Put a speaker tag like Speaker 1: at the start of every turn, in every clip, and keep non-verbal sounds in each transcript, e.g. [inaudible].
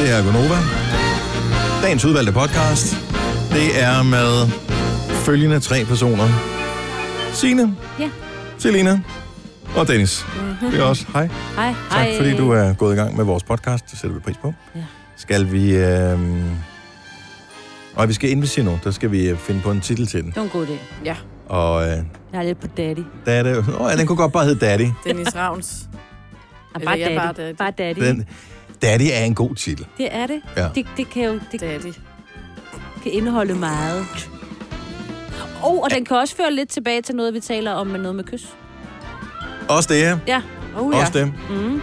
Speaker 1: Det er Gonova. Dagens udvalgte podcast. Det er med følgende tre personer. Signe,
Speaker 2: Ja.
Speaker 1: Selina og Dennis. Det er også. Hej.
Speaker 2: Hej.
Speaker 1: Tak
Speaker 2: Mhm. hej.
Speaker 1: fordi du er gået i gang med vores podcast. Det sætter vi pris på.
Speaker 2: Ja.
Speaker 1: Skal vi... Øh... Og vi skal inden vi siger noget, der skal vi øh, finde på en titel til den.
Speaker 2: Det var en god idé.
Speaker 3: Ja,
Speaker 1: Og øh,
Speaker 2: Jeg er lidt på daddy.
Speaker 1: der er det jo... Nå, ja, den kunne godt bare hedde Daddy.
Speaker 3: Dennis Ravns.
Speaker 2: [laughs] Ah,
Speaker 3: Eller
Speaker 2: bare,
Speaker 3: jeg
Speaker 2: daddy.
Speaker 3: er
Speaker 2: bare
Speaker 3: bare daddy.
Speaker 2: daddy. Bare daddy.
Speaker 1: Den, daddy er en god titel.
Speaker 2: Det er det.
Speaker 1: Ja.
Speaker 2: det. Det kan jo det
Speaker 3: Daddy.
Speaker 2: kan indeholde meget. Oh, og den kan også føre lidt tilbage til noget, vi taler om med noget med kys.
Speaker 1: Også det her.
Speaker 2: Ja.
Speaker 3: Oh,
Speaker 1: Også det.
Speaker 2: Mm.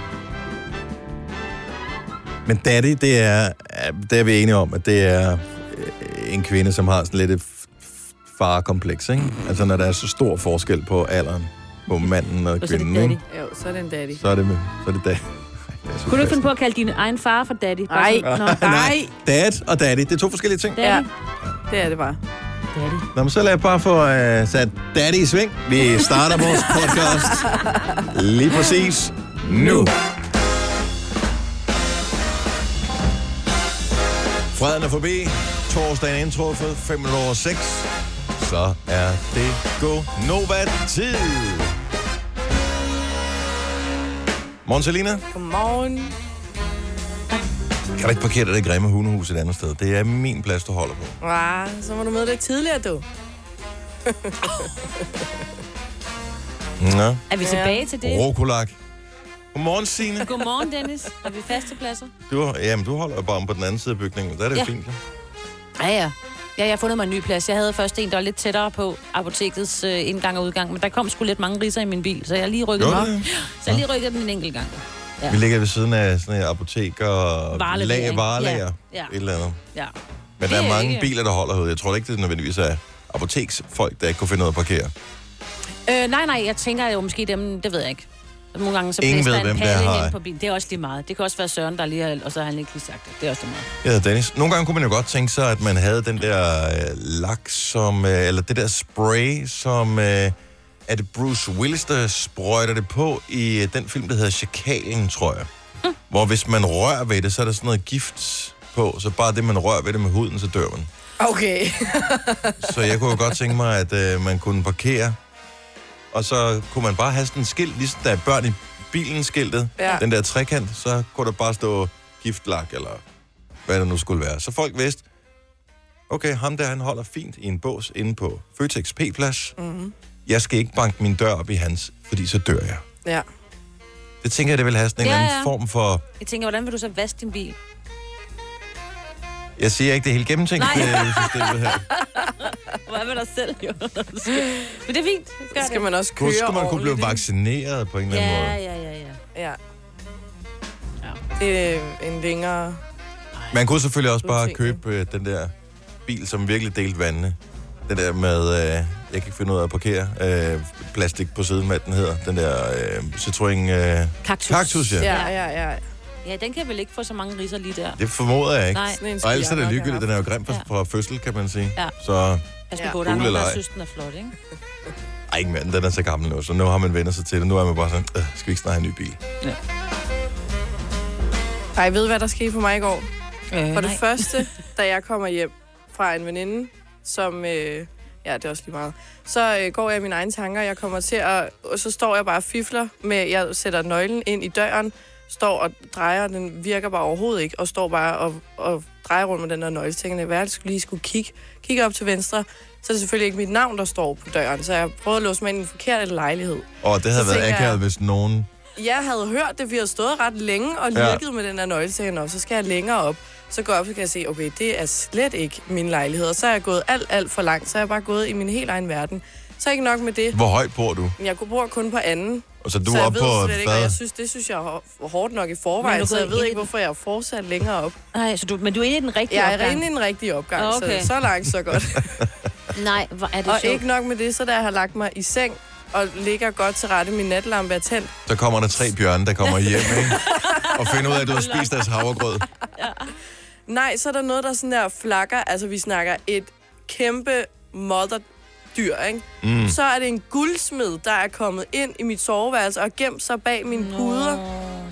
Speaker 1: Men daddy, det er, det er vi enige om, at det er øh, en kvinde, som har sådan lidt et f- f- farekompleks, ikke? Altså, når der er så stor forskel på alderen på manden og
Speaker 2: Og så er det
Speaker 1: kvinden,
Speaker 2: daddy.
Speaker 1: ikke?
Speaker 3: Jo, så er det en daddy.
Speaker 1: Så er det, så er [laughs] det daddy. Ej, det er så
Speaker 2: Kunne du ikke
Speaker 1: fast.
Speaker 2: finde på at kalde din egen far for daddy? Bare
Speaker 3: Nej,
Speaker 2: sådan,
Speaker 3: [laughs]
Speaker 2: Nå,
Speaker 3: nej.
Speaker 1: Dad og daddy, det er to forskellige ting.
Speaker 2: Daddy. Ja.
Speaker 3: Det er det bare.
Speaker 2: Daddy.
Speaker 1: Nå, men så lad jeg bare få øh, sat daddy i sving. Vi starter vores podcast lige præcis nu. Freden er forbi. Torsdagen er indtruffet. 5 minutter over 6. Så er det go Nova tid. Morgen, Selina.
Speaker 3: Godmorgen.
Speaker 1: Kan du ikke parkere det der grimme hundehus et andet sted? Det er min plads, du holder på.
Speaker 3: Ah, så må du møde lidt tidligere, du.
Speaker 1: Nå.
Speaker 2: Er vi
Speaker 3: Ja.
Speaker 2: tilbage til det?
Speaker 1: Rokolak. Godmorgen, Signe.
Speaker 2: Godmorgen, Dennis. Er vi faste pladser?
Speaker 1: Du, jamen, du holder jo bare om på den anden side af bygningen. Der er det jo
Speaker 2: Ja.
Speaker 1: fint. jo.
Speaker 2: Ja, ja. Ja, jeg har fundet mig en ny plads. Jeg havde først en, der var lidt tættere på apotekets øh, indgang og udgang, men der kom sgu lidt mange riser i min bil, så jeg har lige rykket
Speaker 1: Jo,
Speaker 2: mig.
Speaker 1: det.
Speaker 2: Så jeg lige rykkede den en enkelt gang. Ja.
Speaker 1: Vi ligger ved siden af sådan et apotek og
Speaker 2: Varelevering.
Speaker 1: lag, varelager.
Speaker 2: Ja, ja.
Speaker 1: Et eller andet.
Speaker 2: Ja.
Speaker 1: Men
Speaker 2: Det
Speaker 1: der er
Speaker 2: er
Speaker 1: mange
Speaker 2: ikke-
Speaker 1: biler, der holder herude. Jeg tror da ikke, det er nødvendigvis er apoteksfolk, der ikke kunne finde noget at parkere.
Speaker 2: Øh, nej, nej, jeg tænker jo måske dem, det ved jeg ikke. Nogle gange så
Speaker 1: Ingen
Speaker 2: blæser
Speaker 1: ved,
Speaker 2: der en
Speaker 1: hvem der
Speaker 2: palle
Speaker 1: har-
Speaker 2: hen på bilen. Det er også lige meget. Det kan også være Søren, der lige har, og så har han ikke lige sagt det. Det er også lige meget.
Speaker 1: Jeg hedder Dennis. Nogle gange kunne man jo godt tænke sig, at man havde den der øh, lak, som, øh, eller det der spray, som øh, er det Bruce Willis, der sprøjter det på i øh, den film, der hedder Chakalen, tror jeg. Mm. Hvor hvis man rører ved det, så er der sådan noget gift på, så bare det, man rører ved det med huden, så dør man.
Speaker 3: [laughs] Okay.
Speaker 1: Så jeg kunne jo godt tænke mig, at øh, man kunne parkere, og så kunne man bare have sådan en skilt, ligesom der er børn i bilen skiltet, ja.
Speaker 3: Ja.
Speaker 1: den der trekant, så kunne der bare stå giftlak, eller hvad det nu skulle være. Så folk vidste, okay, ham der, han holder fint i en bås inde på Føtex P-plads. Mm-hmm. Jeg skal ikke banke min dør op i hans, fordi så dør jeg.
Speaker 3: Ja.
Speaker 1: Det tænker jeg, det vil have sådan en
Speaker 2: Ja,
Speaker 1: ja, eller anden
Speaker 2: ja.
Speaker 1: form for...
Speaker 2: Jeg tænker, hvordan vil du så vaske din bil?
Speaker 1: Jeg siger ikke, det er helt gennemtænkt,
Speaker 2: Nej.
Speaker 1: det øh, systemet
Speaker 2: [laughs]
Speaker 1: her.
Speaker 2: Hvad med dig selv, [laughs] jo? Men det er fint. Gør
Speaker 3: Så skal man også køre
Speaker 1: Kunne, skulle man kunne blive
Speaker 3: ordentligt,
Speaker 1: vaccineret på en eller anden måde?
Speaker 2: Ja, ja, ja, ja.
Speaker 3: ikke? Ja. Det er en længere...
Speaker 1: Man kunne selvfølgelig også bare
Speaker 3: Udtænkt, ikke?
Speaker 1: købe øh, den der bil, som virkelig delte vandene. Den der med, øh, jeg kan ikke finde ud af at parkere, øh, plastik på siden, hvad den hedder. Den der øh, Citroën... Øh,
Speaker 2: Kaktus.
Speaker 1: Kaktus, ja.
Speaker 3: Ja, ja, ja.
Speaker 2: Ja, den kan vel ikke få så mange riser lige der.
Speaker 1: det formoder jeg ikke.
Speaker 2: Nej.
Speaker 3: Sådan en
Speaker 1: Og
Speaker 3: skulle
Speaker 1: ellers er
Speaker 3: jeg
Speaker 1: det
Speaker 3: nok
Speaker 1: ligegyldigt, den
Speaker 3: have
Speaker 1: er jo grim fra,
Speaker 2: Ja.
Speaker 1: fra fødsel, kan man sige.
Speaker 2: Ja.
Speaker 1: Så,
Speaker 2: Pas
Speaker 3: Ja.
Speaker 2: på, der er nogen, der
Speaker 1: Fugleleje.
Speaker 2: synes, den er flot, ikke?
Speaker 1: ej, ikke mere, den er så gammel nu, så nu har man vendt sig til det. Nu er man bare sådan, øh, skal vi ikke snart have en ny bil?
Speaker 3: haft. Ej, ved du, hvad der skete for mig i går?
Speaker 2: Øh,
Speaker 3: For det første, da jeg kommer hjem fra en veninde, som... Øh, ja, det er også lige meget. Så øh, går jeg i mine egne tanker, jeg kommer til at... Og så står jeg bare og fifler med... Jeg sætter nøglen ind i døren, står og drejer, og den virker bare overhovedet ikke, og står bare og, og drejer rundt med den der nøgle. Så tænker jeg, hvad er det, jeg skulle lige skulle kigge? Kigger op til venstre, så er det selvfølgelig ikke mit navn, der står på døren, så jeg prøvede at låse mig ind i den forkerte lejlighed.
Speaker 1: Og det havde
Speaker 3: Så
Speaker 1: været
Speaker 3: tænker
Speaker 1: akavet,
Speaker 3: jeg-
Speaker 1: hvis nogen...
Speaker 3: jeg havde hørt det, vi havde stået ret længe og
Speaker 1: Ja.
Speaker 3: lirket ja. med den her nøgle, så tænkte jeg, "Nå, så skal jeg længere op. Så går jeg op, så kan jeg se, okay, det er slet ikke min lejlighed. Og så er jeg gået alt, alt for langt, så er jeg bare gået i min helt egen verden. Så ikke nok med det.
Speaker 1: Hvor højt bor du?
Speaker 3: Men jeg bor kun på anden,
Speaker 1: Og så er du
Speaker 3: så
Speaker 1: er
Speaker 3: jeg
Speaker 1: oppe
Speaker 3: ved
Speaker 1: på...
Speaker 3: slet ikke, og jeg synes, det synes jeg er hår- hårdt nok i
Speaker 2: Men du
Speaker 3: forvejen, så
Speaker 2: ved
Speaker 3: jeg ved
Speaker 2: ikke-
Speaker 3: ikke, hvorfor jeg er fortsat længere op.
Speaker 2: Nej, så du, men du er inde i den rigtige
Speaker 3: Jeg er
Speaker 2: opgang.
Speaker 3: inde i en rigtig opgang,
Speaker 2: Okay.
Speaker 3: okay. så, så langt, så godt.
Speaker 2: [laughs] Nej, hvor er det
Speaker 3: og
Speaker 2: sjovt.
Speaker 3: ikke nok med det, så da jeg har lagt mig i seng og ligger godt til rette, min natlampe er tændt,
Speaker 1: Så kommer der tre bjørne, der kommer hjem, ikke? Og finder ud af, at du har spist deres havregrød.
Speaker 3: Nej, så er der noget, der sådan der flakker. Altså, vi snakker et kæmpe motherdyr, ikke? Mm. Så er det en guldsmed, der er kommet ind i mit soveværelse og gemt sig bag mine puder,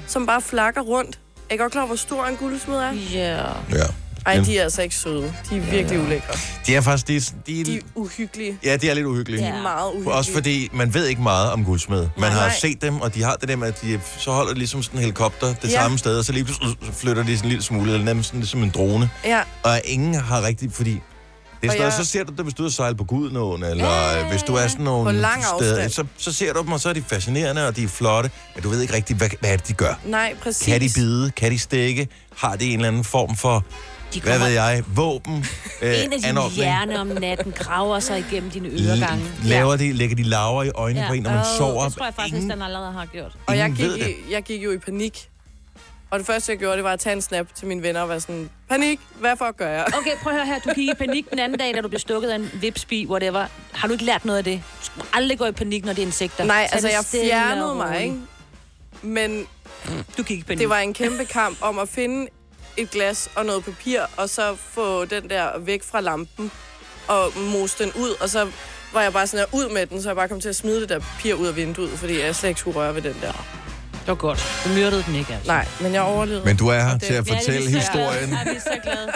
Speaker 3: som bare flakker rundt. Er I godt klar, over, hvor stor en guldsmed er?
Speaker 2: Ja.
Speaker 1: Ja.
Speaker 3: Ej,
Speaker 1: Men-
Speaker 3: de er altså ikke søde. De er virkelig ulækre.
Speaker 1: De er faktisk... De, er- de,
Speaker 3: De
Speaker 1: de,
Speaker 3: er uhyggelige.
Speaker 1: ja, de er lidt uhyggelige.
Speaker 3: De er meget uhyggelige.
Speaker 1: Også fordi man ved ikke meget om guldsmed. Man
Speaker 3: Nej,
Speaker 1: har
Speaker 3: nej.
Speaker 1: set dem, og de har det der med, at de, så holder de ligesom sådan en helikopter det
Speaker 3: Ja.
Speaker 1: samme sted, og så lige pludselig så flytter de sådan en lille smule, eller nærmest sådan, som en drone.
Speaker 3: Ja,
Speaker 1: Og ingen har rigtigt, fordi... Det er
Speaker 3: Og
Speaker 1: sådan, noget,
Speaker 3: jeg-
Speaker 1: så ser du dem, hvis du er sejlet på Gudenåen, eller
Speaker 2: Ja,
Speaker 1: ja,
Speaker 2: ja,
Speaker 1: hvis du er sådan nogle
Speaker 3: På lang
Speaker 1: steder,
Speaker 3: afstand.
Speaker 1: så, så ser du dem, og så er de fascinerende, og de er flotte, men du ved ikke rigtigt, hvad, hvad er det, de gør.
Speaker 3: nej, præcis.
Speaker 1: Kan de bide? Kan de stikke? Har de en eller anden form for,
Speaker 2: De
Speaker 1: hvad
Speaker 2: kommer
Speaker 1: ved jeg,
Speaker 3: [laughs]
Speaker 1: våben? Øh,
Speaker 2: ind i din
Speaker 1: anordning?
Speaker 2: hjerne om natten, graver sig igennem dine øregange.
Speaker 1: L- laver de, lægger de laver i øjnene ja. på en, når man
Speaker 2: Åh,
Speaker 1: sover?
Speaker 2: Det tror jeg faktisk,
Speaker 1: Ingen-
Speaker 2: den allerede har gjort.
Speaker 3: Og jeg
Speaker 1: Ingen ved
Speaker 3: gik, i, jeg gik jo i panik. Og det første, jeg gjorde, det var at tage en snap til mine venner og være sådan, panik, hvad for gør jeg?
Speaker 2: Okay, prøv at høre her. Du gik i panik den anden dag, da du blev stukket af en vipsbi, whatever. Har du ikke lært noget af det? Du skal aldrig gå i panik, når det er insekter.
Speaker 3: Nej,
Speaker 2: Tag
Speaker 3: altså
Speaker 2: det
Speaker 3: jeg
Speaker 2: stille
Speaker 3: fjernede
Speaker 2: og
Speaker 3: mig,
Speaker 2: roligt.
Speaker 3: ikke? Men
Speaker 2: Du gik i panik.
Speaker 3: det var en kæmpe kamp om at finde et glas og noget papir, og så få den der væk fra lampen og mose den ud, og så var jeg bare sådan her, ud med den, så jeg bare kom til at smide det der papir ud af vinduet, fordi jeg slet ikke skulle røre ved den der.
Speaker 2: Det var godt. Du myrdede den ikke, altså.
Speaker 3: Nej, men jeg overlevede.
Speaker 1: Men du er her
Speaker 3: Og det-
Speaker 1: til at
Speaker 2: Ja, det er vi
Speaker 1: fortælle
Speaker 2: så
Speaker 1: historien.
Speaker 2: glade. Ja, vi er så glade.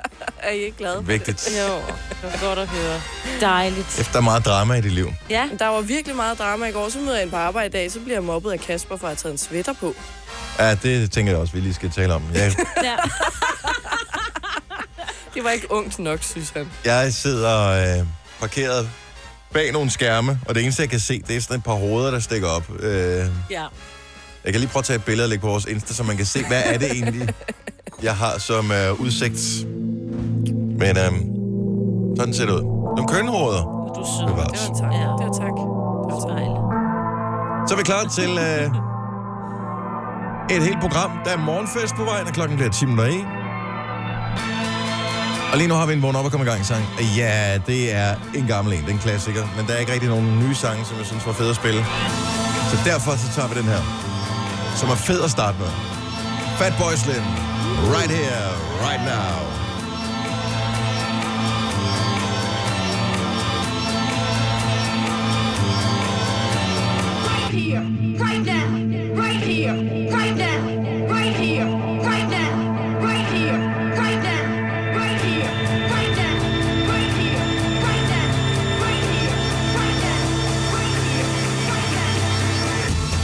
Speaker 3: [laughs] Er I ikke glade?
Speaker 1: Vigtigt.
Speaker 2: Jo, det var godt at høre. Dejligt.
Speaker 1: Efter meget drama i dit liv.
Speaker 2: Ja,
Speaker 3: Der var virkelig meget drama i går, så møder jeg en på arbejde i dag, så bliver jeg mobbet af Kasper for at have taget en sweater på.
Speaker 1: Ja, det tænker jeg også, vi lige skal tale om. Jeg,
Speaker 2: ja.
Speaker 3: [laughs] Det var ikke ungt nok, synes han.
Speaker 1: jeg sidder øh, parkeret bag nogle skærme, og det eneste, jeg kan se, det er sådan et par hoveder, der stikker op. Øh,
Speaker 2: ja.
Speaker 1: jeg kan lige prøve at tage et billede og lægge på vores Insta, så man kan se, hvad er det egentlig, jeg har som øh, udsigt. Men øh, sådan ser det ud. Nogle kønhoveder.
Speaker 2: Du er sød.
Speaker 1: Bevares.
Speaker 3: Det var tak.
Speaker 2: Ja.
Speaker 3: Det var tak. Det var tak.
Speaker 2: Dejligt.
Speaker 1: Så er vi klar til øh, et helt program. Der er morgenfest på vejen, og klokken bliver 10 minutter i. Og lige nu har vi en vågn op og komme i gang sang. Ja, det er en gammel en, den klassiker. Men der er ikke rigtig nogen nye sange, som jeg synes var fede at spille. Så derfor så tager vi den her, som er fed at starte med. Fat Boy Slim. Right here, right now.
Speaker 4: right here, right now, right here, right now, right here, right now, right here, right now, right here, right now, right here, right now, right here, right now, right here, right now.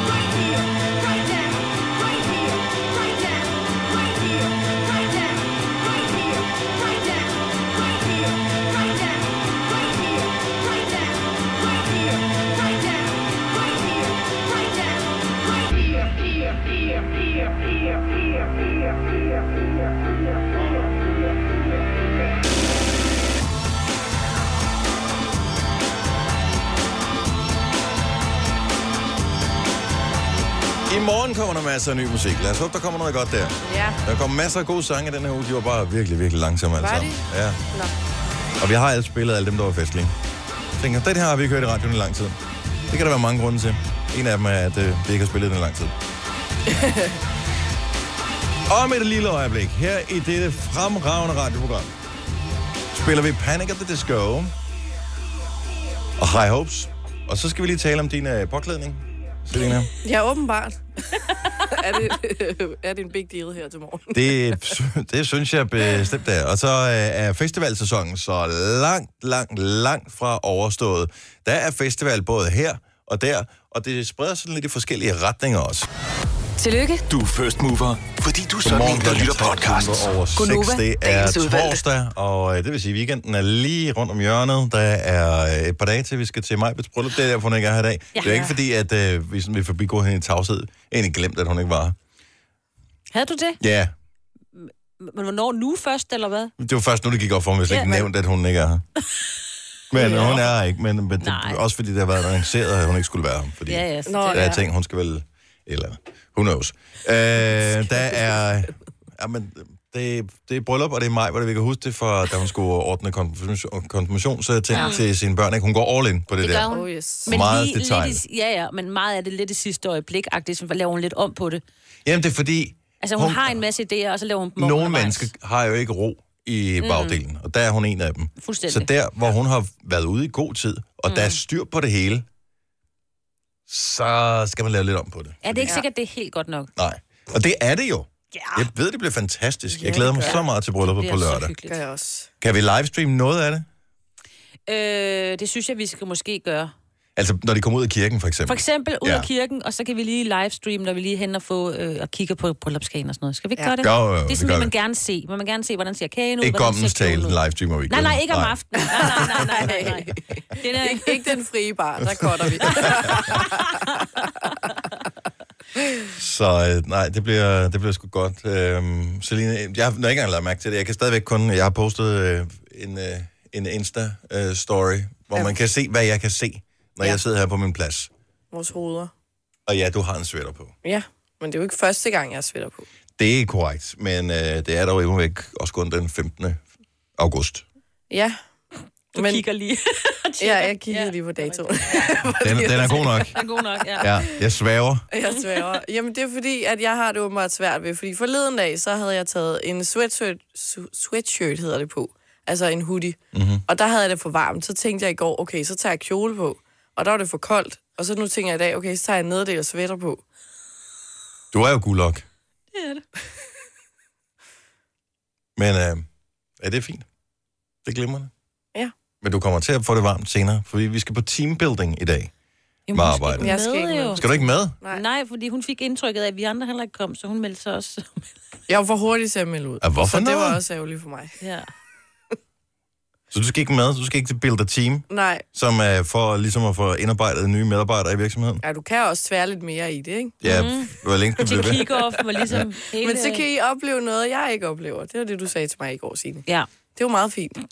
Speaker 4: Right here, right now, right here, right now, right here, right now, right here, right now, right here, right now, right here, right now, right here, right now, right here, right now, right here, here, here, here, here, here, here, here, here, here, here, here, here, here.
Speaker 1: I morgen kommer der masser af ny musik. Lad os håbe, der kommer noget godt der.
Speaker 3: Ja.
Speaker 1: Der kom masser af gode sange den her uge. De var bare virkelig, virkelig langsomme alle
Speaker 3: Var
Speaker 1: sammen.
Speaker 3: de?
Speaker 1: Ja.
Speaker 5: [laughs]
Speaker 3: Nå.
Speaker 1: Og vi har alle spillet alle dem, der var festlige. Jeg tænker, den her har vi ikke hørt i radioen i lang tid. Det kan der være mange grunde til. En af dem er, at øh, vi ikke har spillet den i lang tid. Om et lille øjeblik, her i dette fremragende radioprogram, spiller vi Panic at the Disco og High Hopes. Og så skal vi lige tale om din øh, påklædning, Selina.
Speaker 3: Ja, åbenbart. [laughs] er, det, øh, er det en big deal her til morgen?
Speaker 1: Det, sy- det synes jeg bestemt er. Og så øh, er festivalsæsonen så langt, langt, langt fra overstået. Der er festival både her og der, og det spreder sig lidt i forskellige retninger også.
Speaker 6: Tillykke.
Speaker 7: Du er first mover, fordi du er sådan en, der lytter podcasts.
Speaker 1: over 6.
Speaker 6: Gunova,
Speaker 1: Det er
Speaker 6: dagens udvalgte.
Speaker 1: torsdag, og øh, det vil sige, at weekenden er lige rundt om hjørnet. Der er øh, et par dage til, vi skal til Majbets bryllup. Det er derfor, hun ikke er her i dag. Ja. Det er ikke fordi, at øh, vi sådan vil forbigå hende i tavshed. Jeg har egentlig glemt, at hun ikke var her.
Speaker 2: Havde du det?
Speaker 1: Ja, yeah.
Speaker 2: Men hvornår nu først, eller hvad?
Speaker 1: Det var først nu, det gik op for mig, hvis jeg
Speaker 2: Ja,
Speaker 1: ikke
Speaker 2: men-
Speaker 1: nævnte, at hun ikke er her.
Speaker 2: [laughs]
Speaker 1: Men hun er her ikke, men, men det,
Speaker 2: Nej.
Speaker 1: også fordi det har været arrangeret, at hun ikke skulle være her. Fordi
Speaker 2: Ja, ja. Så
Speaker 3: Nå,
Speaker 2: det,
Speaker 1: der er
Speaker 3: ja.
Speaker 1: ting, hun skal vel... Eller, who knows. Øh, der er... Jamen, det, det er bryllup, og det er maj, hvor det, vi kan huske det, for da hun skulle ordne konfirmation, konfirmation så jeg tænkte ja. til sine børn, at hun går all in på det,
Speaker 2: det
Speaker 1: der.
Speaker 2: gør hun.
Speaker 3: Oh, yes.
Speaker 2: Men
Speaker 1: Meget
Speaker 2: lige,
Speaker 1: detaljer.
Speaker 2: lidt i, ja, ja, men meget af det lidt i sidste øjeblik, agtigt, så laver hun lidt om på det.
Speaker 1: Jamen, det er fordi...
Speaker 2: Altså, hun, hun har en masse idéer, og så laver hun dem om
Speaker 1: Nogle
Speaker 2: undervejs.
Speaker 1: mennesker har jo ikke ro i bagdelen, og der er hun en af dem.
Speaker 2: Mm. Fuldstændig.
Speaker 1: Så der, hvor hun har været ude i god tid, og mm. der er styr på det hele, så skal man lave lidt om på det.
Speaker 2: Ja, det er ikke sikkert, det er helt godt nok.
Speaker 1: Nej. Og det er det jo. Ja. Jeg ved, det bliver fantastisk. Jeg glæder mig så meget til brylluppet
Speaker 2: Det
Speaker 1: på
Speaker 2: er så
Speaker 1: lørdag.
Speaker 2: hyggeligt.
Speaker 3: Gør jeg også.
Speaker 1: Kan vi livestreame noget af det?
Speaker 2: Øh, det synes jeg, vi skal måske gøre.
Speaker 1: Altså, når de kommer ud af kirken, for
Speaker 2: For
Speaker 1: eksempel.
Speaker 2: eksempel ud
Speaker 1: Ja.
Speaker 2: ja. af kirken, og så kan vi lige livestream, når vi lige hen og, få, øh, og kigger på bryllupskagen og sådan noget. Skal vi ikke
Speaker 3: Ja.
Speaker 2: ja. gøre
Speaker 1: Jo, jo,
Speaker 2: det?
Speaker 1: jo,
Speaker 2: det er
Speaker 1: det
Speaker 2: sådan,
Speaker 1: gør
Speaker 2: vil
Speaker 1: vi.
Speaker 2: man gerne se. Vil man gerne se, hvordan ser kagen ud?
Speaker 1: Ikke
Speaker 2: hvordan
Speaker 1: Gommens
Speaker 2: ser kjolen
Speaker 1: tale,
Speaker 2: ud?
Speaker 1: livestreamer vi
Speaker 2: Nej, nej, ikke om aftenen. Nej, nej, nej, nej, nej. Den er,
Speaker 3: Ikke, ikke den frie bar, der
Speaker 1: [laughs]
Speaker 3: korter vi.
Speaker 1: Så øh, nej, det bliver, det bliver sgu godt. Øhm, Selina, jeg har jeg har ikke engang lagt mærke til det. Jeg kan stadigvæk kun... Jeg har postet øh, en, øh, en Insta-story, øh, story, hvor
Speaker 3: Ja.
Speaker 1: man kan se, hvad jeg kan se, når
Speaker 3: Ja.
Speaker 1: jeg sidder her på min plads.
Speaker 3: Vores hoveder.
Speaker 1: Og ja, du har en sweater på.
Speaker 3: Ja, men det er jo ikke første gang, jeg sweater på.
Speaker 1: Det er korrekt, men øh, det er dog endnu væk også kun den 15. august.
Speaker 3: Ja.
Speaker 2: du
Speaker 3: men,
Speaker 2: kigger lige. [laughs]
Speaker 3: Ja, jeg kiggede lige på datoen.
Speaker 1: Den, den er god nok.
Speaker 2: Den er god nok, ja.
Speaker 1: Ja, jeg svæver.
Speaker 3: Jeg sværger. Jamen, det er fordi, at jeg har det åbenbart svært ved. Fordi forleden dag, så havde jeg taget en sweatshirt, su- sweatshirt hedder det på. Altså en hoodie. Mm-hmm.
Speaker 1: Mhm.
Speaker 3: Og der havde jeg det for varmt. Så tænkte jeg i går, okay, så tager jeg kjole på. Og der var det for koldt. Og så nu tænker jeg i dag, okay, så tager jeg en nederdel og sweater på.
Speaker 1: Du er jo gulok,
Speaker 2: Det er det.
Speaker 1: men øh, ja, det er fint. Det er glimrende.
Speaker 3: Ja.
Speaker 1: Men du kommer til at få det varmt senere, fordi vi skal på teambuilding i dag.
Speaker 2: Jamen,
Speaker 1: Med
Speaker 2: hun
Speaker 1: arbejde.
Speaker 2: ikke
Speaker 3: Jeg skal
Speaker 2: med,
Speaker 3: ikke med.
Speaker 2: jo.
Speaker 1: Skal du ikke med?
Speaker 3: Nej.
Speaker 2: Nej, fordi hun fik indtrykket af, at vi andre heller ikke kom, så hun meldte sig også.
Speaker 3: Jeg var for hurtig til at melde ud.
Speaker 1: Ja, hvorfor
Speaker 3: så det
Speaker 1: noget?
Speaker 3: var også ærgerligt for mig.
Speaker 2: Ja.
Speaker 1: Så du skal ikke med, du skal ikke til Builder Team,
Speaker 3: Nej,
Speaker 1: som er for ligesom at få indarbejdet nye medarbejdere i virksomheden.
Speaker 3: ja, du kan også tvære lidt mere i det, ikke?
Speaker 1: Ja, mm. hvor længe skal du
Speaker 2: Til
Speaker 1: blive ved?
Speaker 2: kick-off var ligesom hele...
Speaker 3: Men så kan I opleve noget, jeg ikke oplever. Det var det, du sagde til mig i går, Signe.
Speaker 2: Ja.
Speaker 3: Det er jo meget fint.
Speaker 2: Okay.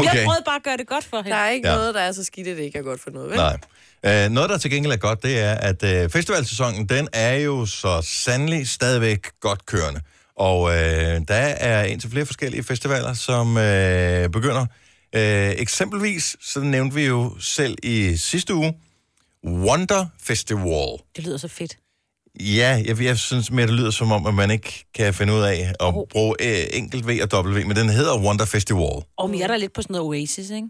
Speaker 1: [laughs] Okay,
Speaker 2: prøvede bare at gøre det godt for
Speaker 3: Der
Speaker 2: hende.
Speaker 3: er ikke
Speaker 1: Ja.
Speaker 3: ja. noget, der er så skidt, at det ikke er godt for noget, vel?
Speaker 1: [laughs] nej. Øh, noget, der til gengæld er godt, det er, at øh, festivalsæsonen, den er jo så sandelig stadigvæk godt kørende. Og øh, der er indtil flere forskellige festivaler, som øh, begynder. Øh, eksempelvis, så nævnte vi jo selv i sidste uge, Wonder Festival.
Speaker 2: Det lyder så fedt.
Speaker 1: Ja, jeg, jeg synes mere, det lyder som om, at man ikke kan finde ud af at oh. bruge øh, enkelt V og W, men den hedder Wonder Festival.
Speaker 2: Og vi er der lidt på sådan noget Oasis, ikke?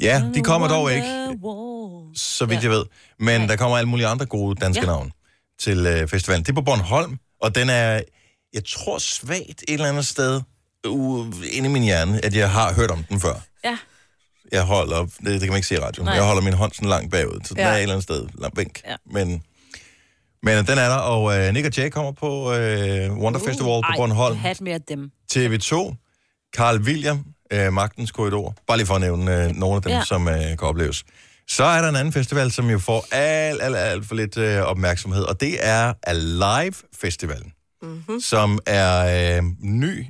Speaker 1: Ja, de kommer dog
Speaker 2: Wonder
Speaker 1: ikke,
Speaker 2: Wall.
Speaker 1: så vidt jeg ved. Men der kommer alle mulige andre gode danske ja.
Speaker 2: Ja.
Speaker 1: navne til øh, festivalen. Det er på Bornholm, og den er, jeg tror, svagt et eller andet sted uh, inde i min hjerne, at jeg har hørt om den før.
Speaker 2: Ja.
Speaker 1: Jeg holder, det, det kan man ikke se i radioen, Nej.
Speaker 2: Nej.
Speaker 1: jeg holder min hånd sådan langt bagud, så den ja.
Speaker 3: Ja.
Speaker 1: er et eller andet sted langt væk. Ja.
Speaker 2: Ja.
Speaker 1: Men, men den er der, og øh, Nick og Jay kommer på øh, Wonder uh, Festival på Bornholm.
Speaker 2: Ej, hat med af dem.
Speaker 1: TV2, Carl William, øh, Magtens Korridor. Bare lige for at nævne øh, nogle af dem, ja.
Speaker 2: Ja.
Speaker 1: som øh, kan opleves. Så er der en anden festival, som jo får alt, alt, alt for lidt øh, opmærksomhed, og det er Alive Festivalen, mm-hmm. som er øh, ny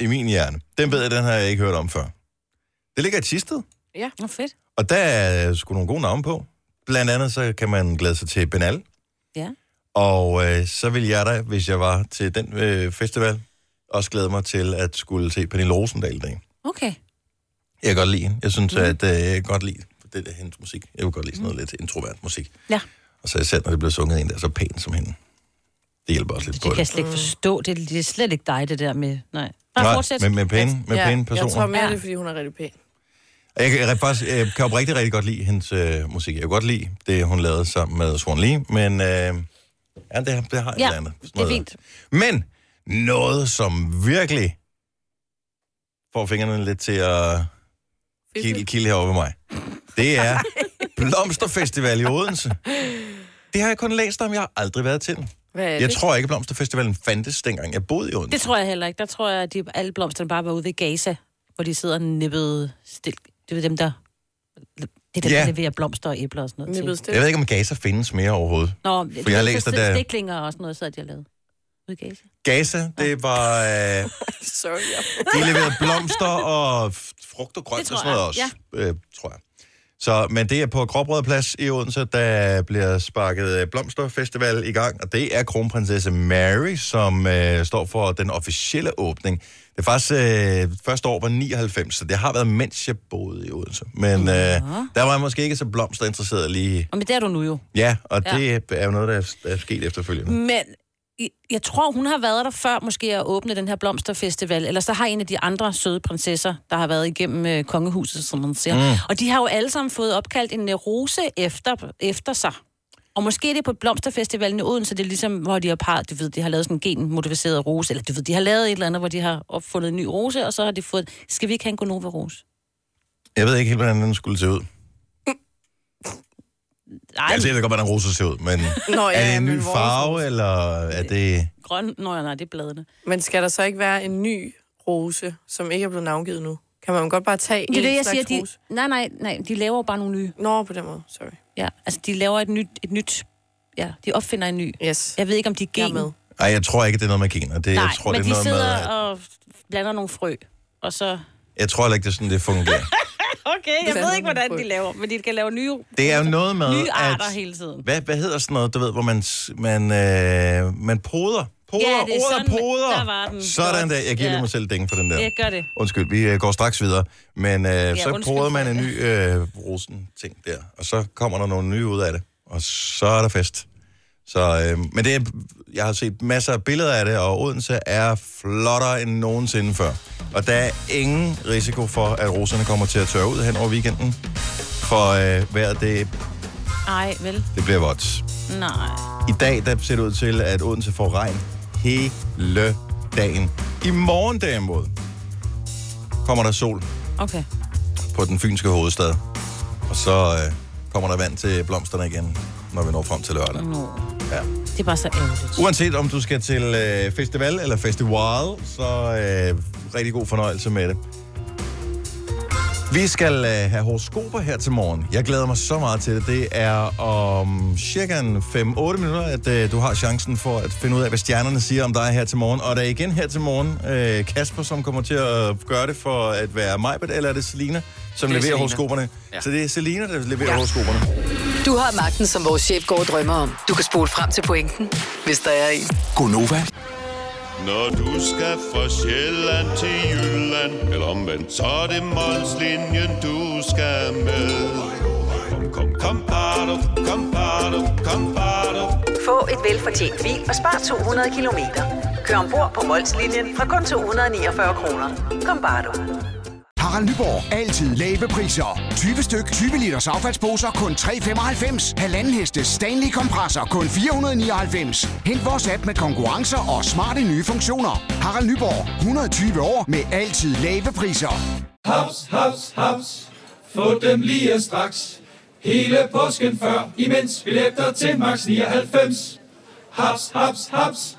Speaker 1: i min hjerne. Den ved jeg, den har jeg ikke hørt om før. Det ligger i Tisted,
Speaker 2: Nå, fedt.
Speaker 1: og der er sgu nogle gode navne på. Blandt andet så kan man glæde sig til Benal.
Speaker 2: Ja.
Speaker 1: Og øh, så ville jeg da, hvis jeg var til den øh, festival, også glæde mig til at skulle se Pernille Rosendal i dag.
Speaker 2: Okay.
Speaker 1: Jeg kan godt lide hende. Jeg
Speaker 2: Mhm.
Speaker 1: synes, mm. at øh, jeg kan godt lide det der hendes musik. Jeg vil godt lide sådan noget lidt introvert musik.
Speaker 2: Ja.
Speaker 1: Og så især, når det bliver sunget af en, der er så pæn som hende. Det hjælper også lidt
Speaker 2: Det
Speaker 1: på
Speaker 2: kan jeg
Speaker 1: det.
Speaker 2: slet ikke forstå. Det, det er slet ikke dig, det der med... Nej. Bare
Speaker 1: Nej,
Speaker 2: fortsæt.
Speaker 1: med, med pæne, med
Speaker 3: Ja,
Speaker 1: pæne
Speaker 3: Jeg tror
Speaker 1: personer.
Speaker 3: mere,
Speaker 2: Ja.
Speaker 3: det er, fordi hun er rigtig pæn.
Speaker 1: Jeg, kan- jeg, kan faktisk, jeg kan jo rigtig, rigtig godt lide hendes øh, musik. Jeg kan godt lide det, hun lavede sammen med Swan Lee, men øh, ja, det, har- det har et
Speaker 2: Ja,
Speaker 1: eller andet. Sådan
Speaker 2: det
Speaker 1: noget
Speaker 2: er
Speaker 1: der.
Speaker 2: fint.
Speaker 1: Men noget, som virkelig får fingrene lidt til at kilde, kilde herovre ved mig, det
Speaker 3: [laughs]
Speaker 1: er Blomsterfestival i Odense. Det har jeg kun læst om, jeg har aldrig været til den.
Speaker 3: Hvad er
Speaker 1: Jeg
Speaker 3: det?
Speaker 1: tror ikke, Blomsterfestivalen fandtes dengang, jeg boede i Odense.
Speaker 2: Det tror jeg heller ikke. Der tror jeg, at de, alle blomsterne bare var ude ved Gaza, hvor de sidder nippet stille. Det er dem, der... Det er dem,
Speaker 1: Ja.
Speaker 2: der leverer blomster og æbler og sådan noget
Speaker 3: Nippet
Speaker 2: til.
Speaker 1: Jeg
Speaker 3: stille.
Speaker 1: ved ikke, om Gaza findes mere overhovedet.
Speaker 2: Nå, det
Speaker 1: For jeg har
Speaker 2: er
Speaker 1: læst, at
Speaker 2: så-
Speaker 1: der-
Speaker 2: Stiklinger og sådan noget, så de har lavet. Ude i Gaza.
Speaker 1: Gaza, det var... Øh,
Speaker 3: Sorry. ja.
Speaker 1: De leverede blomster og f- frugt og
Speaker 2: Det
Speaker 1: grønt
Speaker 2: tror
Speaker 1: og sådan noget også,
Speaker 2: jeg,
Speaker 1: øh, tror jeg. Så, men det er på Gråbrød Plads i Odense, der bliver sparket øh, Blomsterfestival i gang, og det er kronprinsesse Mary, som øh, står for den officielle åbning. Det er faktisk øh, første år var 99, så det har været, mens jeg boede i Odense. Men øh, der var jeg måske ikke så blomsterinteresseret lige.
Speaker 2: Og men det er du nu jo.
Speaker 1: Ja, og
Speaker 2: Ja.
Speaker 1: det er jo noget, der er, er sket efterfølgende.
Speaker 2: Men i- jeg tror, hun har været der før måske at åbne den her blomsterfestival, eller så har en af de andre søde prinsesser, der har været igennem øh, kongehuset, som man siger. Mm. Og de har jo alle sammen fået opkaldt en øh, rose efter, efter sig. Og måske er det på blomsterfestivalen i Odense, det er ligesom, hvor de har parret, du ved, de har lavet sådan en genmodificeret rose, eller du ved, de har lavet et eller andet, hvor de har opfundet en ny rose, og så har de fået, skal vi ikke have en Gonova-rose?
Speaker 1: Jeg ved ikke helt, hvordan den skulle se ud.
Speaker 2: Nej,
Speaker 1: Altså, jeg ved godt, hvordan roser ser ud, men...
Speaker 3: Nå, ja,
Speaker 1: er det en
Speaker 3: men
Speaker 1: ny
Speaker 3: vores-
Speaker 1: farve, eller er det...
Speaker 2: grøn, nå, nej, det er bladene.
Speaker 3: Men skal der så ikke være en ny rose, som ikke er blevet navngivet nu? Kan man godt bare tage
Speaker 2: Det er
Speaker 3: en
Speaker 2: det, jeg siger,
Speaker 3: slags
Speaker 2: de,
Speaker 3: rose?
Speaker 2: nej, nej, nej, de laver jo bare nogle nye.
Speaker 3: Nå, på den måde. Sorry.
Speaker 2: Ja, altså de laver et nyt, et nyt ja, de opfinder en ny.
Speaker 3: Yes.
Speaker 2: Jeg ved ikke, om de er
Speaker 3: Jeg er
Speaker 2: gen.
Speaker 3: med.
Speaker 1: Ej, jeg tror ikke, det er noget med gener. Det,
Speaker 2: Nej,
Speaker 1: jeg tror,
Speaker 2: men
Speaker 1: det er
Speaker 2: de
Speaker 1: noget
Speaker 2: sidder
Speaker 1: med... at-
Speaker 2: og blander nogle frø, og så...
Speaker 1: Jeg tror heller ikke, det er sådan, det fungerer.
Speaker 2: [laughs] Okay, jeg
Speaker 3: Blander nogle frø.
Speaker 2: laver, men de kan lave nye,
Speaker 1: Det er jo noget med,
Speaker 2: nye arter
Speaker 1: at...
Speaker 2: hele tiden.
Speaker 1: Hvad, hvad hedder sådan noget, du ved, hvor man, s- man, øh, man poder? Poder,
Speaker 2: Ja, det er
Speaker 1: ordet
Speaker 2: sådan-
Speaker 1: poder.
Speaker 2: der var den.
Speaker 1: Sådan
Speaker 2: Mm. Godt.
Speaker 1: der. Jeg giver lige
Speaker 2: Ja.
Speaker 1: mig selv dænge for den der.
Speaker 2: Jeg gør det.
Speaker 1: Undskyld, vi øh, går straks videre. Men øh, ja, så
Speaker 2: undskyld
Speaker 1: poder
Speaker 2: for
Speaker 1: man en
Speaker 2: det.
Speaker 1: ny øh, rosen-ting der, og så kommer der nogle nye ud af det, og så er der fest. Så, øh, men det er, jeg har set masser af billeder af det, og Odense er flottere end nogensinde før. Og der er ingen risiko for, at roserne kommer til at tørre ud hen over weekenden. For øh, vejret, det,
Speaker 2: Ej, vel?
Speaker 1: det bliver vådt.
Speaker 2: Nej.
Speaker 1: I dag der ser det ud til, at Odense får regn hele dagen. I morgen derimod kommer der sol
Speaker 2: Okay.
Speaker 1: på den fynske hovedstad. Og så øh, kommer der vand til blomsterne igen, når vi når frem til lørdag.
Speaker 2: Nå.
Speaker 1: Ja.
Speaker 2: Det er bare så ærgerligt.
Speaker 1: Uanset om du skal til øh, festival eller festival, så øh, rigtig god fornøjelse med det. Vi skal øh, have horoskoper her til morgen. Jeg glæder mig så meget til det. Det er om cirka en 5-8 minutter, at øh, du har chancen for at finde ud af, hvad stjernerne siger om dig her til morgen. Og der er igen her til morgen øh, Kasper, som kommer til at øh, gøre det for at være Majbet, eller er det Selina, som det leverer
Speaker 6: Selina.
Speaker 1: horoskoperne? Ja.
Speaker 6: Ja.
Speaker 1: Så det er Selina, der leverer ja. horoskoperne.
Speaker 8: Du har magten, som vores chef går og drømmer om. Du kan spole frem til pointen, hvis der er en.
Speaker 7: Gonova,
Speaker 5: Når du skal fra Sjælland til Jylland Eller omvendt, så er det Molslinjen, du skal med Kom, kom, kom, bado, kom, bado, kom, bado.
Speaker 9: Få et velfortjent bil og spar 200 kilometer. Kør ombord på Molslinjen fra kun 249 kroner. Kom bare du.
Speaker 10: Harald Nyborg. Altid lave priser. 20 styk, 20 liters affaldsposer kun 3,95. Halvanden heste Stanley kompresser kun 499. Hent vores app med konkurrencer og smarte nye funktioner. Harald Nyborg. 120 år med altid lave priser.
Speaker 11: [laughs] Haps, haps, haps. Få dem lige straks. Hele påsken før, imens billetter til max 99. Haps, haps, haps.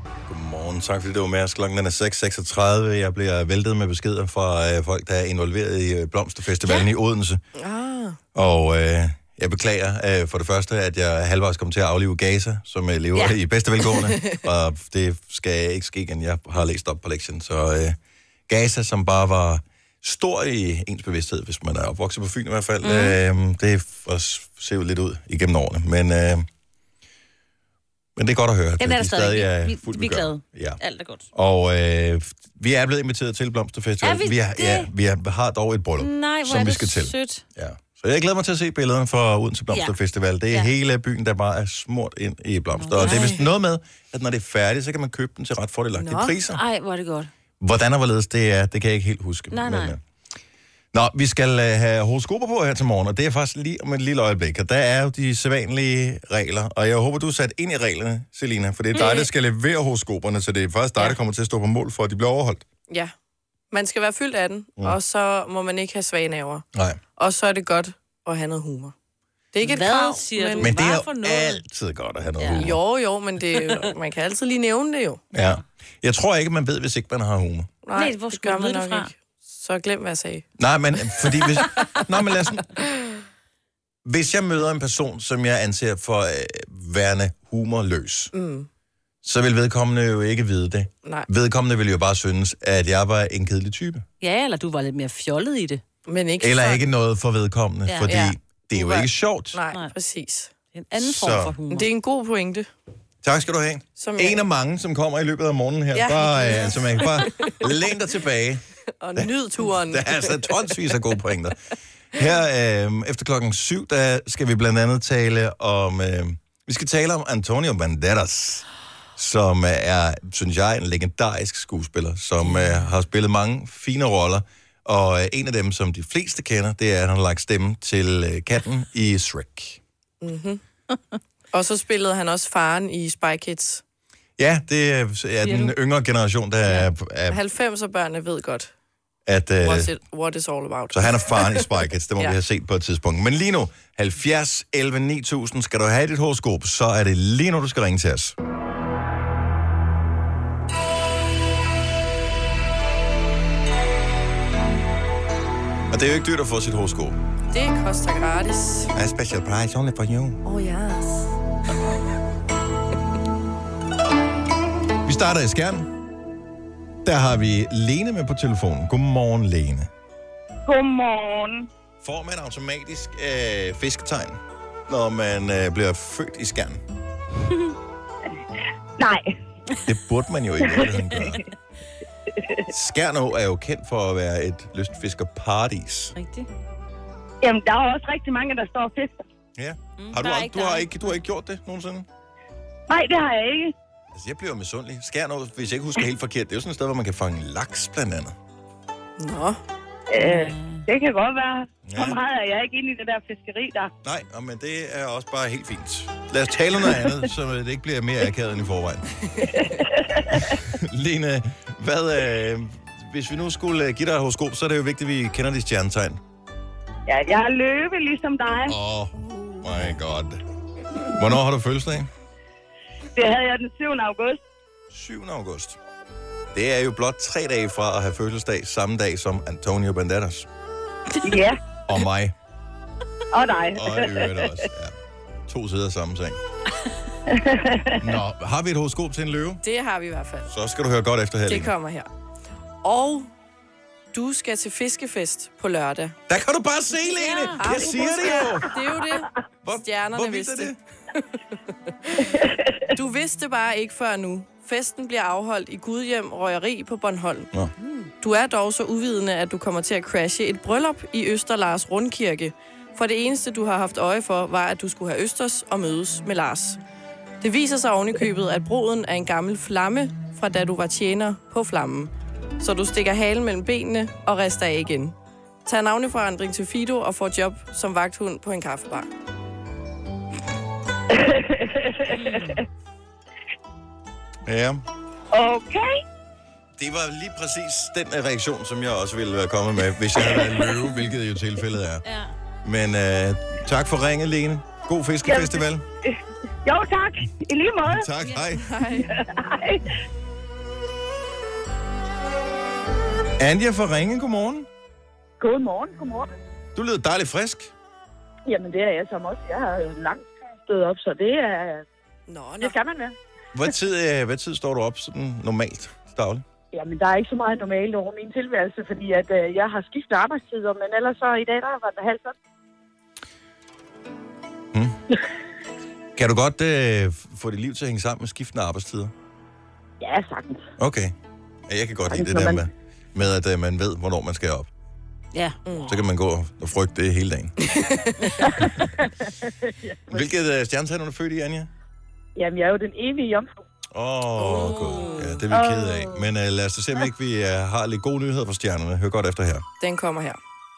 Speaker 1: Godmorgen. Tusind tak, fordi det var med os. Klokken den er 6.36. Jeg bliver væltet med beskeder fra øh, folk, der er involveret i øh, Blomsterfestivalen ja. i Odense.
Speaker 3: Ah.
Speaker 1: Og øh, jeg beklager øh, for det første, at jeg halvvejs kom til at aflive Gaza, som øh, lever
Speaker 12: Ja.
Speaker 1: ja. i bedste velgående. og det skal ikke ske igen. Jeg har læst op på lektien. Så øh, Gaza, som bare var stor i ens bevidsthed, hvis man er opvokset på Fyn i hvert fald, mm. øh, det var- ser jo lidt ud igennem årene. Men, øh, men det er godt at høre. at
Speaker 2: Den er der
Speaker 1: de
Speaker 2: stadig.
Speaker 1: er
Speaker 2: vi,
Speaker 1: fuldt
Speaker 2: vi er
Speaker 1: velgørende.
Speaker 2: glade.
Speaker 1: Ja.
Speaker 2: Alt er godt.
Speaker 1: Og øh, vi er blevet inviteret til Blomsterfestival.
Speaker 2: Er vi
Speaker 1: vi, har,
Speaker 2: det?
Speaker 1: ja, vi har- har dog et bryllup,
Speaker 2: Nej, hvor
Speaker 1: som
Speaker 2: er
Speaker 1: vi
Speaker 2: det
Speaker 1: skal til.
Speaker 2: sødt.
Speaker 1: Ja. Så jeg glæder mig til at se billederne fra Odense Blomsterfestival. Det er
Speaker 2: Ja.
Speaker 1: ja. hele byen, der bare er smurt ind i blomster. Og det er vist noget med, at når det er færdigt, så kan man købe den til ret fordelagtige priser.
Speaker 2: Ej, hvor er det godt.
Speaker 1: Hvordan og hvorledes det er, det kan jeg ikke helt huske.
Speaker 2: Nej, nej.
Speaker 1: øh, Nå, vi skal øh, have horoskoper på her til morgen, og det er faktisk lige om et lille øjeblik. Og der er jo de sædvanlige regler, og jeg håber, du er sat ind i reglerne, Selina, for det er dig,
Speaker 3: Mm.
Speaker 1: der skal levere horoskoperne, så det er faktisk dig, der kommer til at stå på mål for, at de bliver overholdt.
Speaker 3: Ja. Man skal være fyldt af den, mm.
Speaker 1: Mm.
Speaker 3: og så må man ikke have svage naver.
Speaker 1: Nej.
Speaker 3: Og så er det godt at have noget humor. Det er ikke et
Speaker 2: Hvad
Speaker 3: krav,
Speaker 2: siger
Speaker 3: men...
Speaker 2: du?
Speaker 1: Men det er
Speaker 2: Hvad for
Speaker 1: jo
Speaker 2: noget?
Speaker 1: altid godt at have noget ja. humor.
Speaker 3: Jo, jo, men det,
Speaker 1: [laughs]
Speaker 3: man kan altid lige nævne det jo.
Speaker 1: Ja. Jeg tror ikke, man ved, hvis ikke man har humor.
Speaker 3: Nej,
Speaker 2: Nej, hvor
Speaker 3: det
Speaker 2: skulle
Speaker 3: gør
Speaker 2: du
Speaker 3: man
Speaker 2: vide det
Speaker 3: nok
Speaker 2: fra?
Speaker 3: ikke. Så glem, hvad jeg sagde.
Speaker 1: Nej, men øh, fordi hvis... Nå, men lad os... Hvis jeg møder en person, som jeg anser for øh, værende humorløs,
Speaker 3: Mm,
Speaker 1: så vil vedkommende jo ikke vide det.
Speaker 3: nej.
Speaker 1: Vedkommende vil jo bare synes, at jeg var en kedelig type.
Speaker 2: Ja, eller du var lidt mere fjollet i det.
Speaker 3: Men ikke
Speaker 1: Eller ikke noget for vedkommende,
Speaker 2: Ja.
Speaker 1: ja. fordi
Speaker 2: Ja.
Speaker 1: ja. det er jo ikke sjovt.
Speaker 3: Nej, nej. præcis.
Speaker 2: En
Speaker 1: anden form Så- for humor.
Speaker 3: Det er en god pointe.
Speaker 1: Tak skal du have.
Speaker 3: Som jeg-
Speaker 1: en af mange, som kommer i løbet af morgenen her.
Speaker 3: Ja.
Speaker 1: Ja. Bare,
Speaker 3: [laughs]
Speaker 1: øh, så man kan bare læn dig tilbage.
Speaker 3: Og nyd turen.
Speaker 1: Der er altså tonsvis af gode pointer. Her øh, efter klokken syv, der skal vi blandt andet tale om... Øh, vi skal tale om Antonio Banderas, som øh, er, synes jeg, en legendarisk skuespiller, som øh, har spillet mange fine roller. Og øh, en af dem, som de fleste kender, det er, at han har lagt stemme til øh, katten i Shrek.
Speaker 3: Mm-hmm. [laughs] og så spillede han også faren i Spy Kids.
Speaker 1: Ja, det er, er
Speaker 3: Siger
Speaker 1: den
Speaker 3: du?
Speaker 1: yngre generation, der er... er
Speaker 3: 90'er-børnene ved godt,
Speaker 1: at, øh,
Speaker 3: what's it, what it's all about.
Speaker 1: Så han er faren i Spy Kids, det må
Speaker 3: [laughs] Ja.
Speaker 1: ja. vi have set på et tidspunkt. Men lige nu, 70 11 9000, skal du have dit horoskop, så er det lige nu, du skal ringe til os. Og det er jo ikke dyrt at få sit horoskop.
Speaker 3: Det koster gratis.
Speaker 1: A special price only for you.
Speaker 3: Oh yes.
Speaker 1: Vi starter i Skjern. Der har vi Lene med på telefonen. Godmorgen, Lene.
Speaker 13: Godmorgen.
Speaker 1: Får man automatisk øh, fisketegn, når man øh, bliver født i Skjern?
Speaker 13: Nej.
Speaker 1: Det burde man jo i virkeligheden gøre. Skjernå er jo kendt for at være et lystfiskerparadis.
Speaker 2: Rigtigt.
Speaker 13: Jamen, der er også rigtig mange, der står og fisker.
Speaker 1: Ja. Har du,
Speaker 13: Mm, der er
Speaker 1: ald-
Speaker 13: ikke-
Speaker 1: du,
Speaker 13: der
Speaker 1: har
Speaker 13: er
Speaker 1: ikke, du har ikke gjort det nogensinde?
Speaker 13: Nej, det har jeg ikke.
Speaker 1: Altså, jeg bliver jo misundelig. Skjernå, hvis jeg ikke husker helt forkert, det er jo sådan et sted, hvor man kan fange laks, blandt andet.
Speaker 3: Nå.
Speaker 13: Øh, det kan godt være.
Speaker 1: Ja.
Speaker 13: Så meget er jeg ikke inde i det der fiskeri der.
Speaker 1: Nej, nå, men det er også bare helt fint. Lad os tale om noget andet, så det ikke bliver mere akavet end i
Speaker 13: [laughs]
Speaker 1: forvejen. Lene, hvad, øh, hvis vi nu skulle øh, give dig et horoskop, så er det jo vigtigt, at vi kender dit stjernetegn.
Speaker 13: Ja, jeg er løbe ligesom
Speaker 2: [laughs]
Speaker 13: dig.
Speaker 1: Åh, oh, my god. Hvornår har du fødselsdag?
Speaker 13: Det havde jeg den 7. august.
Speaker 1: 7. august. Det er jo blot tre dage fra at have fødselsdag samme dag som Antonio Banderas
Speaker 13: Ja,
Speaker 1: og mig.
Speaker 13: og dig.
Speaker 1: Og i øvrigt også, ja. To sider af samme seng. Nå, har vi et horoskop til en løve?
Speaker 3: Det har vi i hvert fald.
Speaker 1: Så skal du høre godt efter her,
Speaker 3: Det
Speaker 1: Lene.
Speaker 3: kommer her. Og du skal til fiskefest på lørdag.
Speaker 1: Der kan du bare se, Lene!
Speaker 3: Ja.
Speaker 1: Jeg siger det jo!
Speaker 3: Det er jo det. Hvor, Stjernerne
Speaker 1: hvor vildt er
Speaker 3: vidste det. [laughs] du vidste det bare ikke før nu. Festen bliver afholdt i Gudhjem Røgeri på Bornholm.
Speaker 1: Nå.
Speaker 3: Du er dog så uvidende, at du kommer til at crashe et bryllup i Øster Lars Rundkirke. For det eneste, du har haft øje for, var, at du skulle have Østers og mødes med Lars. Det viser sig ovenikøbet, at broden er en gammel flamme, fra da du var tjener på flammen. Så du stikker halen mellem benene og rester af igen. Tag navneforandring til Fido og får job som vagthund på en kaffebar.
Speaker 1: Ja,
Speaker 13: Okay.
Speaker 1: det var lige præcis den øh, reaktion, som jeg også ville være kommet med, hvis jeg havde været en løve, hvilket jo tilfældet er.
Speaker 13: Ja.
Speaker 1: Men øh, tak for ringen, Lene. God
Speaker 13: [laughs]
Speaker 1: fiskefestival.
Speaker 13: Jo, tak. I lige måde.
Speaker 1: Tak, hej.
Speaker 3: Hej.
Speaker 1: Anja fra Ringe, godmorgen.
Speaker 12: Godmorgen, godmorgen.
Speaker 1: Du lyder dejligt frisk.
Speaker 12: Jamen, det er jeg som også. Jeg har jo langt stået op, så det er...
Speaker 3: Nå,
Speaker 12: Det skal man være.
Speaker 1: Hvad tid, øh, hvad tid står du op sådan normalt dagligt?
Speaker 12: Jamen, der er ikke så meget normalt over min tilværelse, fordi at, øh, jeg har skiftet arbejdstider, men ellers så i dag, der var det halv sådan.
Speaker 1: Kan du godt øh, få dit liv til at hænge sammen med skiftende arbejdstider?
Speaker 12: Ja, sagtens.
Speaker 1: Okay. Ja, Jeg kan godt lide det
Speaker 12: når
Speaker 1: der
Speaker 12: man-
Speaker 1: med, med at øh, man ved, hvornår man skal op.
Speaker 2: Ja.
Speaker 14: [laughs]
Speaker 2: Mm.
Speaker 1: Så kan man gå og frygte det hele dagen. Hvilket øh, stjernetegn er du født i, Anja?
Speaker 12: Jamen, jeg er jo den evige jomfru.
Speaker 1: Åh, oh, godt. Ja, det er vi ked af. Men øh, lad os da se, om ikke vi øh, har lidt gode nyheder for stjernerne. Hør godt efter her.
Speaker 3: Den kommer her.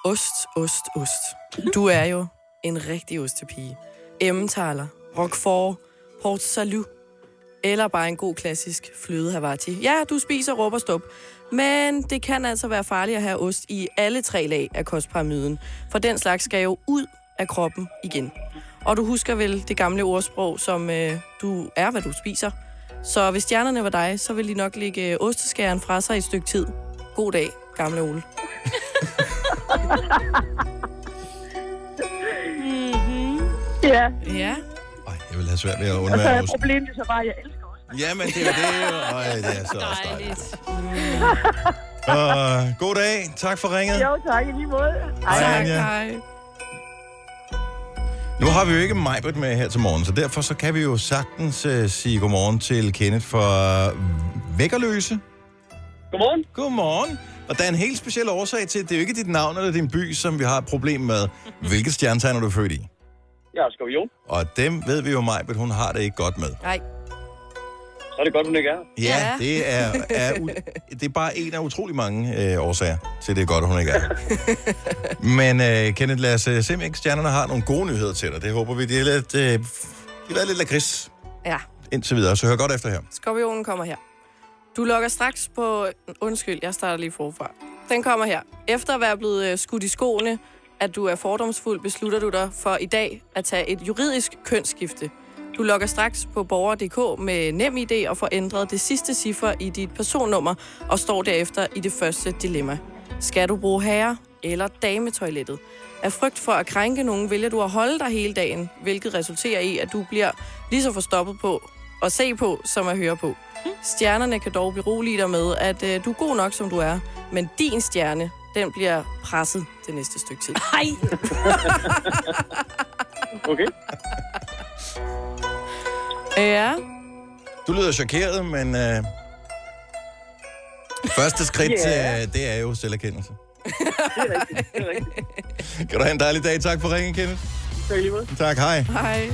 Speaker 3: Ost, ost, ost. Du er jo en rigtig ostepige. Emmentaler, roquefort, port salut, eller bare en god klassisk fløde Havarti. Ja, du spiser råb og stop, men det kan altså være farligt at have ost i alle tre lag af kostpyramiden, for den slags skal jo ud af kroppen igen. Og du husker vel det gamle ordsprog, som øh, du er, hvad du spiser. Så hvis stjernerne var dig, så ville de nok lægge øh, osteskæren fra sig i et stykke tid. God dag, gamle Ole.
Speaker 12: Mm-hmm. Ja.
Speaker 3: Ja.
Speaker 1: Jeg vil have svært ved at
Speaker 12: Og så [laughs]
Speaker 1: undvære
Speaker 12: er
Speaker 1: ost.
Speaker 12: problemet så bare, at jeg elsker os.
Speaker 1: Jamen, det er jo det. Øj, det er så også
Speaker 14: [laughs]
Speaker 1: dejligt. Øh, god dag. Tak for ringet.
Speaker 12: Jo, tak i lige måde.
Speaker 1: Hej, Anja. Nu har vi jo ikke Majbert med her til morgen, så derfor så kan vi jo sagtens uh, sige godmorgen til Kenneth fra Vækkerløse.
Speaker 12: Godmorgen.
Speaker 1: Godmorgen. Og der er en helt speciel årsag til, at det er jo ikke dit navn eller din by, som vi har et problem med. Hvilket stjernetegn er du født i?
Speaker 15: Jeg er skorpion.
Speaker 1: Og dem ved vi jo, Majbert, hun har det ikke godt med.
Speaker 3: Nej.
Speaker 15: Så er det godt, hun ikke er.
Speaker 1: Ja, ja. Det, er, er, u- det er bare en af utrolig mange øh, årsager til, det er godt, at hun ikke er her. Men øh, Kenneth, lad os øh, se, om ikke stjernerne har nogle gode nyheder til dig. Det håber vi. Det er lidt, øh, de har været lidt lakrids
Speaker 3: Ja.
Speaker 1: indtil videre, så hør godt efter her.
Speaker 3: Skorpionen kommer her. Du lokker straks på... Undskyld, jeg starter lige forfra. Den kommer her. Efter at være blevet øh, skudt i skoene, at du er fordomsfuld, beslutter du dig for i dag at tage et juridisk kønsskifte. Du logger straks på borger.dk med nem idé og får ændret det sidste ciffer i dit personnummer og står derefter i det første dilemma. Skal du bruge herre eller dametoilettet? Af frygt for at krænke nogen, vælger du at holde dig hele dagen, hvilket resulterer i, at du bliver lige så forstoppet på at se på, som at høre på. Stjernerne kan dog berolige dig med, at øh, du er god nok, som du er, men din stjerne, den bliver presset det næste stykke tid. [laughs]
Speaker 2: Nej!
Speaker 5: [laughs]
Speaker 15: Okay.
Speaker 3: ja.
Speaker 1: Du lyder chokeret, men øh, første skridt,
Speaker 3: Ja.
Speaker 1: yeah. øh, det er jo selverkendelse.
Speaker 15: Det er rigtigt. Det er rigtigt.
Speaker 1: Kan du have en dejlig dag. Tak for ringen, Kenneth.
Speaker 15: Tak lige måde.
Speaker 1: Tak, hej.
Speaker 3: Hej.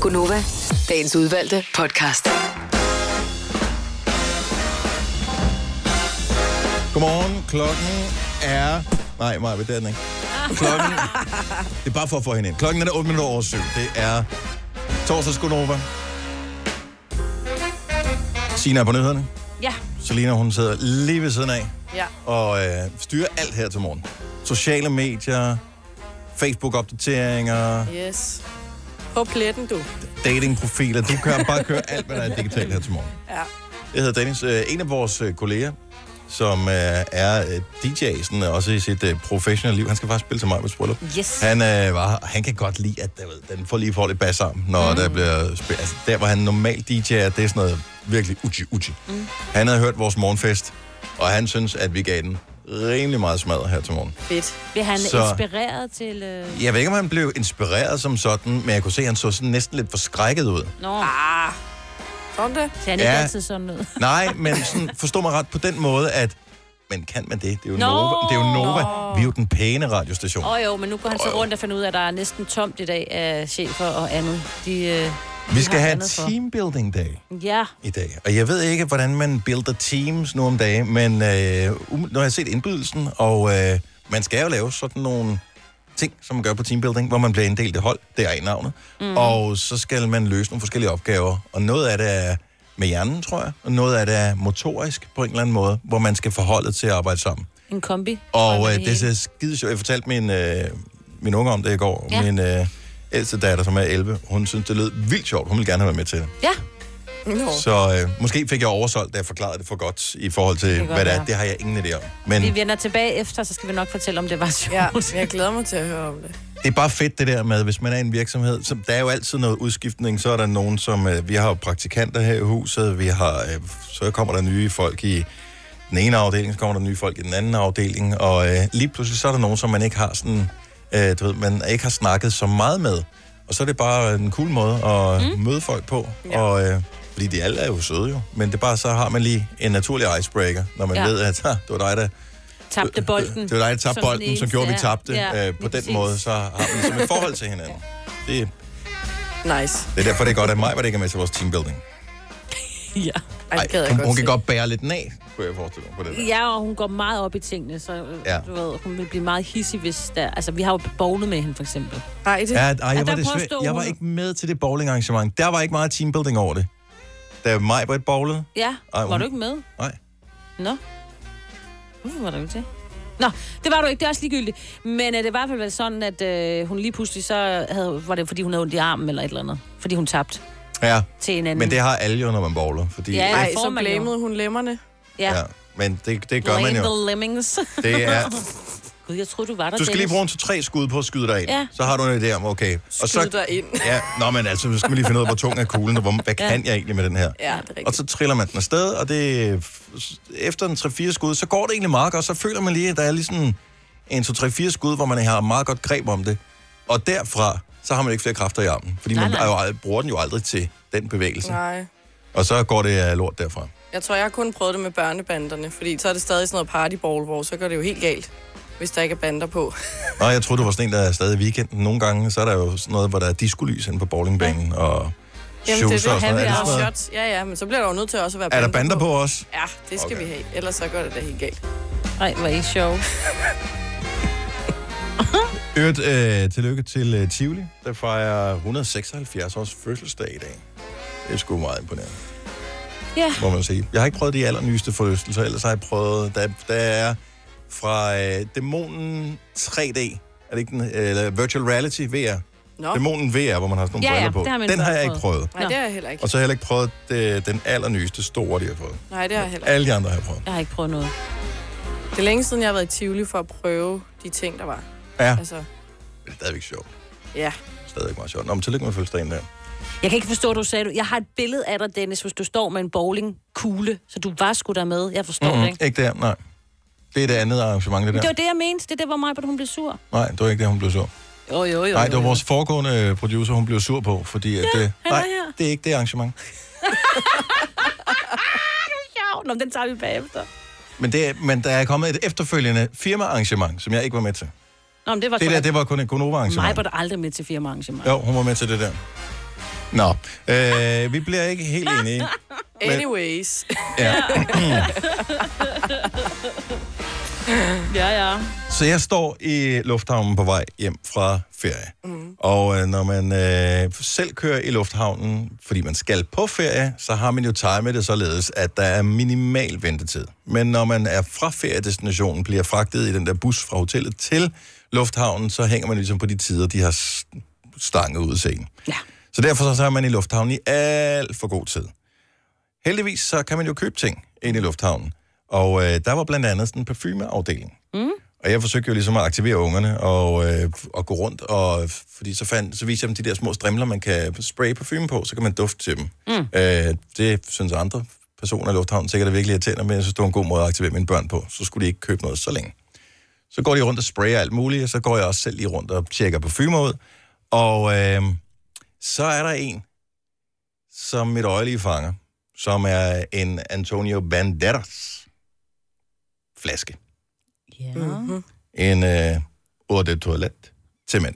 Speaker 8: Gunova, dagens udvalgte podcast.
Speaker 1: Godmorgen. Klokken er... Nej, Maja, det er den ikke. Klokken... Det er bare for at få hende ind. Klokken er 8 minutter over 7. Det er torsdags Gunova. Sina er på nyhederne.
Speaker 2: Ja.
Speaker 1: Selina, hun sidder lige ved siden af
Speaker 2: Ja.
Speaker 1: og øh, styrer alt her til morgen. Sociale medier, Facebook-opdateringer,
Speaker 3: Yes. På pletten, du.
Speaker 1: datingprofiler. Du kan bare køre alt, hvad der er digitalt her til morgen.
Speaker 3: Ja.
Speaker 1: Jeg hedder Dennis. Øh, En af vores øh, kolleger, som øh, er øh, DJ, sådan, øh, også i sit øh, professionelle liv, han skal faktisk spille til mig med bryllup.
Speaker 2: Yes.
Speaker 1: Han, øh, var, her. han kan godt lide, at der, ved, den får lige forhold i bas sammen, når mm. der bliver spillet. Altså, der, hvor han normalt DJ'er, det er sådan noget virkelig uchi uchi. Mm. Han havde hørt vores morgenfest, og han synes, at vi gav den rimelig meget smadret her til morgen.
Speaker 2: Fedt. Bliver han
Speaker 1: Så-
Speaker 2: så... inspireret til... Øh...
Speaker 1: Jeg ved ikke, om han blev inspireret som sådan, men jeg kunne se, at han så sådan næsten lidt forskrækket ud.
Speaker 2: Nå. Ah.
Speaker 3: Sådan det?
Speaker 2: Ser han ikke
Speaker 1: Ja.
Speaker 2: altid sådan ud?
Speaker 1: Nej, men sådan, forstå mig ret på den måde, at men kan man det? Det er jo
Speaker 2: Nå.
Speaker 1: Nova. Det er jo Nova.
Speaker 2: Nå.
Speaker 1: Vi er jo den pæne radiostation.
Speaker 2: Åh oh, jo, men nu går han så rundt og finder ud af, at der er næsten tomt i dag af chefer og andet. De, øh,
Speaker 1: Vi
Speaker 2: de
Speaker 1: skal
Speaker 2: har
Speaker 1: have
Speaker 2: andet for.
Speaker 1: teambuilding dag
Speaker 2: Ja.
Speaker 1: i dag. Og jeg ved ikke, hvordan man builder teams nu om dagen, men øh, um- når jeg har set indbydelsen, og øh, man skal jo lave sådan nogle ting, som man gør på teambuilding, hvor man bliver inddelt i hold, det er i navnet, mm.
Speaker 16: Mhm.
Speaker 1: og så skal man løse nogle forskellige opgaver. Og noget af det er med hjernen, tror jeg, og noget af det er motorisk på en eller anden måde, hvor man skal forholde til at arbejde sammen.
Speaker 2: En kombi.
Speaker 1: Og øh, det er skide sjovt. Jeg fortalte min, øh, min unge om det i går.
Speaker 2: Ja.
Speaker 1: Ja. Min øh, ældste datter, som er 11, hun synes, det lød vildt sjovt. Hun ville gerne have været med til det.
Speaker 2: Ja.
Speaker 3: Nå.
Speaker 1: Så øh, måske fik jeg oversolgt, da jeg forklarede det for godt i forhold til,
Speaker 2: kan godt
Speaker 1: hvad det er.
Speaker 2: være.
Speaker 1: Det har jeg ingen idé om.
Speaker 2: Men...
Speaker 1: Men
Speaker 2: Vi vender tilbage efter, så skal vi nok fortælle, om det var sjovt. Ja, jeg glæder mig til at høre om det.
Speaker 1: det er bare fedt det der med, hvis man er i en virksomhed, så der er jo altid noget udskiftning, så er der nogen, som, øh, vi har jo praktikanter her i huset, vi har, øh, så kommer der nye folk i den ene afdeling, så kommer der nye folk i den anden afdeling, og øh, lige pludselig så er der nogen, som man ikke har sådan, øh, du ved, man ikke har snakket så meget med, og så er det bare en cool måde at mm. møde folk på, ja. og øh, fordi de alle er jo søde jo, men det er bare, så har man lige en naturlig icebreaker, når man
Speaker 2: Ja.
Speaker 1: ja. ved, at "Ha, det var dig, der
Speaker 2: Tabte bolden.
Speaker 1: det var dig, der tabte
Speaker 2: Mm. den
Speaker 1: bolden, som
Speaker 2: eneste,
Speaker 1: gjorde, at vi
Speaker 2: ja.
Speaker 1: tabte. Ja, øh,
Speaker 2: lige
Speaker 1: på den
Speaker 2: præcis.
Speaker 1: måde, så har vi ligesom et forhold til hinanden. Det,
Speaker 3: Nice.
Speaker 1: det er derfor, det er godt, at mig var det ikke er med til vores teambuilding.
Speaker 2: Ja.
Speaker 3: Ej, det gad jeg
Speaker 1: Hun,
Speaker 3: godt
Speaker 1: hun kan
Speaker 3: se.
Speaker 1: godt bære lidt den af, kunne jeg forestille mig på det. der.
Speaker 2: Ja, og hun går meget op i tingene, så ja.
Speaker 1: Ja.
Speaker 2: du ved, hun vil blive meget hissig, hvis der... Altså, vi har jo bowlet med hende, for eksempel.
Speaker 3: Nej,
Speaker 1: Ja, ej, jeg, var desværre, jeg var ikke med til det bowlingarrangement. Der var ikke meget teambuilding over det. Da mig var et bowlet.
Speaker 2: Ja,
Speaker 1: Ej,
Speaker 2: var
Speaker 1: hun-
Speaker 2: du ikke med?
Speaker 1: Nej.
Speaker 2: Nå. Hvorfor var du ikke det? Nå, det var du ikke, det er også ligegyldigt. Men øh, det var i hvert fald været sådan, at øh, hun lige pludselig så havde, var det fordi, hun havde ondt i armen eller et eller andet. Fordi hun tabte
Speaker 1: Ja,
Speaker 2: til en anden.
Speaker 1: men det har alle jo, når man bowler. Fordi,
Speaker 2: Ja,
Speaker 3: Nej,
Speaker 2: får
Speaker 3: så
Speaker 2: man jo.
Speaker 3: blamede hun lemmerne.
Speaker 2: Ja.
Speaker 1: ja. Men det, det gør man
Speaker 2: Blame
Speaker 1: jo.
Speaker 2: the lemmings.
Speaker 1: Det er-
Speaker 2: [laughs] Gud, jeg troede, du var der,
Speaker 1: Du skal lige
Speaker 2: Dennis.
Speaker 1: bruge en to-tre skud på at skyde dig ind.
Speaker 2: Ja.
Speaker 1: Ja. Så har du en idé om, okay.
Speaker 2: Skyde dig ind.
Speaker 1: Ja, nå, men altså, så skal man lige finde ud af, hvor tung er kuglen, og hvor, hvad
Speaker 2: Ja.
Speaker 1: ja. kan jeg egentlig med den her?
Speaker 2: Ja, det er rigtigt.
Speaker 1: Og så triller man den afsted, og det, efter en 3-4 skud, så går det egentlig meget godt. Så føler man lige, at der er lige sådan en 2-3-4 skud, hvor man har meget godt greb om det. Og derfra, så har man ikke flere kræfter i armen. Fordi
Speaker 3: Nej,
Speaker 1: man
Speaker 3: nej.
Speaker 1: Er jo, ald- bruger den jo aldrig til den bevægelse. Nej.
Speaker 3: Nej.
Speaker 1: Og så går det øh, lort derfra.
Speaker 3: Jeg tror, jeg har kun prøvet det med børnebanderne, fordi så er det stadig sådan noget partyball, hvor så går det jo helt galt, hvis der ikke er bander på.
Speaker 1: Nå, jeg troede, du var sådan en, der er stadig i weekenden. Nogle gange, så er der jo sådan noget, hvor der er diskolys inde på bowlingbanen, og shows og sådan noget. Er det sådan noget?
Speaker 3: shots. Ja, ja, men så bliver der jo nødt til også at være
Speaker 1: Er der bander på også?
Speaker 3: Ja, det skal okay. vi have, ellers så går det da helt galt.
Speaker 2: Nej, hvor er I sjov.
Speaker 1: Øvrigt, øh, tillykke til øh, Tivoli, der fejrer 176 års fødselsdag i dag. Det er sgu meget imponerende,
Speaker 2: Ja.
Speaker 1: må man sige. Jeg har ikke prøvet de allernyeste forlystelser, ellers har jeg prøvet, der, der er fra øh, Dæmonen 3D, er det ikke den, eller Virtual Reality VR.
Speaker 3: Nå.
Speaker 1: Dæmonen VR, hvor man har sådan nogle
Speaker 3: Ja, ja,
Speaker 1: briller på.
Speaker 3: det har man
Speaker 1: den har
Speaker 3: godt
Speaker 1: jeg ikke prøvet.
Speaker 3: Nej, det har jeg heller ikke.
Speaker 1: Og så har jeg heller ikke prøvet det, den allernyeste store, de har fået.
Speaker 3: Nej, det har jeg heller ikke.
Speaker 1: Alle de andre har jeg prøvet.
Speaker 2: Jeg har ikke prøvet noget.
Speaker 3: Det er længe siden, jeg har været i Tivoli for at prøve de ting, der var.
Speaker 1: Ja.
Speaker 3: Altså,
Speaker 1: Det er stadigvæk sjovt.
Speaker 3: ja.
Speaker 1: Stadigvæk meget sjovt. Nå, men tillykke med fødselsdagen der.
Speaker 2: Jeg kan ikke forstå, at du sagde, du- jeg har et billede af dig, Dennis, hvis du står med en bowlingkugle, så du var sgu der med. Jeg forstår mm-hmm. det ikke.
Speaker 1: Ikke der, nej. Det er det andet arrangement, det der.
Speaker 2: Men det var det, jeg mente. Det er det, hvor Maja, hun blev sur.
Speaker 1: Nej, det var ikke det, hun blev sur.
Speaker 2: Jo, jo, jo.
Speaker 1: Nej, det var vores foregående producer, hun blev sur på, fordi at det...
Speaker 2: han er
Speaker 1: Nej,
Speaker 2: her.
Speaker 1: det er ikke det arrangement.
Speaker 2: Ah, Sjov. Nå, men den tager vi bagefter.
Speaker 1: Men, det, er- men der er kommet et efterfølgende firmaarrangement, som jeg ikke var med til.
Speaker 2: Nå, men det var
Speaker 1: Det der, det var kun et
Speaker 2: Maja
Speaker 1: Gonova-arrangement.
Speaker 2: var aldrig med til firmaarrangement. [laughs]
Speaker 1: Jo, hun var med til det der. Nå, øh, vi bliver ikke helt enige. Men-
Speaker 3: Anyways.
Speaker 1: Ja.
Speaker 2: [laughs] ja, ja.
Speaker 1: Så jeg står i lufthavnen på vej hjem fra ferie. Mm. Og øh, når man øh, selv kører i lufthavnen, fordi man skal på ferie, så har man jo timet det således, at der er minimal ventetid. Men når man er fra feriedestinationen, bliver fragtet i den der bus fra hotellet til lufthavnen, så hænger man ligesom på de tider, de har s- stanget udseende.
Speaker 2: Ja.
Speaker 1: Så derfor så, så er man i lufthavnen i alt for god tid. Heldigvis så kan man jo købe ting ind i lufthavnen. Og øh, der var blandt andet sådan en parfumeafdeling.
Speaker 4: Mm.
Speaker 1: Og jeg forsøgte jo ligesom at aktivere ungerne og, øh, og gå rundt, og, fordi så, fandt, så viste jeg dem de der små strimler, man kan spraye parfume på, så kan man dufte til dem.
Speaker 4: Mm.
Speaker 1: Øh, det synes andre personer i lufthavnen sikkert er virkelig irriterende, men jeg synes, det var en god måde at aktivere mine børn på. Så skulle de ikke købe noget så længe. Så går de rundt og sprayer alt muligt, og så går jeg også selv lige rundt og tjekker parfumer ud. Og øh, så er der en, som mit øje lige fanger, som er en Antonio Banderas flaske
Speaker 2: Ja. Mm-hmm.
Speaker 1: en øh, eau de toilet til mænd.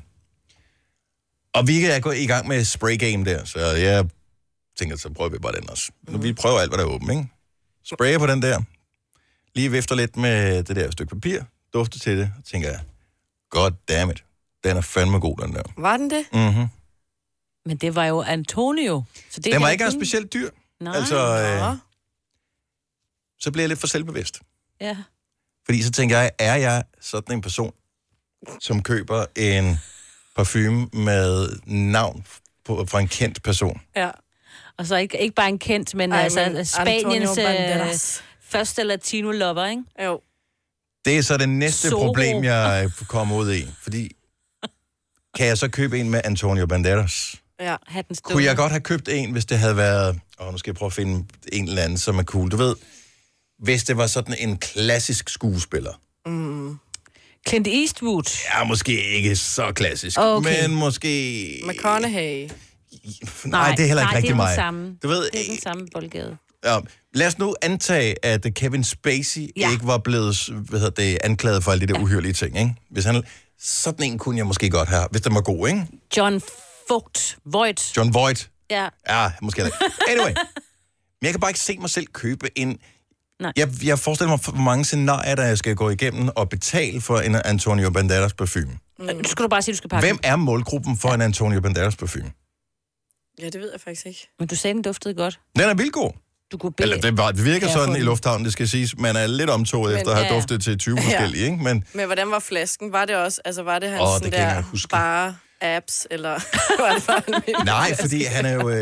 Speaker 1: Og vi er gået i gang med spray game der, så jeg tænker, så prøver vi bare den også.
Speaker 2: Mhm.
Speaker 1: Nu, vi prøver alt, hvad der er åbent, ikke? Sprayer på den der. Lige vifter lidt med det der stykke papir, dufter til det, og tænker jeg, god damn it, den er fandme god, den der.
Speaker 2: Var den det?
Speaker 1: Mm-hmm.
Speaker 2: Men det var jo Antonio. Så
Speaker 1: Den
Speaker 2: er
Speaker 1: var
Speaker 2: da
Speaker 1: ikke
Speaker 2: kun-
Speaker 1: engang specielt dyr.
Speaker 2: Nej.
Speaker 1: Altså, øh, så bliver jeg lidt for selvbevidst.
Speaker 2: Ja.
Speaker 1: Fordi så tænker jeg, er jeg sådan en person, som køber en parfume med navn på, fra en kendt person?
Speaker 3: Ja.
Speaker 2: Og så ikke, ikke bare en kendt, men Ej,
Speaker 3: Ej,
Speaker 2: altså
Speaker 3: men
Speaker 2: men Spaniens
Speaker 3: Antonio
Speaker 2: øh,
Speaker 3: Banderas.
Speaker 2: første latino-lover, ikke?
Speaker 3: Jo.
Speaker 1: Det er så det næste
Speaker 2: Zorro.
Speaker 1: Zoro. problem, jeg øh, kommer ud i. Fordi, kan jeg så købe en med Antonio Banderas?
Speaker 3: Ja,
Speaker 2: hatten stod.
Speaker 1: Kunne jeg godt have købt en, hvis det havde været... Åh, nu skal jeg prøve at finde en eller anden, som er cool. Du ved, hvis det var sådan en klassisk skuespiller.
Speaker 2: Mm. Clint Eastwood.
Speaker 1: Ja, måske ikke så klassisk,
Speaker 2: Okay.
Speaker 1: men måske...
Speaker 3: McConaughey.
Speaker 1: Nej, det er heller ikke
Speaker 2: nej,
Speaker 1: rigtig
Speaker 2: det er
Speaker 1: mig.
Speaker 2: Den samme.
Speaker 1: Du ved, øh,
Speaker 2: det er den samme boldgade.
Speaker 1: Ja, lad os nu antage, at Kevin Spacey ja. ikke var blevet hvad hedder det, anklaget for alle de der uhyrlige ting. Ikke? Hvis han, sådan en kunne jeg måske godt have, hvis den var god, ikke?
Speaker 2: John Vogt. Voigt.
Speaker 1: John Voight.
Speaker 2: Ja.
Speaker 1: Ja, måske heller ikke. Anyway. Men jeg kan bare ikke se mig selv købe en...
Speaker 2: Nej.
Speaker 1: Jeg, jeg forestiller mig, hvor mange scenarier, der jeg skal gå igennem og betale for en Antonio Banderas parfume.
Speaker 2: Mm. [laughs] Nu skal du bare sige, du skal pakke
Speaker 1: Hvem er målgruppen for en Antonio Banderas parfume?
Speaker 3: Ja, det ved jeg faktisk ikke.
Speaker 2: Men du sagde, den duftede godt.
Speaker 1: Den er vildt god.
Speaker 2: Du kunne bede.
Speaker 1: Eller det, var, det virker
Speaker 2: Kan jeg
Speaker 1: sådan
Speaker 2: få
Speaker 1: i
Speaker 2: den?
Speaker 1: lufthavnen, det skal siges. Man er lidt omtoget
Speaker 3: Men-
Speaker 1: efter at have
Speaker 3: ja, ja.
Speaker 1: duftet til 20
Speaker 2: [laughs]
Speaker 3: Ja.
Speaker 1: forskellige, ikke? Men
Speaker 3: Men hvordan var flasken? Var det også, altså var det hans
Speaker 1: Åh,
Speaker 3: oh,
Speaker 1: det
Speaker 3: sådan
Speaker 1: kan jeg
Speaker 3: der
Speaker 1: ikke huske.
Speaker 3: bare apps, eller [laughs] var det bare
Speaker 1: [laughs]
Speaker 3: en
Speaker 1: Nej, fordi han er jo, øh,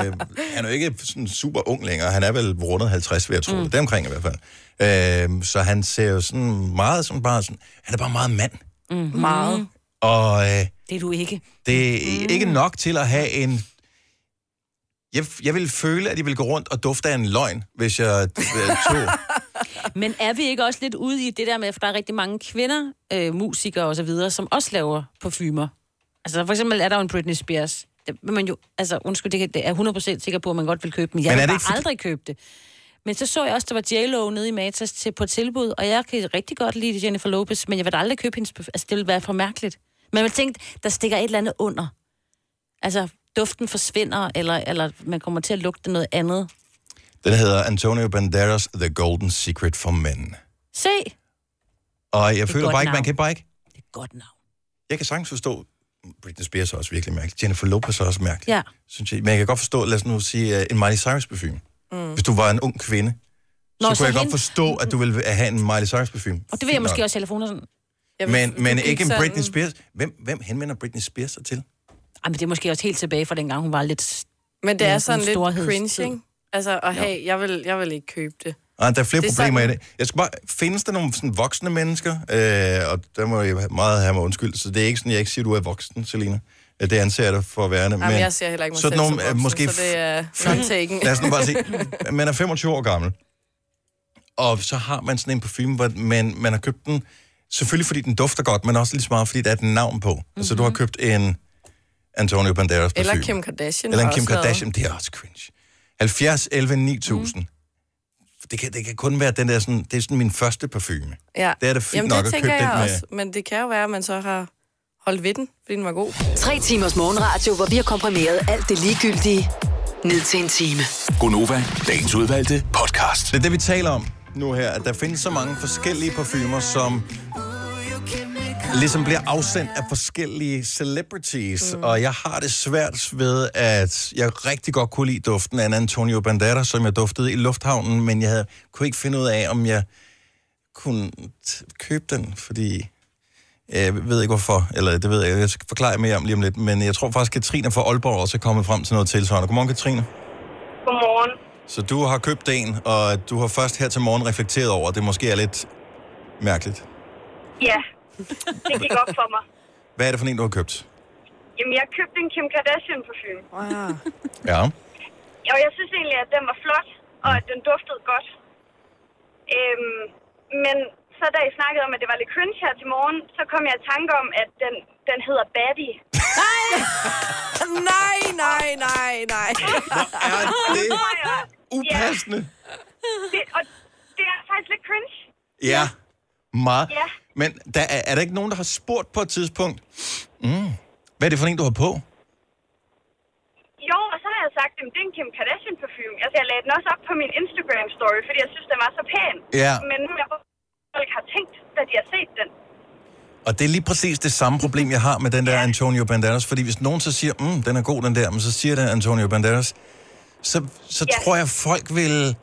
Speaker 1: han er jo ikke sådan super ung længere. Han er vel rundet 50, vil jeg tro. Mm.
Speaker 16: Mm.
Speaker 1: Det er omkring i hvert fald. Øh, så han ser jo sådan meget som bare sådan... Han er bare meget mand.
Speaker 2: Mm. Meget.
Speaker 1: Og øh,
Speaker 2: Det er du ikke.
Speaker 1: det er mm. ikke nok til at have en... Jeg, jeg ville føle, at jeg ville gå rundt og dufte af en løgn, hvis jeg øh,
Speaker 2: [laughs]
Speaker 1: tog...
Speaker 2: Men er vi ikke også lidt ude i det der med, for der er rigtig mange kvinder, øh, musikere og så videre, som også laver parfumer. Altså for eksempel er der jo en Britney Spears. Det, vil man jo, altså undskyld, det, kan- det er jeg 100% sikker på, at man godt vil købe den. Jeg
Speaker 17: Men er
Speaker 2: vil
Speaker 17: det
Speaker 2: bare
Speaker 17: ikke fordi-
Speaker 2: aldrig købe det. Men så så jeg også, der var J-Lo nede i Matas til, på tilbud, og jeg kan rigtig godt lide Jennifer Lopez, men jeg vil da aldrig købe hendes parfume. Altså det ville være for mærkeligt. Men man tænkte, der stikker et eller andet under. Altså duften forsvinder, eller, eller man kommer til at lugte noget andet.
Speaker 1: Den hedder Antonio Banderas The Golden Secret for Men.
Speaker 2: Se!
Speaker 1: Og jeg
Speaker 2: er
Speaker 1: føler
Speaker 2: godt
Speaker 1: bare ikke, man
Speaker 2: navn.
Speaker 1: kan bare ikke...
Speaker 2: Det er godt navn.
Speaker 1: Jeg kan sagtens forstå... Britney Spears er også virkelig mærkelig. Jennifer Lopez er også mærkelig.
Speaker 2: Ja.
Speaker 1: synes jeg. Men jeg kan godt forstå, lad os nu sige, øh, en Miley Cyrus parfume. Mm. Hvis du var en ung kvinde, Nå, så kunne
Speaker 2: så
Speaker 1: jeg godt
Speaker 2: hende-
Speaker 1: forstå, at du ville have en Miley Cyrus parfume.
Speaker 2: Og det vil jeg måske også selv, for hun er sådan...
Speaker 1: Men, men ikke en Britney Spears. Hvem, hvem henvender Britney Spears sig til?
Speaker 2: Ej, men det er måske også helt tilbage fra dengang, hun var lidt...
Speaker 3: Men det er
Speaker 2: Ja,
Speaker 3: sådan
Speaker 2: en
Speaker 3: lidt
Speaker 2: storheds-
Speaker 3: cringe, ikke? Altså, og
Speaker 1: Jo.
Speaker 3: hey, jeg vil, jeg vil ikke købe det.
Speaker 1: Ah, der er flere
Speaker 3: Det
Speaker 1: det
Speaker 3: er
Speaker 1: problemer sådan...
Speaker 3: sådan-
Speaker 1: i det. Jeg skal bare, findes der nogle sådan, voksne mennesker? Øh, og der må jeg meget have mig undskyld, så det er ikke sådan, jeg ikke siger, at du er voksen, Selina. Øh, Det anser jeg dig for at være.
Speaker 3: Jamen, jeg ser heller ikke mig selv som
Speaker 1: øh,
Speaker 3: voksen,
Speaker 1: måske
Speaker 3: så det er non-taken.
Speaker 1: Lad os nu bare
Speaker 3: [laughs]
Speaker 1: sige, man er 25 år gammel, og så har man sådan en parfume, hvor man, man har købt den, selvfølgelig fordi den dufter godt, men også lige så meget, fordi der er et navn på. Mm-hmm. Altså, du har købt en Antonio Banderas parfume.
Speaker 3: Mhm. Eller Kim Kardashian.
Speaker 1: Eller en
Speaker 3: har
Speaker 1: Kim
Speaker 3: også lavet.
Speaker 1: Kardashian, det er også cringe. 70, 11, 9000. Mm.
Speaker 3: Mhm.
Speaker 1: Det, kan, det kan kun være den der sådan, det er sådan min første parfume.
Speaker 3: Ja.
Speaker 1: Det er da fint
Speaker 3: Jamen,
Speaker 1: nok
Speaker 3: det
Speaker 1: at
Speaker 3: tænker
Speaker 1: købe den
Speaker 3: jeg
Speaker 1: med-
Speaker 3: også. Men det kan jo være, at man så har holdt ved den, fordi den var god.
Speaker 8: Tre timers morgenradio, hvor vi har komprimeret alt det ligegyldige ned til en time.
Speaker 1: Gonova, dagens udvalgte podcast. Det er det, vi taler om nu her, at der findes så mange forskellige parfumer, som ligesom bliver afsendt af forskellige celebrities, mm. og jeg har det svært ved, at jeg rigtig godt kunne lide duften af en Antonio Banderas, som jeg duftede i lufthavnen, men jeg havde, kunne ikke finde ud af, om jeg kunne t- købe den, fordi jeg ved ikke hvorfor, eller det ved jeg, jeg skal forklare mere om lige om lidt, men jeg tror faktisk, at Katrine fra Aalborg også er kommet frem til noget tilsvarende. Godmorgen, Katrine.
Speaker 18: Godmorgen.
Speaker 1: Så du har købt en, og du har først her til morgen reflekteret over, at det måske er lidt mærkeligt.
Speaker 3: [laughs]
Speaker 18: Ja, det gik op for mig.
Speaker 1: Hvad er det for en, du har købt?
Speaker 18: Jamen, jeg købte en Kim Kardashian parfume. Wow.
Speaker 1: Ja.
Speaker 18: Og jeg synes egentlig, at den var flot, og at den duftede godt. Øhm, men så da I snakkede om, at det var lidt cringe her til morgen, så kom jeg i tanke om, at den, den hedder Batty. Nej!
Speaker 3: [laughs] nej, nej, nej, nej.
Speaker 18: [laughs]
Speaker 1: det upassende?
Speaker 18: Det, og det er faktisk lidt cringe.
Speaker 1: Ja. Meget.
Speaker 18: Ja.
Speaker 1: Men der er, er der ikke nogen, der har spurgt på et tidspunkt, mm, hvad er det for en, du har på?
Speaker 18: Jo, og så har jeg sagt, at det er en Kim Kardashian parfume. Altså, jeg lagde den også op på min Instagram-story, fordi jeg synes, den var så pæn.
Speaker 1: Ja.
Speaker 18: Men nu er jeg folk har tænkt, da de har set den.
Speaker 1: Og det er lige præcis det samme problem, jeg har med den der Antonio Banderas. Fordi hvis nogen så siger, mm, den er god, den der, men så siger den Antonio Banderas, så, så
Speaker 18: Ja.
Speaker 1: ja. tror jeg, folk vil...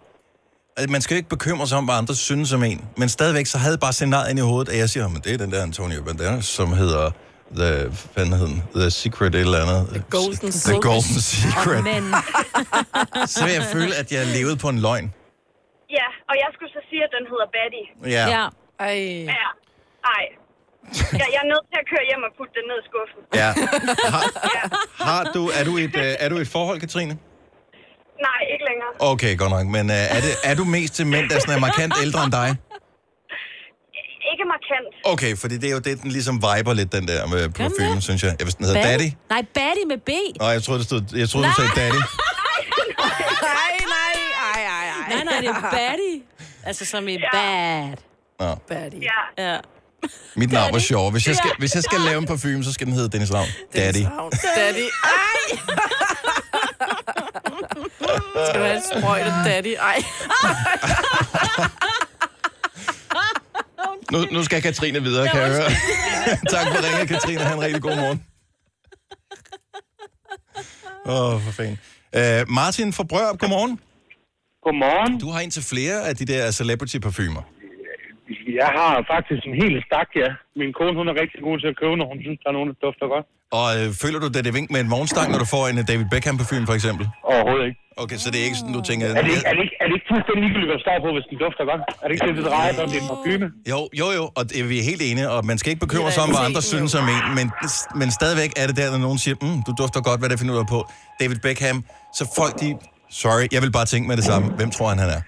Speaker 1: at Man skal jo ikke bekymre sig om, hvad andre synes om en. Men stadigvæk, så havde jeg bare scenariet ind i hovedet, at jeg siger, men det er den der Antonio Banderas, som hedder The, hvad hed den? The Secret et eller andet. The
Speaker 3: Golden
Speaker 1: The Golden [laughs] Secret.
Speaker 2: Men.
Speaker 1: Så vil jeg føle, at jeg levede på en løgn.
Speaker 18: Ja, og jeg skulle så sige, at den hedder Batty.
Speaker 1: Ja. Ja.
Speaker 3: Ej.
Speaker 18: Ja. Ej. Jeg, jeg er nødt til at køre hjem og putte den ned i skuffen.
Speaker 1: Ja. Har, har du, er, du et, øh, er du i et forhold, Katrine?
Speaker 18: Nej, ikke længere.
Speaker 1: Okay, godt nok. Men øh, er, det, er du mest til mænd, der sådan er markant ældre end dig?
Speaker 18: Ikke markant.
Speaker 1: Okay, fordi det er jo det, den ligesom viber lidt, den der med parfume, synes jeg. Jeg hvis den hedder Daddy.
Speaker 2: Nej, Batty
Speaker 3: [laughs]
Speaker 2: med B.
Speaker 1: Nå, jeg troede, det stod, jeg troede du sagde
Speaker 2: Nej.
Speaker 1: Daddy.
Speaker 2: nej, nej, ej, ej, ej. Nej, nej, det er
Speaker 3: [laughs]
Speaker 2: Batty. Altså som i bad.
Speaker 1: Nå.
Speaker 3: Batty.
Speaker 2: Ja. ja.
Speaker 1: Mit navn var sjov. Hvis jeg skal,
Speaker 2: Ja.
Speaker 1: hvis jeg skal lave en parfume, så skal den hedde Dennis Ravn. Daddy.
Speaker 3: Daddy. Ej. [laughs] Skal du have et sprøjt og daddy?
Speaker 1: [laughs]
Speaker 3: Ej.
Speaker 1: Nu, nu skal Katrine videre, kan jeg høre. [laughs] tak for ringen, Katrine. Ha' en rigtig god morgen. Åh, oh, for fanden. Uh, Martin fra Brørup, godmorgen.
Speaker 6: Godmorgen.
Speaker 1: Du har en til flere af de der celebrity parfumer.
Speaker 6: Jeg har faktisk en hel stak, ja. Min kone, hun er rigtig god til at købe, når hun synes, der er nogen, der dufter godt.
Speaker 1: Og øh, føler du, at det er vink med en vognstang, når du får en øh, David Beckham parfume, for eksempel?
Speaker 6: Overhovedet ikke.
Speaker 1: Okay, så det er ikke sådan, du tænker...
Speaker 6: Er det, ikke- er, det ikke, er det ikke fuldstændig ligegyldigt, hvad der står på, hvis den dufter godt? Er det ikke det, det drejer sig om? Det er en parfume.
Speaker 1: Jo, jo, jo, og det, vi er helt enige, og man skal ikke bekymre sig om, hvad andre synes om en, men, men stadigvæk er det der, når nogen siger, mm, du dufter godt, hvad det finder du på. David Beckham, så folk de... Sorry, jeg vil bare tænke med det samme. Hvem tror han, han er?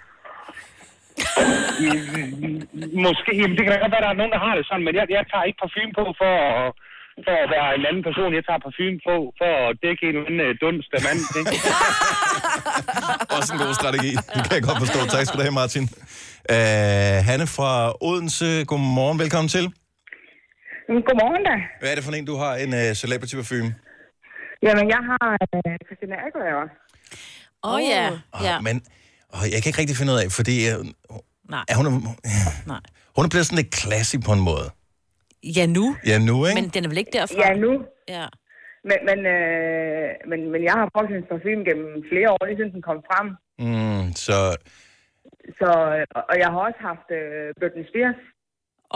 Speaker 6: Måske, jamen, det kan da godt være, der er nogen, der har det sådan, men jeg, jeg tager ikke parfume på for at, for at være en anden person. Jeg tager parfume på for at dække en eller anden øh, dunst af manden. Ikke?
Speaker 1: [laughs] Også en god strategi.
Speaker 2: [laughs]
Speaker 1: Det kan jeg godt forstå. Tak skal du have, Martin. Uh, Hanne fra Odense, godmorgen, velkommen til.
Speaker 14: Mm-hmm. Godmorgen da.
Speaker 1: Hvad er det for en, du har en uh, celebrity parfume?
Speaker 14: Jamen, jeg har øh, Christina Aguilera.
Speaker 2: Åh oh, ja. ja.
Speaker 1: Men åh, jeg kan ikke rigtig finde ud af, fordi uh,
Speaker 2: Nej.
Speaker 1: er hun, Nej. hun er blevet sådan lidt classy på en måde.
Speaker 2: Ja, nu.
Speaker 1: Ja, nu, ikke?
Speaker 2: Men den er vel ikke derfra?
Speaker 14: Ja, nu.
Speaker 2: Ja.
Speaker 14: Men, men, øh, men, men jeg har brugt hendes parfume gennem flere år, lige siden den kom frem.
Speaker 1: Mm, så
Speaker 14: Så, øh, og- og jeg har også haft øh, Britney Spears.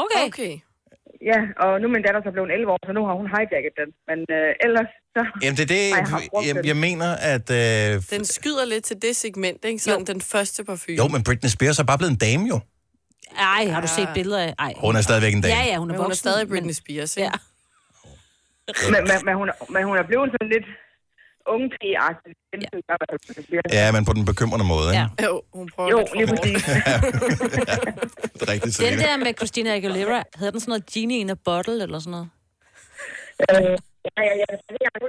Speaker 2: Okay.
Speaker 3: okay.
Speaker 14: Ja, og nu er min datter så blevet 11 år, så nu har hun hijacket den. Men øh, ellers så...
Speaker 1: Jamen, det er det,
Speaker 14: har jeg haft brugt
Speaker 1: jeg, jeg,
Speaker 14: den.
Speaker 1: jeg mener, at... Øh,
Speaker 3: Den skyder lidt til det segment, ikke? Sådan den første parfume.
Speaker 1: jo, men Britney Spears er bare blevet en dame, jo.
Speaker 2: Ej, har du set billeder af? Ej.
Speaker 1: Hun er stadigvæk en dame.
Speaker 2: Ja, ja, hun er
Speaker 3: Men hun er
Speaker 2: voksen,
Speaker 3: stadig Britney Spears, ikke? Ja.
Speaker 14: Men, men, men, hun, er- men hun er blevet sådan lidt unge pige-agtig. Ja.
Speaker 1: Ja, men på den bekymrende måde, ikke?
Speaker 3: Jo, hun prøver
Speaker 14: Jo,
Speaker 3: lidt for
Speaker 14: [laughs] lige
Speaker 3: hårdt.
Speaker 14: præcis.
Speaker 1: Det er rigtigt,
Speaker 2: Den
Speaker 1: Selina.
Speaker 2: der med Christina Aguilera, hedder den sådan noget Genie in a Bottle eller sådan noget?
Speaker 14: Øh, ja, ja, ja, det er jeg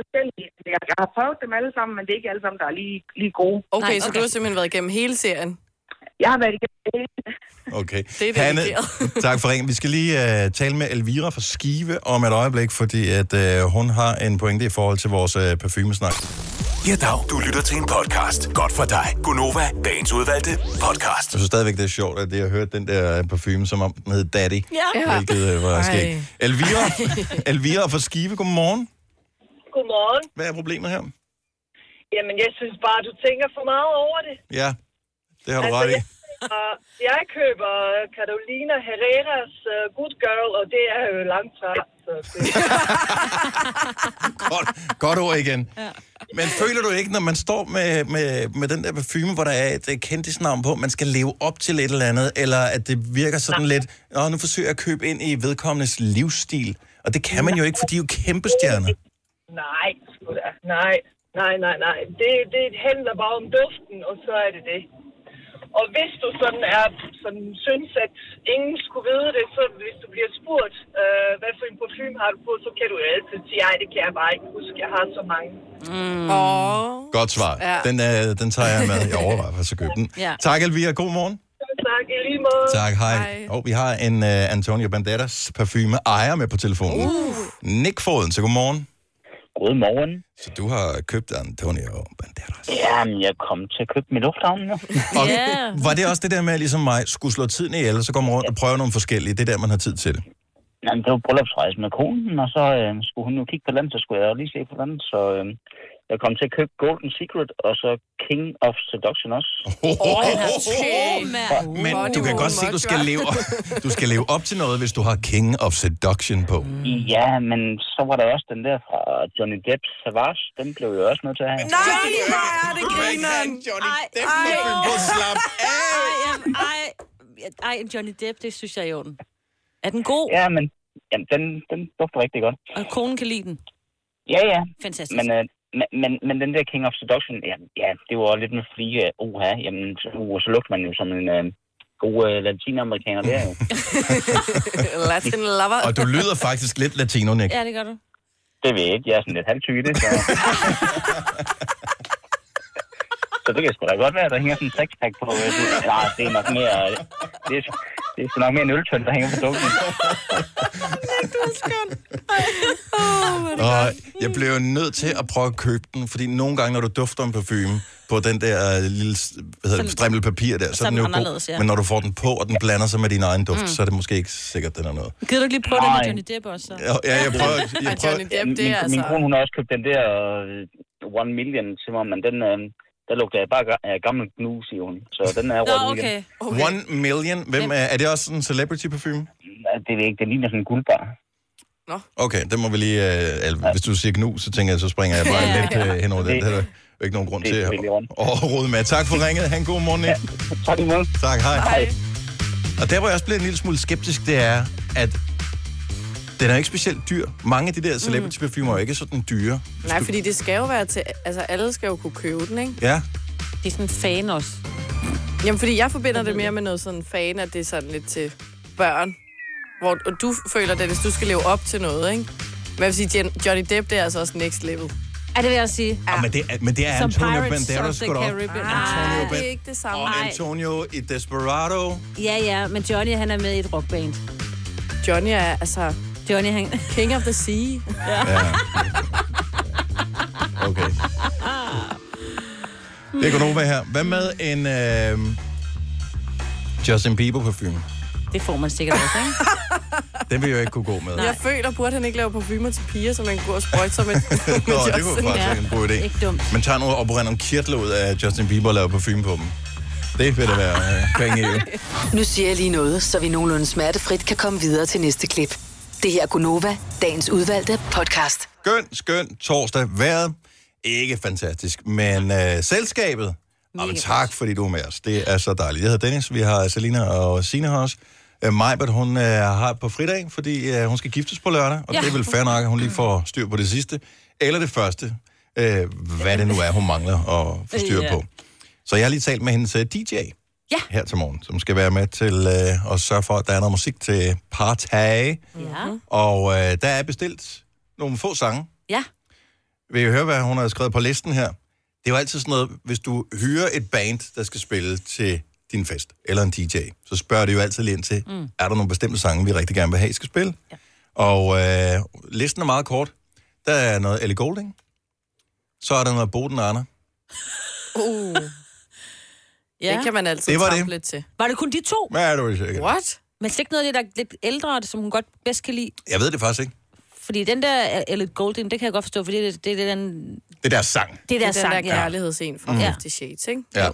Speaker 14: forskellige. Jeg jeg har prøvet dem alle sammen, men det er ikke alle sammen, der er lige, lige gode.
Speaker 3: Okay, Nej, okay, så du har simpelthen været igennem hele serien?
Speaker 14: Jeg har været igennem hele
Speaker 1: Okay.
Speaker 3: Det er dedikeret.
Speaker 1: tak for ringen. Vi skal lige uh, tale med Elvira fra Skive om et øjeblik, fordi at uh, hun har en pointe i forhold til vores uh, parfumesnak.
Speaker 7: Ja, dag. Du lytter til en podcast. Godt for dig. Gunova, dagens udvalgte podcast.
Speaker 1: Jeg synes stadigvæk, det er sjovt, at jeg hørte den der parfume, som om den hed Daddy.
Speaker 7: Ja.
Speaker 1: Hvilket uh, var
Speaker 7: Ej.
Speaker 1: skægt.
Speaker 5: [laughs]
Speaker 1: Elvira,
Speaker 7: [laughs]
Speaker 1: [laughs] Elvira fra Skive, godmorgen.
Speaker 15: Godmorgen.
Speaker 1: Hvad er problemet her?
Speaker 15: Jamen, jeg synes bare, du tænker for meget over det. [laughs]
Speaker 1: Ja, det har du ret i.
Speaker 15: jeg, køber- jeg køber Carolina Herreras uh, Good Girl, og det er jo langt fra. Så det...
Speaker 1: Godt, [laughs] godt ord igen. Ja. Men føler du ikke, når man står med, med, med den der parfume, hvor der er et øh, kendtisnavn på, man skal leve op til et eller andet, eller at det virker sådan lidt, Nå, nu forsøger jeg at købe ind i vedkommendes livsstil. Og det kan man jo ikke, for de er jo kæmpe stjerner.
Speaker 15: Nej, sgu da. Nej, nej, nej, nej. Det, det handler bare om duften, og så er det det. Og hvis du sådan er, sådan synes, at ingen skulle vide det, så hvis du bliver spurgt, øh, hvad for en parfume har du på, så kan du jo altid sige, ej, det kan jeg bare ikke huske, jeg har så mange.
Speaker 1: Mm.
Speaker 3: Oh.
Speaker 1: Godt svar.
Speaker 15: Ja.
Speaker 1: Den, øh, den tager jeg med. Jeg overvejer faktisk at købe den.
Speaker 15: Ja.
Speaker 1: Tak, Elvira. God morgen.
Speaker 15: Tak, i lige måde.
Speaker 1: Tak, hej. Og vi har en uh, Antonio Banderas parfume ejer med på telefonen. Uh. Nick Foden, så godmorgen.
Speaker 19: Godmorgen.
Speaker 1: Så du har købt Antonio
Speaker 19: Jamen, jeg kom til at købe min lufthavn nu.
Speaker 1: Og yeah. var det også det der med, at ligesom mig, skulle slå tiden ihjel, og så går man rundt og prøver nogle forskellige. Det er der, man har tid til det.
Speaker 19: øhm, Jamen, det var bryllupsrejse med konen, og så øh, skulle hun jo kigge på landet, så skulle jeg jo lige se på landet. Så øh, Jeg kom til at købe Golden Secret, og så King of Seduction også.
Speaker 1: oh, Men du kan godt se, at du skal, leve, du skal leve op til noget, hvis du har King of Seduction på.
Speaker 19: Ja, men så var der også den der fra Johnny Depp Savage. Den blev jeg også nødt til at have.
Speaker 4: Nej, hvor er det grineren.
Speaker 2: Johnny Depp
Speaker 4: må finde på at slappe
Speaker 2: af. Ej, ej, ej, en Johnny Depp, det synes jeg er i orden. Er den god?
Speaker 19: Ja, men jamen, den, den dufter rigtig godt.
Speaker 2: Og konen kan lide den?
Speaker 19: Ja, ja.
Speaker 2: Fantastisk.
Speaker 19: Men, øh, men, men, men den der King of Seduction, ja, ja det var lidt med fordi, uh, oha, jamen, så, uh, så lugter man jo som en øh, god øh, latinamerikaner der
Speaker 2: [laughs]
Speaker 19: jo.
Speaker 3: Latin lover.
Speaker 1: Og du lyder faktisk lidt latino, Nick.
Speaker 2: Ja, det gør du.
Speaker 19: Det ved jeg ikke, jeg er sådan lidt halvtyg i det, så...
Speaker 2: [laughs]
Speaker 19: så det kan sgu da godt være, at der hænger sådan en sexpack på... Øh, det, nej, det er nok mere... øh, Det er, det er sgu nok mere en øltønd, der hænger på dukken.
Speaker 5: [laughs]
Speaker 1: Og jeg blev jo nødt til at prøve at købe den, fordi nogle gange, når du dufter en parfume på den der øh, lille hvad hedder det,
Speaker 2: Sådan-
Speaker 1: strimmel papir der, så
Speaker 2: så
Speaker 1: er
Speaker 2: er
Speaker 1: den
Speaker 2: den
Speaker 1: jo god.
Speaker 2: anderledes, ja.
Speaker 1: Men når du får den på, og den blander sig med din egen duft,
Speaker 2: Mm.
Speaker 1: så er det måske ikke sikkert, den er noget.
Speaker 2: Gider du ikke lige prøve den med
Speaker 19: Nej.
Speaker 2: Johnny Depp også? Så?
Speaker 1: Ja, ja, jeg prøver- jeg
Speaker 2: Ej,
Speaker 1: prøver-
Speaker 19: min, min, min kone, hun har også købt den der uh, One Million til mig, men den... Øh, der lugter jeg bare ga- af gammel gnus i hun. Så den er rød igen.
Speaker 1: One million. Hvem er, er det også sådan en celebrity parfume?
Speaker 19: Det er ikke. Det ligner sådan en guldbar.
Speaker 1: Okay, det må vi lige... Øh, eller, hvis du siger gnu, så tænker jeg, så springer jeg bare
Speaker 19: Ja.
Speaker 1: lidt øh, hen over den. Det er der jo ikke nogen grund til at at rode med. Tak for ringet. Ha' en god morgen, Nick.
Speaker 19: tak i måde.
Speaker 1: Tak, hej. hej. Og der, hvor jeg også bliver en lille smule skeptisk, det er, at den er ikke specielt dyr. Mange af de der celebrity parfumer er jo ikke sådan dyre.
Speaker 3: Nej, fordi det skal jo være til... Altså, alle skal jo kunne købe den, ikke?
Speaker 1: Ja,
Speaker 2: Det er sådan en fan også.
Speaker 3: Jamen, fordi jeg forbinder det mere med noget sådan fan, at det er sådan lidt til børn. Hvor, og du føler det, hvis du skal leve op til noget, ikke? Men jeg vil sige, Jen- Johnny Depp, det er altså også next level.
Speaker 2: Ja, det vil jeg sige.
Speaker 1: ja. Ah, men det er, men det er
Speaker 2: Som
Speaker 1: Antonio
Speaker 2: Pirates
Speaker 1: Banderas,
Speaker 2: of the
Speaker 1: sgu da også.
Speaker 2: Caribbean.
Speaker 1: Antonio
Speaker 2: Nej,
Speaker 5: Ah,
Speaker 2: det
Speaker 1: Ban-
Speaker 2: er ikke det samme.
Speaker 1: Og
Speaker 2: Nej.
Speaker 1: Antonio i Desperado.
Speaker 2: Ja, ja, men Johnny, han er med i et rockband.
Speaker 3: Johnny er, altså...
Speaker 2: Johnny, han...
Speaker 3: King of the Sea.
Speaker 2: Ja.
Speaker 1: Okay. Det kan over her. Hvad med en øh, Justin Bieber parfume?
Speaker 2: Det får man sikkert også, ikke?
Speaker 1: Den vil jeg jo ikke kunne gå med.
Speaker 3: Jeg føler, burde han ikke lave parfumer til piger, så man kunne gå og sprøjte sig
Speaker 1: [laughs]
Speaker 3: med,
Speaker 1: Nå,
Speaker 3: med
Speaker 1: det kunne
Speaker 3: Justin.
Speaker 1: faktisk være en god idé.
Speaker 3: Ikke dumt.
Speaker 1: Man tager nogle og brænder nogle kirtler ud af Justin Bieber og laver parfume på dem. Det vil da være øh, penge i. jo.
Speaker 8: Nu siger jeg lige noget, så vi nogenlunde smertefrit kan komme videre til næste klip. Det her er Gunova, dagens udvalgte podcast.
Speaker 1: Skøn, skøn torsdag. Været ikke fantastisk, men øh, selskabet, Jamen, tak fordi du er med os. Det er så dejligt. Jeg hedder Dennis, vi har Selina og Sina her også. Øh, Majbert, hun øh, har på fridag, fordi øh, hun skal giftes på lørdag, og ja.
Speaker 20: Ja.
Speaker 1: det er vel fair nok, at hun lige får styr på det sidste, eller det første, øh, hvad det nu er, hun mangler at få styr
Speaker 20: Ja.
Speaker 1: på. Så jeg har lige talt med hendes øh, DJ
Speaker 2: ja.
Speaker 1: her til morgen, som skal være med til øh, at sørge for, at der er noget musik til partage.
Speaker 2: Ja.
Speaker 1: Og øh, der er bestilt nogle få sange.
Speaker 2: Ja.
Speaker 1: Vil I høre, hvad hun har skrevet på listen her? Det er jo altid sådan noget, hvis du hører et band, der skal spille til din fest, eller en DJ, så spørger det jo altid lige ind til, mm. er der nogle bestemte sange, vi rigtig gerne vil have, I skal spille? Ja. Og øh, listen er meget kort. Der er noget Ellie Goulding. Så er der noget Boden Arner.
Speaker 3: Uh.
Speaker 2: ja.
Speaker 3: Det kan man altid
Speaker 1: Det var
Speaker 3: trampe
Speaker 1: det.
Speaker 3: lidt til.
Speaker 2: Var det kun de to?
Speaker 1: Hvad er du sikker?
Speaker 2: What? Men slet ikke noget af det, der er lidt ældre, som hun godt bedst kan lide.
Speaker 1: Jeg ved det faktisk ikke.
Speaker 2: Fordi den der Elliot Golding, det kan jeg godt forstå, fordi det, det, det er den...
Speaker 1: Det er deres sang.
Speaker 2: Det er deres
Speaker 3: den der
Speaker 2: sang, ja.
Speaker 3: kærlighedsscene fra
Speaker 1: Mhm.
Speaker 3: mm. Fifty Shades, ikke?
Speaker 1: Ja.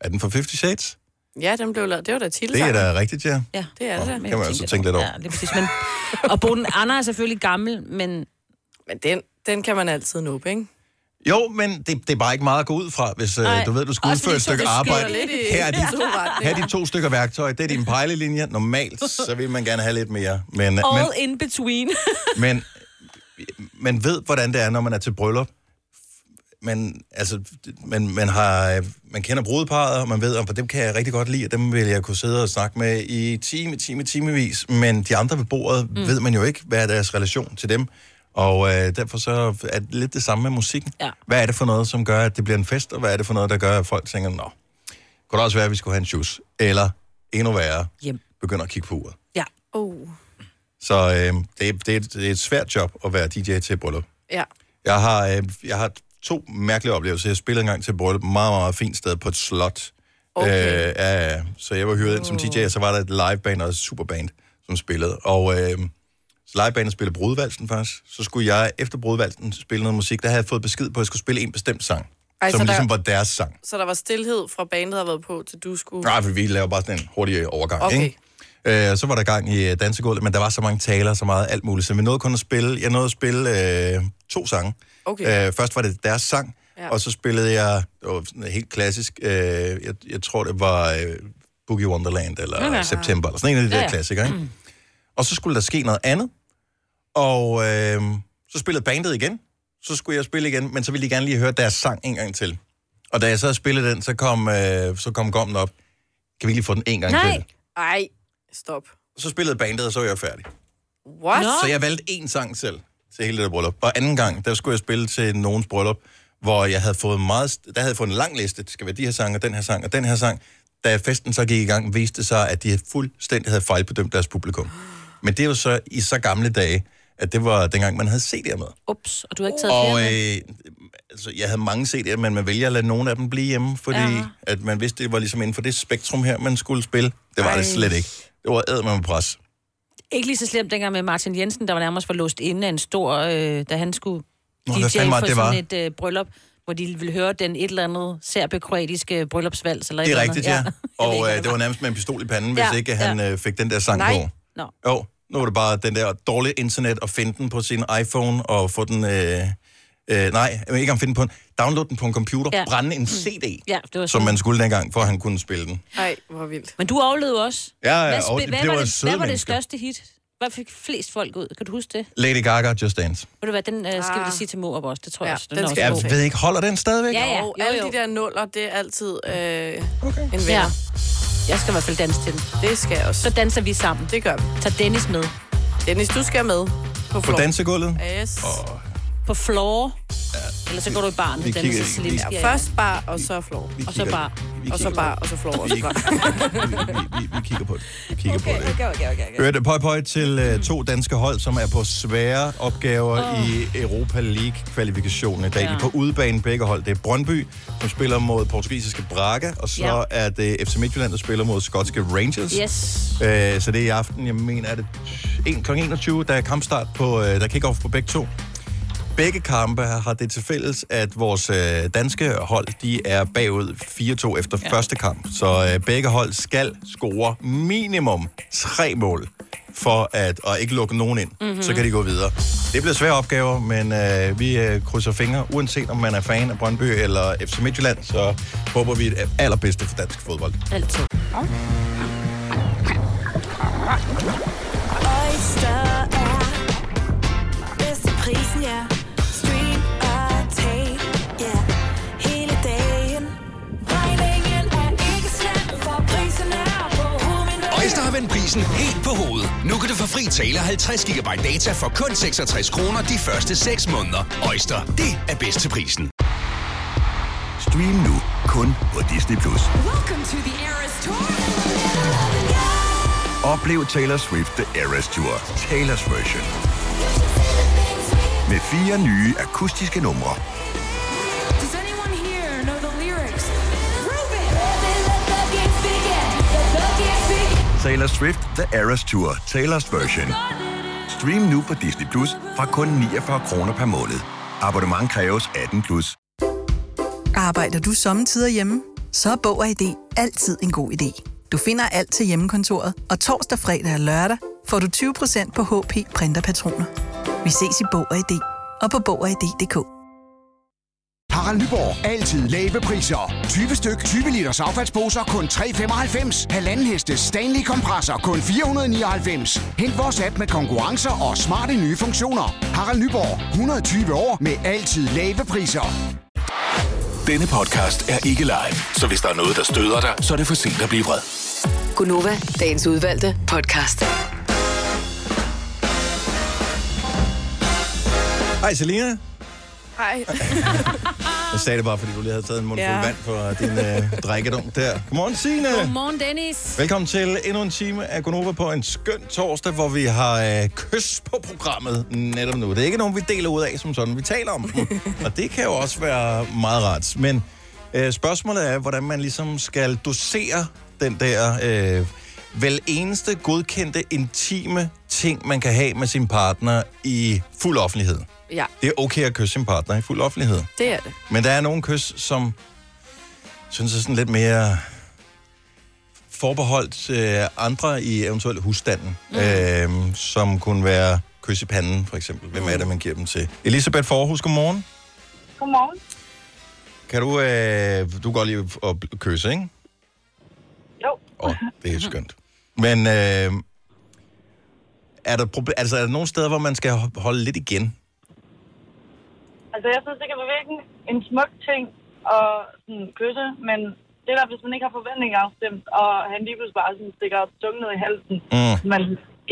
Speaker 1: Er den fra Fifty Shades?
Speaker 3: Ja, den blev lavet. Det var da
Speaker 1: Det er
Speaker 3: titelsangen.
Speaker 1: da rigtigt, ja.
Speaker 2: Ja,
Speaker 3: det er det. da.
Speaker 1: Kan man altså tænke lidt over.
Speaker 2: Ja, det er præcis. Men, og Boden Anna er selvfølgelig gammel, men...
Speaker 3: Men den, den kan man altid nå, ikke?
Speaker 1: Jo, men det, det er bare ikke meget at gå ud fra, hvis øh,
Speaker 3: Nej,
Speaker 1: du ved, du skal
Speaker 3: også
Speaker 1: udføre
Speaker 3: fordi
Speaker 1: et
Speaker 3: så
Speaker 1: stykke
Speaker 3: det skyder
Speaker 1: arbejde.
Speaker 3: lidt i
Speaker 1: Her er,
Speaker 3: to retninger.
Speaker 1: de, her er de to stykker værktøj. Det er din pejlelinje. Normalt, så vil man gerne have lidt mere. Men,
Speaker 2: All
Speaker 1: men,
Speaker 2: in between. [laughs]
Speaker 1: men man ved, hvordan det er, når man er til bryllup. Man, altså, man, man, har, øh, man kender brudeparret, og man ved, at dem kan jeg rigtig godt lide, og dem vil jeg kunne sidde og snakke med i time, time, timevis. Men de andre ved bordet mm. ved man jo ikke, hvad er deres relation til dem. Og øh, derfor så er det lidt det samme med musikken.
Speaker 2: Ja.
Speaker 1: Hvad er det for noget, som gør, at det bliver en fest, og hvad er det for noget, der gør, at folk tænker, nå, kunne det også være, at vi skulle have en juice? Eller endnu værre,
Speaker 2: Hjem.
Speaker 1: begynder at kigge på uret.
Speaker 2: Ja.
Speaker 3: Uh.
Speaker 1: Så øh, det, er- det, er et, det er et svært job at være DJ til et bryllup.
Speaker 3: Ja.
Speaker 1: Jeg har, øh, jeg har to mærkelige oplevelser. Jeg spillede engang til et bryllup, meget, meget fint sted på et slot. Okay. Øh, ja, ja. så jeg var hyret ind som DJ, og så var der et liveband og et superband, som spillede. Og øh, legebanen spille brudvalsen faktisk, så skulle jeg efter brudvalsen spille noget musik. Der havde jeg fået besked på, at jeg skulle spille en bestemt sang,
Speaker 3: Ej,
Speaker 1: Ej, som
Speaker 3: så der-
Speaker 1: ligesom var deres sang.
Speaker 3: Så der var stillhed fra bandet, der havde været på, til du skulle...
Speaker 1: Nej, for vi laver bare sådan en hurtig øh, overgang,
Speaker 3: Okay.
Speaker 1: ikke? Øh, så var der gang i øh, dansegulvet, men der var så mange taler, så meget alt muligt, så vi nåede kun at spille, jeg nåede at spille øh, to sange.
Speaker 20: Okay.
Speaker 1: Øh, først var det deres sang, ja. og så spillede jeg, det var sådan helt klassisk, øh, jeg, jeg tror det var øh, Boogie Wonderland, eller
Speaker 20: Okay.
Speaker 1: okay. September, eller sådan en af de
Speaker 20: Ja, ja.
Speaker 1: der ja, ja. klassikere, ikke? Mm. Og så skulle der ske noget andet, og øh, så spillede bandet igen, så skulle jeg spille igen, men så ville de gerne lige høre deres sang en gang til. Og da jeg så havde spillet den, så kom, øh, så kom gommen op. Kan vi ikke lige få den en gang til?
Speaker 3: Ej, stop.
Speaker 1: Så spillede bandet, og så var jeg færdig.
Speaker 3: What?
Speaker 1: Så jeg valgte én sang selv til hele det der bryllup. Og anden gang, der skulle jeg spille til nogens bryllup, hvor jeg havde fået meget, der havde jeg fået en lang liste. Det skal være de her sange, og den her sang, og den her sang. Da festen så gik i gang, viste det sig, at de havde fuldstændig havde fejlbedømt deres publikum. Men det er jo så i så gamle dage, at det var dengang, man havde CD'er med.
Speaker 2: Ups, og du har ikke taget
Speaker 1: Og
Speaker 2: flere med.
Speaker 1: øh, altså, jeg havde mange CD'er, men man vælger at lade nogle af dem blive hjemme, fordi
Speaker 2: Ja.
Speaker 1: ja. at man vidste, det var ligesom inden for det spektrum her, man skulle spille. Det var Ej. det
Speaker 2: Ej.
Speaker 1: slet ikke. Det var æd med pres.
Speaker 2: Ikke lige så slemt dengang med Martin Jensen, der var nærmest for låst inde af en stor, øh, da han skulle
Speaker 1: Nå,
Speaker 2: Nå,
Speaker 1: hvad
Speaker 2: DJ for
Speaker 1: fanden var det,
Speaker 2: sådan
Speaker 1: det
Speaker 2: var?
Speaker 1: var?
Speaker 2: et øh, bryllup, hvor de ville høre den et eller andet serbekroatiske bryllupsvals. Eller et
Speaker 1: Det er
Speaker 2: eller
Speaker 1: rigtigt, [laughs] ja.
Speaker 2: andet.
Speaker 1: Og øh, det var nærmest med en pistol i panden, hvis
Speaker 2: Ja,
Speaker 1: ikke han
Speaker 2: ja.
Speaker 1: øh, fik den der sang
Speaker 2: Nej.
Speaker 1: på.
Speaker 2: Nå.
Speaker 1: Jo, nu var det bare den der dårlige internet og finde den på sin iPhone og få den... Øh, øh, nej, men ikke om finde den på en... Download den på en computer,
Speaker 2: Ja.
Speaker 1: ja. brænde en
Speaker 2: Mm.
Speaker 1: CD,
Speaker 2: Ja, det var
Speaker 1: som
Speaker 2: sådan.
Speaker 1: man skulle dengang, for at han kunne spille den.
Speaker 3: Ej, hvor vildt.
Speaker 2: Men du overlevede også.
Speaker 1: Ja, ja,
Speaker 2: hvad,
Speaker 1: og
Speaker 2: spil-
Speaker 1: det-
Speaker 2: hvad,
Speaker 1: det
Speaker 2: var
Speaker 1: var
Speaker 2: det,
Speaker 1: søde
Speaker 2: hvad var det
Speaker 1: mennesker.
Speaker 2: største hit? Hvad fik flest folk ud? Kan du huske det?
Speaker 1: Lady Gaga, Just Dance.
Speaker 2: Ved du hvad, den øh, skal vi
Speaker 3: Ah.
Speaker 2: lige sige til mor også, det tror jeg også. Den,
Speaker 1: den
Speaker 2: er
Speaker 1: skal
Speaker 2: også
Speaker 1: vi
Speaker 2: god.
Speaker 1: Jeg ved ikke, holder den stadigvæk?
Speaker 2: Ja, ja.
Speaker 3: Og
Speaker 2: Jo,
Speaker 3: alle
Speaker 2: jo.
Speaker 3: de der nuller, det er altid øh, okay. en
Speaker 2: Ja.
Speaker 3: vinder.
Speaker 2: Jeg skal i hvert fald danse til den.
Speaker 3: Det skal jeg også.
Speaker 2: Så danser vi sammen.
Speaker 3: Det gør vi.
Speaker 2: Tag Dennis med.
Speaker 3: Dennis, du skal med. På,
Speaker 1: På dansegulvet?
Speaker 3: Yes. Oh.
Speaker 2: På floor. Ja. Eller så går du i barn
Speaker 1: vi
Speaker 2: med
Speaker 1: kigger-
Speaker 2: Dennis'
Speaker 1: vi-
Speaker 2: Selinsky.
Speaker 1: Ja,
Speaker 3: Først bar, og så floor.
Speaker 1: vi
Speaker 2: Og så
Speaker 1: kigger-
Speaker 2: bar.
Speaker 1: vi
Speaker 3: Og så
Speaker 1: kigger-
Speaker 3: bar, og så floor. Og
Speaker 1: vi-
Speaker 3: så bar.
Speaker 1: Vi kigger på det. Vi kigger okay. på det.
Speaker 3: Okay, okay, okay.
Speaker 1: Hørte pøj pøj til øh, to danske hold, som er på svære opgaver oh. i Europa League-kvalifikationen i dag. Ja. De er på udebane begge hold. Det er Brøndby, som spiller mod portugisiske Braga, og så
Speaker 2: Ja.
Speaker 1: ja. er det FC Midtjylland, der spiller mod skotske Rangers.
Speaker 2: Yes.
Speaker 1: Øh, så det er i aften, jeg mener, er det 1, kl. 21, der er kampstart på, øh, der er kick-off på begge to. Begge kampe har det til fælles, at vores øh, danske hold, de er bagud 4-2 efter ja. første kamp. Så øh, begge hold skal score minimum tre mål, for at og ikke lukke nogen ind.
Speaker 21: Mhm.
Speaker 1: Mm-hmm. Så kan de gå videre. Det bliver svære opgaver, men øh, vi øh, krydser fingre, uanset om man er fan af Brøndby eller FC Midtjylland, så håber vi det allerbedste for dansk fodbold.
Speaker 2: Altid.
Speaker 4: Oyster er bedst til prisen, ja. Stream og tag, ja. Hele dagen. Regningen er ikke slem, for prisen er på hovedet.
Speaker 22: Øjster har vendt prisen helt på hovedet. Nu kan du få fri tale 50 GB data for kun 66 kroner de første 6 måneder. Øjster, det er bedst til prisen.
Speaker 23: Stream nu kun på Disney+. Plus.
Speaker 4: Welcome to the Eras Tour.
Speaker 23: Oplev Taylor Swift The Eras Tour, Taylor's version. Med fire nye akustiske numre.
Speaker 4: Does anyone here know the lyrics?
Speaker 23: Taylor Swift The Eras Tour, Taylor's version. Stream nu på Disney Plus fra kun 49 kroner per måned. Abonnement kræves 18 plus.
Speaker 24: Arbejder du sommetider hjemme? Så er Bog og ID altid en god idé. Du finder alt til hjemmekontoret, og torsdag, fredag og lørdag får du 20% på HP printerpatroner. Vi ses i Bog og ID og på Bog og ID.dk.
Speaker 10: Harald Nyborg. Altid lave priser. 20 styk, 20 liters affaldsposer kun 3,95. Halvanden heste Stanley kompresser kun 499. Hent vores app med konkurrencer og smarte nye funktioner. Harald Nyborg. 120 år med altid lave priser.
Speaker 7: Denne podcast er ikke live, så hvis der er noget, der støder dig, så er det for sent at blive vred.
Speaker 8: Gunova, dagens udvalgte podcast.
Speaker 1: Hej Selina.
Speaker 3: Hej.
Speaker 1: Jeg sagde det bare, fordi du lige havde taget en mundfuld
Speaker 2: Ja.
Speaker 1: ja. vand for din øh, drikkedunk der. Godmorgen, Signe.
Speaker 2: Godmorgen, Dennis.
Speaker 1: Velkommen til endnu en time af Gonova på en skøn torsdag, hvor vi har øh, kys på programmet netop nu. Det er ikke nogen, vi deler ud af som sådan, vi taler om dem. Og det kan jo også være meget rart. Men øh, spørgsmålet er, hvordan man ligesom skal dosere den der... Øh, vel eneste godkendte intime ting, man kan have med sin partner i fuld offentlighed.
Speaker 3: Ja,
Speaker 1: Det er okay at kysse sin partner i fuld offentlighed.
Speaker 3: det er det.
Speaker 1: Men der er nogle kys, som synes er sådan lidt mere forbeholdt øh, andre i eventuelt husstanden, mm. øh, som kunne være kys i panden, for eksempel. Hvem er det, man giver dem til? Elisabeth Forhus, godmorgen.
Speaker 5: Godmorgen.
Speaker 1: Kan du, øh, du kan godt lide at bl- kysse, ikke?
Speaker 5: Jo.
Speaker 1: Åh, oh, det er skønt. Men øh, er, der proble- altså, er der nogle steder, hvor man skal ho- holde lidt igen?
Speaker 5: Altså, jeg synes, det kan være virkelig en smuk ting at sådan, kysse, men det der, hvis man ikke har forventninger afstemt, og han lige pludselig bare sådan, stikker tungen ned i halsen,
Speaker 1: Mm.
Speaker 5: man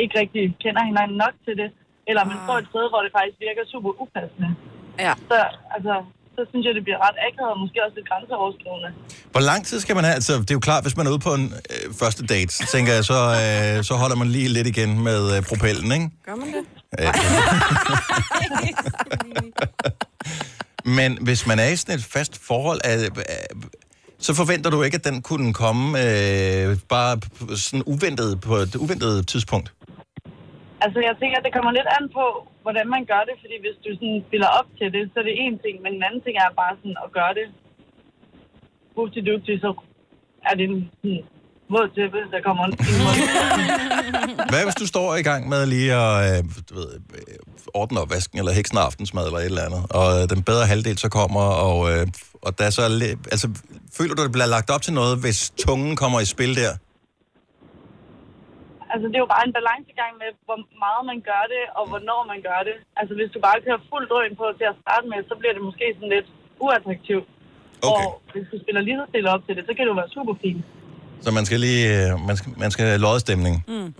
Speaker 5: ikke rigtig kender hinanden nok til det, eller man står et sted, hvor det faktisk virker super upassende.
Speaker 3: Ah. Ja.
Speaker 5: Så, altså, så synes jeg, det bliver ret akavet, og måske også lidt grænseoverskridende.
Speaker 1: Hvor lang tid skal man have? Altså, det er jo klart, hvis man er ude på en øh, første date, så tænker jeg, så, øh, så holder man lige lidt igen med øh, propellen, ikke? Øh,
Speaker 3: Gør man det?
Speaker 5: [laughs]
Speaker 1: Men hvis man er i sådan et fast forhold, er, er, så forventer du ikke, at den kunne komme øh, bare p- sådan uventet på et uventet tidspunkt.
Speaker 5: Altså, jeg tænker, at det kommer lidt an på, hvordan man gør det, fordi hvis du sådan spiller op til det, så er det en ting, men en anden ting er bare sådan at gøre det huftig dygtig, så er det en sådan, våd tæppe, der kommer en en
Speaker 1: Mhm.
Speaker 5: våd
Speaker 1: Hvad hvis du står i gang med lige at øh, du ved, øh, ordne opvasken, eller heksen af aftensmad, eller et eller andet, og øh, den bedre halvdel så kommer, og, øh, og der er så er lidt- altså, føler du, at det bliver lagt op til noget, hvis tungen kommer i spil der?
Speaker 5: Altså, det er jo bare en balancegang med, hvor meget man gør det, og hvornår man gør det. Altså, hvis du bare kører fuld drøn på til at starte med, så bliver det måske sådan lidt uattraktivt. Okay. Og hvis du spiller lige så stille op til det, så kan det jo være super fint.
Speaker 1: Så man skal lige, øh, man skal, man skal have loddestemning.
Speaker 5: Mm.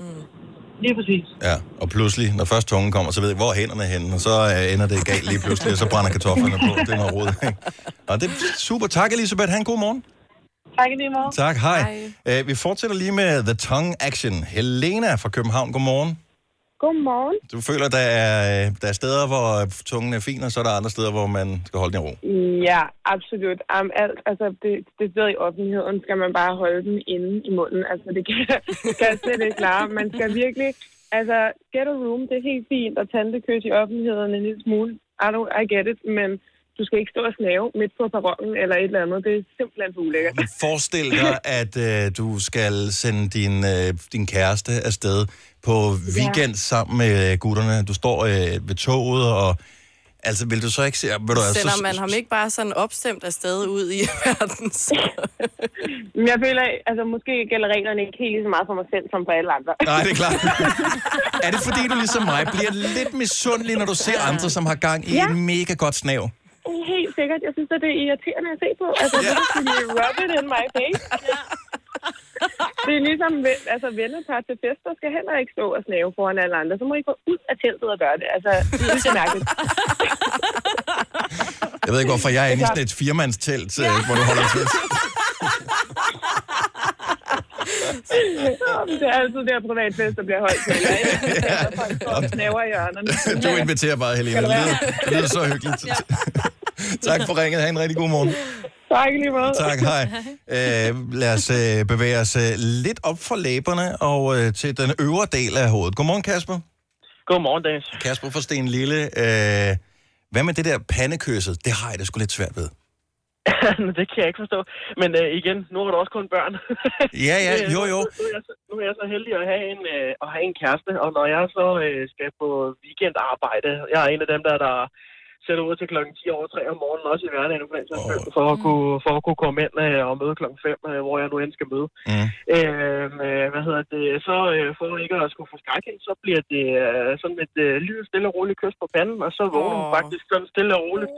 Speaker 5: Lige præcis.
Speaker 1: Ja, og pludselig, når først tungen kommer, så ved jeg, hvor er hænderne henne, og så øh, ender det galt lige pludselig, og så brænder kartoflerne på. Det er noget rod. ikke? og det er super. Tak, Elisabeth. Han god morgen.
Speaker 5: Tak i lige måde.
Speaker 1: Tak, hej. hej. vi fortsætter lige med The Tongue Action. Helena fra København, godmorgen.
Speaker 9: Godmorgen.
Speaker 1: Du føler, der er, øh, der er steder, hvor øh, tungen er fin, og så er der andre steder, hvor man skal holde den i ro.
Speaker 9: Ja, absolut. Om alt, altså det, det sidder i offentligheden, skal man bare holde den inde i munden. Altså det kan, [laughs] det kan jeg slet ikke klare. Man skal virkelig, altså get a room, det er helt fint at tantekys i offentligheden en lille smule. I, don't, I get it, men du skal ikke stå og snave midt på perronen eller et eller andet. Det er simpelthen for ulækkert.
Speaker 1: Forestil dig, at øh, du skal sende din, øh, din kæreste afsted på weekend ja. sammen med øh, gutterne. Du står øh, ved toget, og altså, vil du så ikke se... Ja, Ved du, hvad,
Speaker 3: Sender
Speaker 1: så,
Speaker 3: man ham ikke bare sådan opstemt afsted ud i [laughs] verden, så...
Speaker 9: Men jeg føler, altså måske gælder reglerne ikke helt lige så meget for mig selv som for alle andre.
Speaker 1: Nej, det er klart. Er det fordi, du ligesom mig bliver lidt misundelig, når du ser andre, som har gang i ja.
Speaker 9: Ja.
Speaker 1: et mega godt snav?
Speaker 9: Helt sikkert. Jeg synes, at det er irriterende at se på. Altså, det er sådan, rub it in my face. Det er ligesom, ven- altså vennepar til fester skal heller ikke stå og snave foran alle andre. Så må I gå ud af teltet og gøre det. Altså, det er mærkeligt.
Speaker 1: Jeg ved ikke, hvorfor jeg er inde i
Speaker 9: Det er
Speaker 1: sådan et firmandstelt, ja. hvor du holder til.
Speaker 9: Nå, men Det er altid der privat fest, der bliver holdt til. Ikke? Altså, folk står og snaver i hjørnerne.
Speaker 1: [laughs] Du inviterer bare, Helena. Det lyder, det lyder så hyggeligt. Ja. [laughs] tak for ringet. Ha' en rigtig god morgen.
Speaker 9: Tak i lige måde.
Speaker 1: Tak, hej. Øh, lad os øh, bevæge os øh, lidt op fra læberne og øh, til den øvre del af hovedet. Godmorgen, Kasper.
Speaker 25: Godmorgen, Dennis.
Speaker 1: Kasper fra Sten Lille. Øh, hvad med det der pandekysset? Det har jeg da sgu lidt svært
Speaker 25: [laughs]
Speaker 1: ved.
Speaker 25: det kan jeg ikke forstå. Men øh, igen, nu har du også kun børn.
Speaker 1: Ja, ja,
Speaker 25: Øh,
Speaker 1: jo, jo.
Speaker 25: [laughs] Nu, nu, er jeg så, nu er jeg så heldig at have en, øh, at have en kæreste, og når jeg så øh, skal på weekendarbejde, jeg er en af dem, der, der sætter ud til klokken 10 over 3 om morgenen, også i hverdagen, nu, oh. for, at kunne, for at kunne komme ind øh, og møde klokken 5, øh, hvor jeg nu end skal møde.
Speaker 1: Mm.
Speaker 25: Øh, øh, hvad hedder det? Så øh, for ikke at skulle få skræk hende, så bliver det øh, sådan et øh, lille, stille og roligt kys på panden, og så vågner hun faktisk sådan stille og roligt.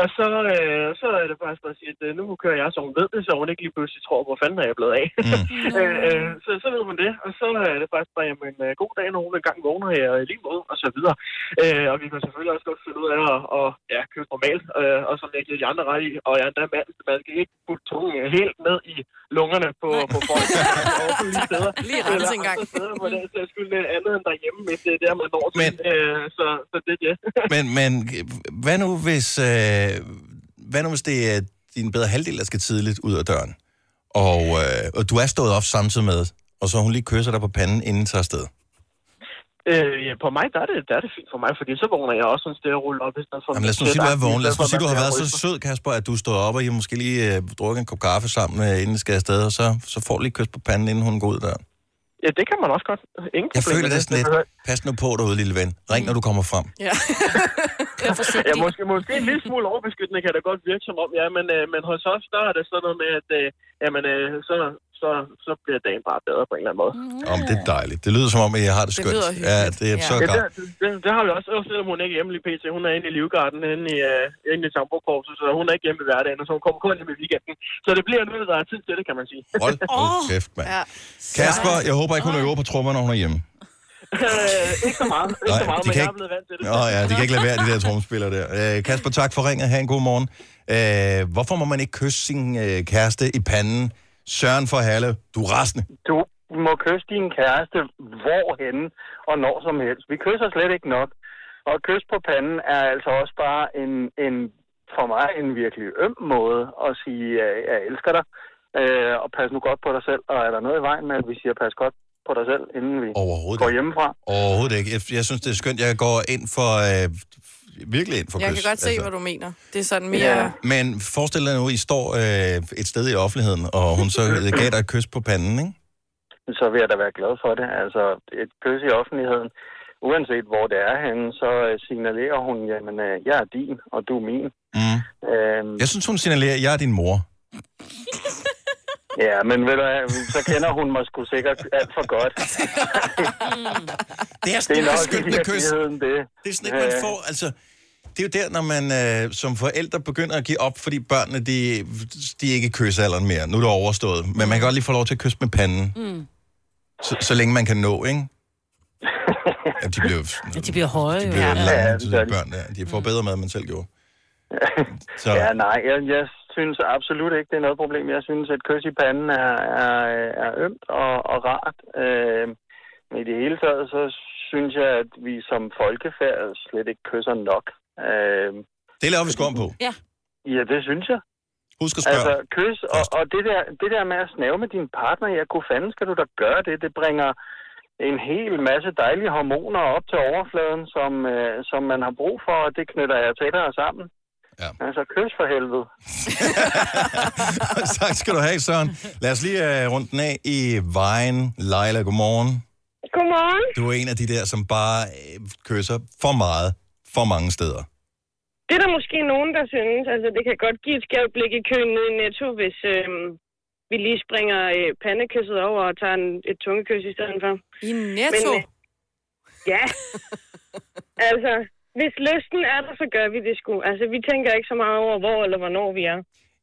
Speaker 25: Og så, øh, så er det faktisk bare at sige, at øh, nu kører jeg, så hun ved det, så hun ikke lige pludselig tror, hvor fanden er jeg blevet af. Mm. [laughs] øh, øh, så, så ved hun det, og så er det faktisk bare, jamen, øh, god dag, når hun engang vågner her, og i lige måde, og så videre. Øh, og vi kan selvfølgelig også godt finde ud af at, at ja, køre normalt, øh, og så lægge de andre ret i, og jeg er endda mand, så man skal ikke putte tungen helt ned i lungerne på, på folk. lige steder.
Speaker 3: [laughs] Lige rense en
Speaker 25: Eller
Speaker 3: gang.
Speaker 25: andre steder, hvor det er skyld andet end derhjemme, hvis det er der, man når til. Men... Øh, så, så det er det.
Speaker 1: Men, men øh, hvad nu hvis, øh, hvad nu hvis det er din bedre halvdel, der skal tidligt ud af døren, og, øh, og du er stået op samtidig med, og så hun lige kysser dig på panden, inden tager afsted.
Speaker 25: [laughs] Øh, ja, på mig, der er, det, der er det fint for mig, fordi så vågner jeg også sådan stille og rulle op. I stedet for
Speaker 1: Jamen, lad os nu sige, du er vågen. Lad os nu sige, du har været så sød, Kasper, at du stod op, og I måske lige øh, drukket en kop kaffe sammen, øh, inden I skal afsted, og så, så får du lige et kys på panden, inden hun går ud der.
Speaker 25: Ja, det kan man også godt. Ingen
Speaker 1: Jeg
Speaker 25: problemer.
Speaker 1: føler det sådan lidt. Pas nu på derude, lille ven. Ring, når du kommer frem.
Speaker 2: Kør
Speaker 25: Ja, måske, måske en lille smule overbeskyttende kan det godt virke som om, ja, men, øh, men hos os, der er det sådan noget med, at øh, jamen, øh, så, så, så bliver dagen bare bedre på en eller anden måde.
Speaker 3: Mm-hmm.
Speaker 1: Om det er dejligt. Det lyder som om, at jeg har det
Speaker 25: Det
Speaker 1: skønt.
Speaker 25: lyder
Speaker 1: ja, det er så
Speaker 25: ja, det,
Speaker 1: godt.
Speaker 25: det, det, har vi også, også selvom hun er ikke hjemme lige pt. Hun er inde i Livgarden, inde i, øh, inde i Sambokorpset, så hun er ikke hjemme i hverdagen, og så hun kommer kun hjem i weekenden. Så det bliver noget, der er tid til det, kan man sige.
Speaker 1: Hold nu kæft,
Speaker 25: [laughs]
Speaker 1: mand. Kasper, jeg håber ikke, hun øver på trommer, når hun er hjemme.
Speaker 25: Øh, ikke så meget, ikke så meget,
Speaker 1: de
Speaker 25: men
Speaker 1: kan
Speaker 25: jeg
Speaker 1: ikke...
Speaker 25: er blevet vant til det.
Speaker 1: Nå ja, de kan ikke lade være, de der tromspillere der. Øh, Kasper, tak for ringet. Ha' en god morgen. Øh, hvorfor må man ikke kysse sin øh, kæreste i panden? Søren for Halle, du er rasende.
Speaker 6: Du må kysse din kæreste hvorhenne og når som helst. Vi kysser slet ikke nok. Og kys på panden er altså også bare en, en for mig en virkelig øm måde at sige, at jeg elsker dig, øh, og pas nu godt på dig selv. Og er der noget i vejen med, at vi siger, pas godt på dig selv, inden vi går hjemmefra?
Speaker 1: Overhovedet ikke. Jeg, jeg synes, det er skønt. Jeg går ind for... Øh, virkelig ind for
Speaker 3: Jeg
Speaker 1: kys.
Speaker 3: kan godt se, altså. hvad du mener. Det er sådan mere... Ja.
Speaker 1: Men forestil dig nu, I står øh, et sted i offentligheden, og hun så øh, gav dig et kys på panden, ikke?
Speaker 6: så vil jeg da være glad for det. Altså, et kys i offentligheden, uanset hvor det er henne, så øh, signalerer hun, jamen, øh, jeg er din, og du er min.
Speaker 1: Mm.
Speaker 6: Øhm,
Speaker 1: Jeg synes, hun signalerer, at jeg er din mor.
Speaker 6: ja, men ved du hvad, så kender hun mig sgu sikkert alt for godt.
Speaker 1: Det er sådan et
Speaker 6: Det er nok
Speaker 1: beskyttende
Speaker 6: i
Speaker 1: kys.
Speaker 6: virkeligheden det.
Speaker 1: det er sådan et, man
Speaker 6: Ja.
Speaker 1: får, altså... Det er jo der, når man øh, som forældre begynder at give op, fordi børnene, de, de er ikke i kysalderen mere. Nu er det overstået. Men man kan godt lige få lov til at kysse med panden,
Speaker 2: Mm.
Speaker 1: så, så længe man kan nå,
Speaker 6: [laughs]
Speaker 1: ikke? Ja, de bliver, jo-
Speaker 2: Ja, de bliver høje.
Speaker 1: de
Speaker 2: jo.
Speaker 1: bliver ja,
Speaker 6: Ja,
Speaker 1: lange,
Speaker 6: det
Speaker 1: de
Speaker 6: gør
Speaker 1: der
Speaker 6: de.
Speaker 1: børn der. De får bedre mad, end man selv gjorde. Så.
Speaker 6: Så. Ja, nej, jeg, jeg synes absolut ikke, det er noget problem. Jeg synes, at kys i panden er, er, er ømt og, og rart. Øh, men i det hele taget, så synes jeg, at vi som folkefærd slet ikke kysser nok. Øh,
Speaker 1: det laver vi skum på.
Speaker 2: Ja.
Speaker 6: Ja, det synes jeg.
Speaker 1: Husk at
Speaker 6: spørge. Altså, kys, og, og det, der, det der med at snave med din partner, ja, kunne fanden skal du da gøre det? Det bringer en hel masse dejlige hormoner op til overfladen, som, øh, som man har brug for, og det knytter jeg tættere sammen.
Speaker 1: Ja.
Speaker 6: Altså, kys for helvede.
Speaker 1: [laughs] [laughs] tak skal du have, Søren. Lad os lige uh, rundt den af i vejen. Leila, godmorgen.
Speaker 11: Godmorgen.
Speaker 1: Du er en af de der, som bare øh, kysser for meget, for mange steder.
Speaker 11: Det er der måske nogen, der synes. Altså, det kan godt give et skævt blik i køen nede i Netto, hvis øhm, vi lige springer øh, pandekysset over og tager en, et tungekys i stedet for.
Speaker 3: I Netto?
Speaker 11: øh,
Speaker 3: [laughs]
Speaker 11: ja. altså, hvis lysten er der, så gør vi det sgu. Altså, vi tænker ikke så meget over, hvor eller hvornår vi er.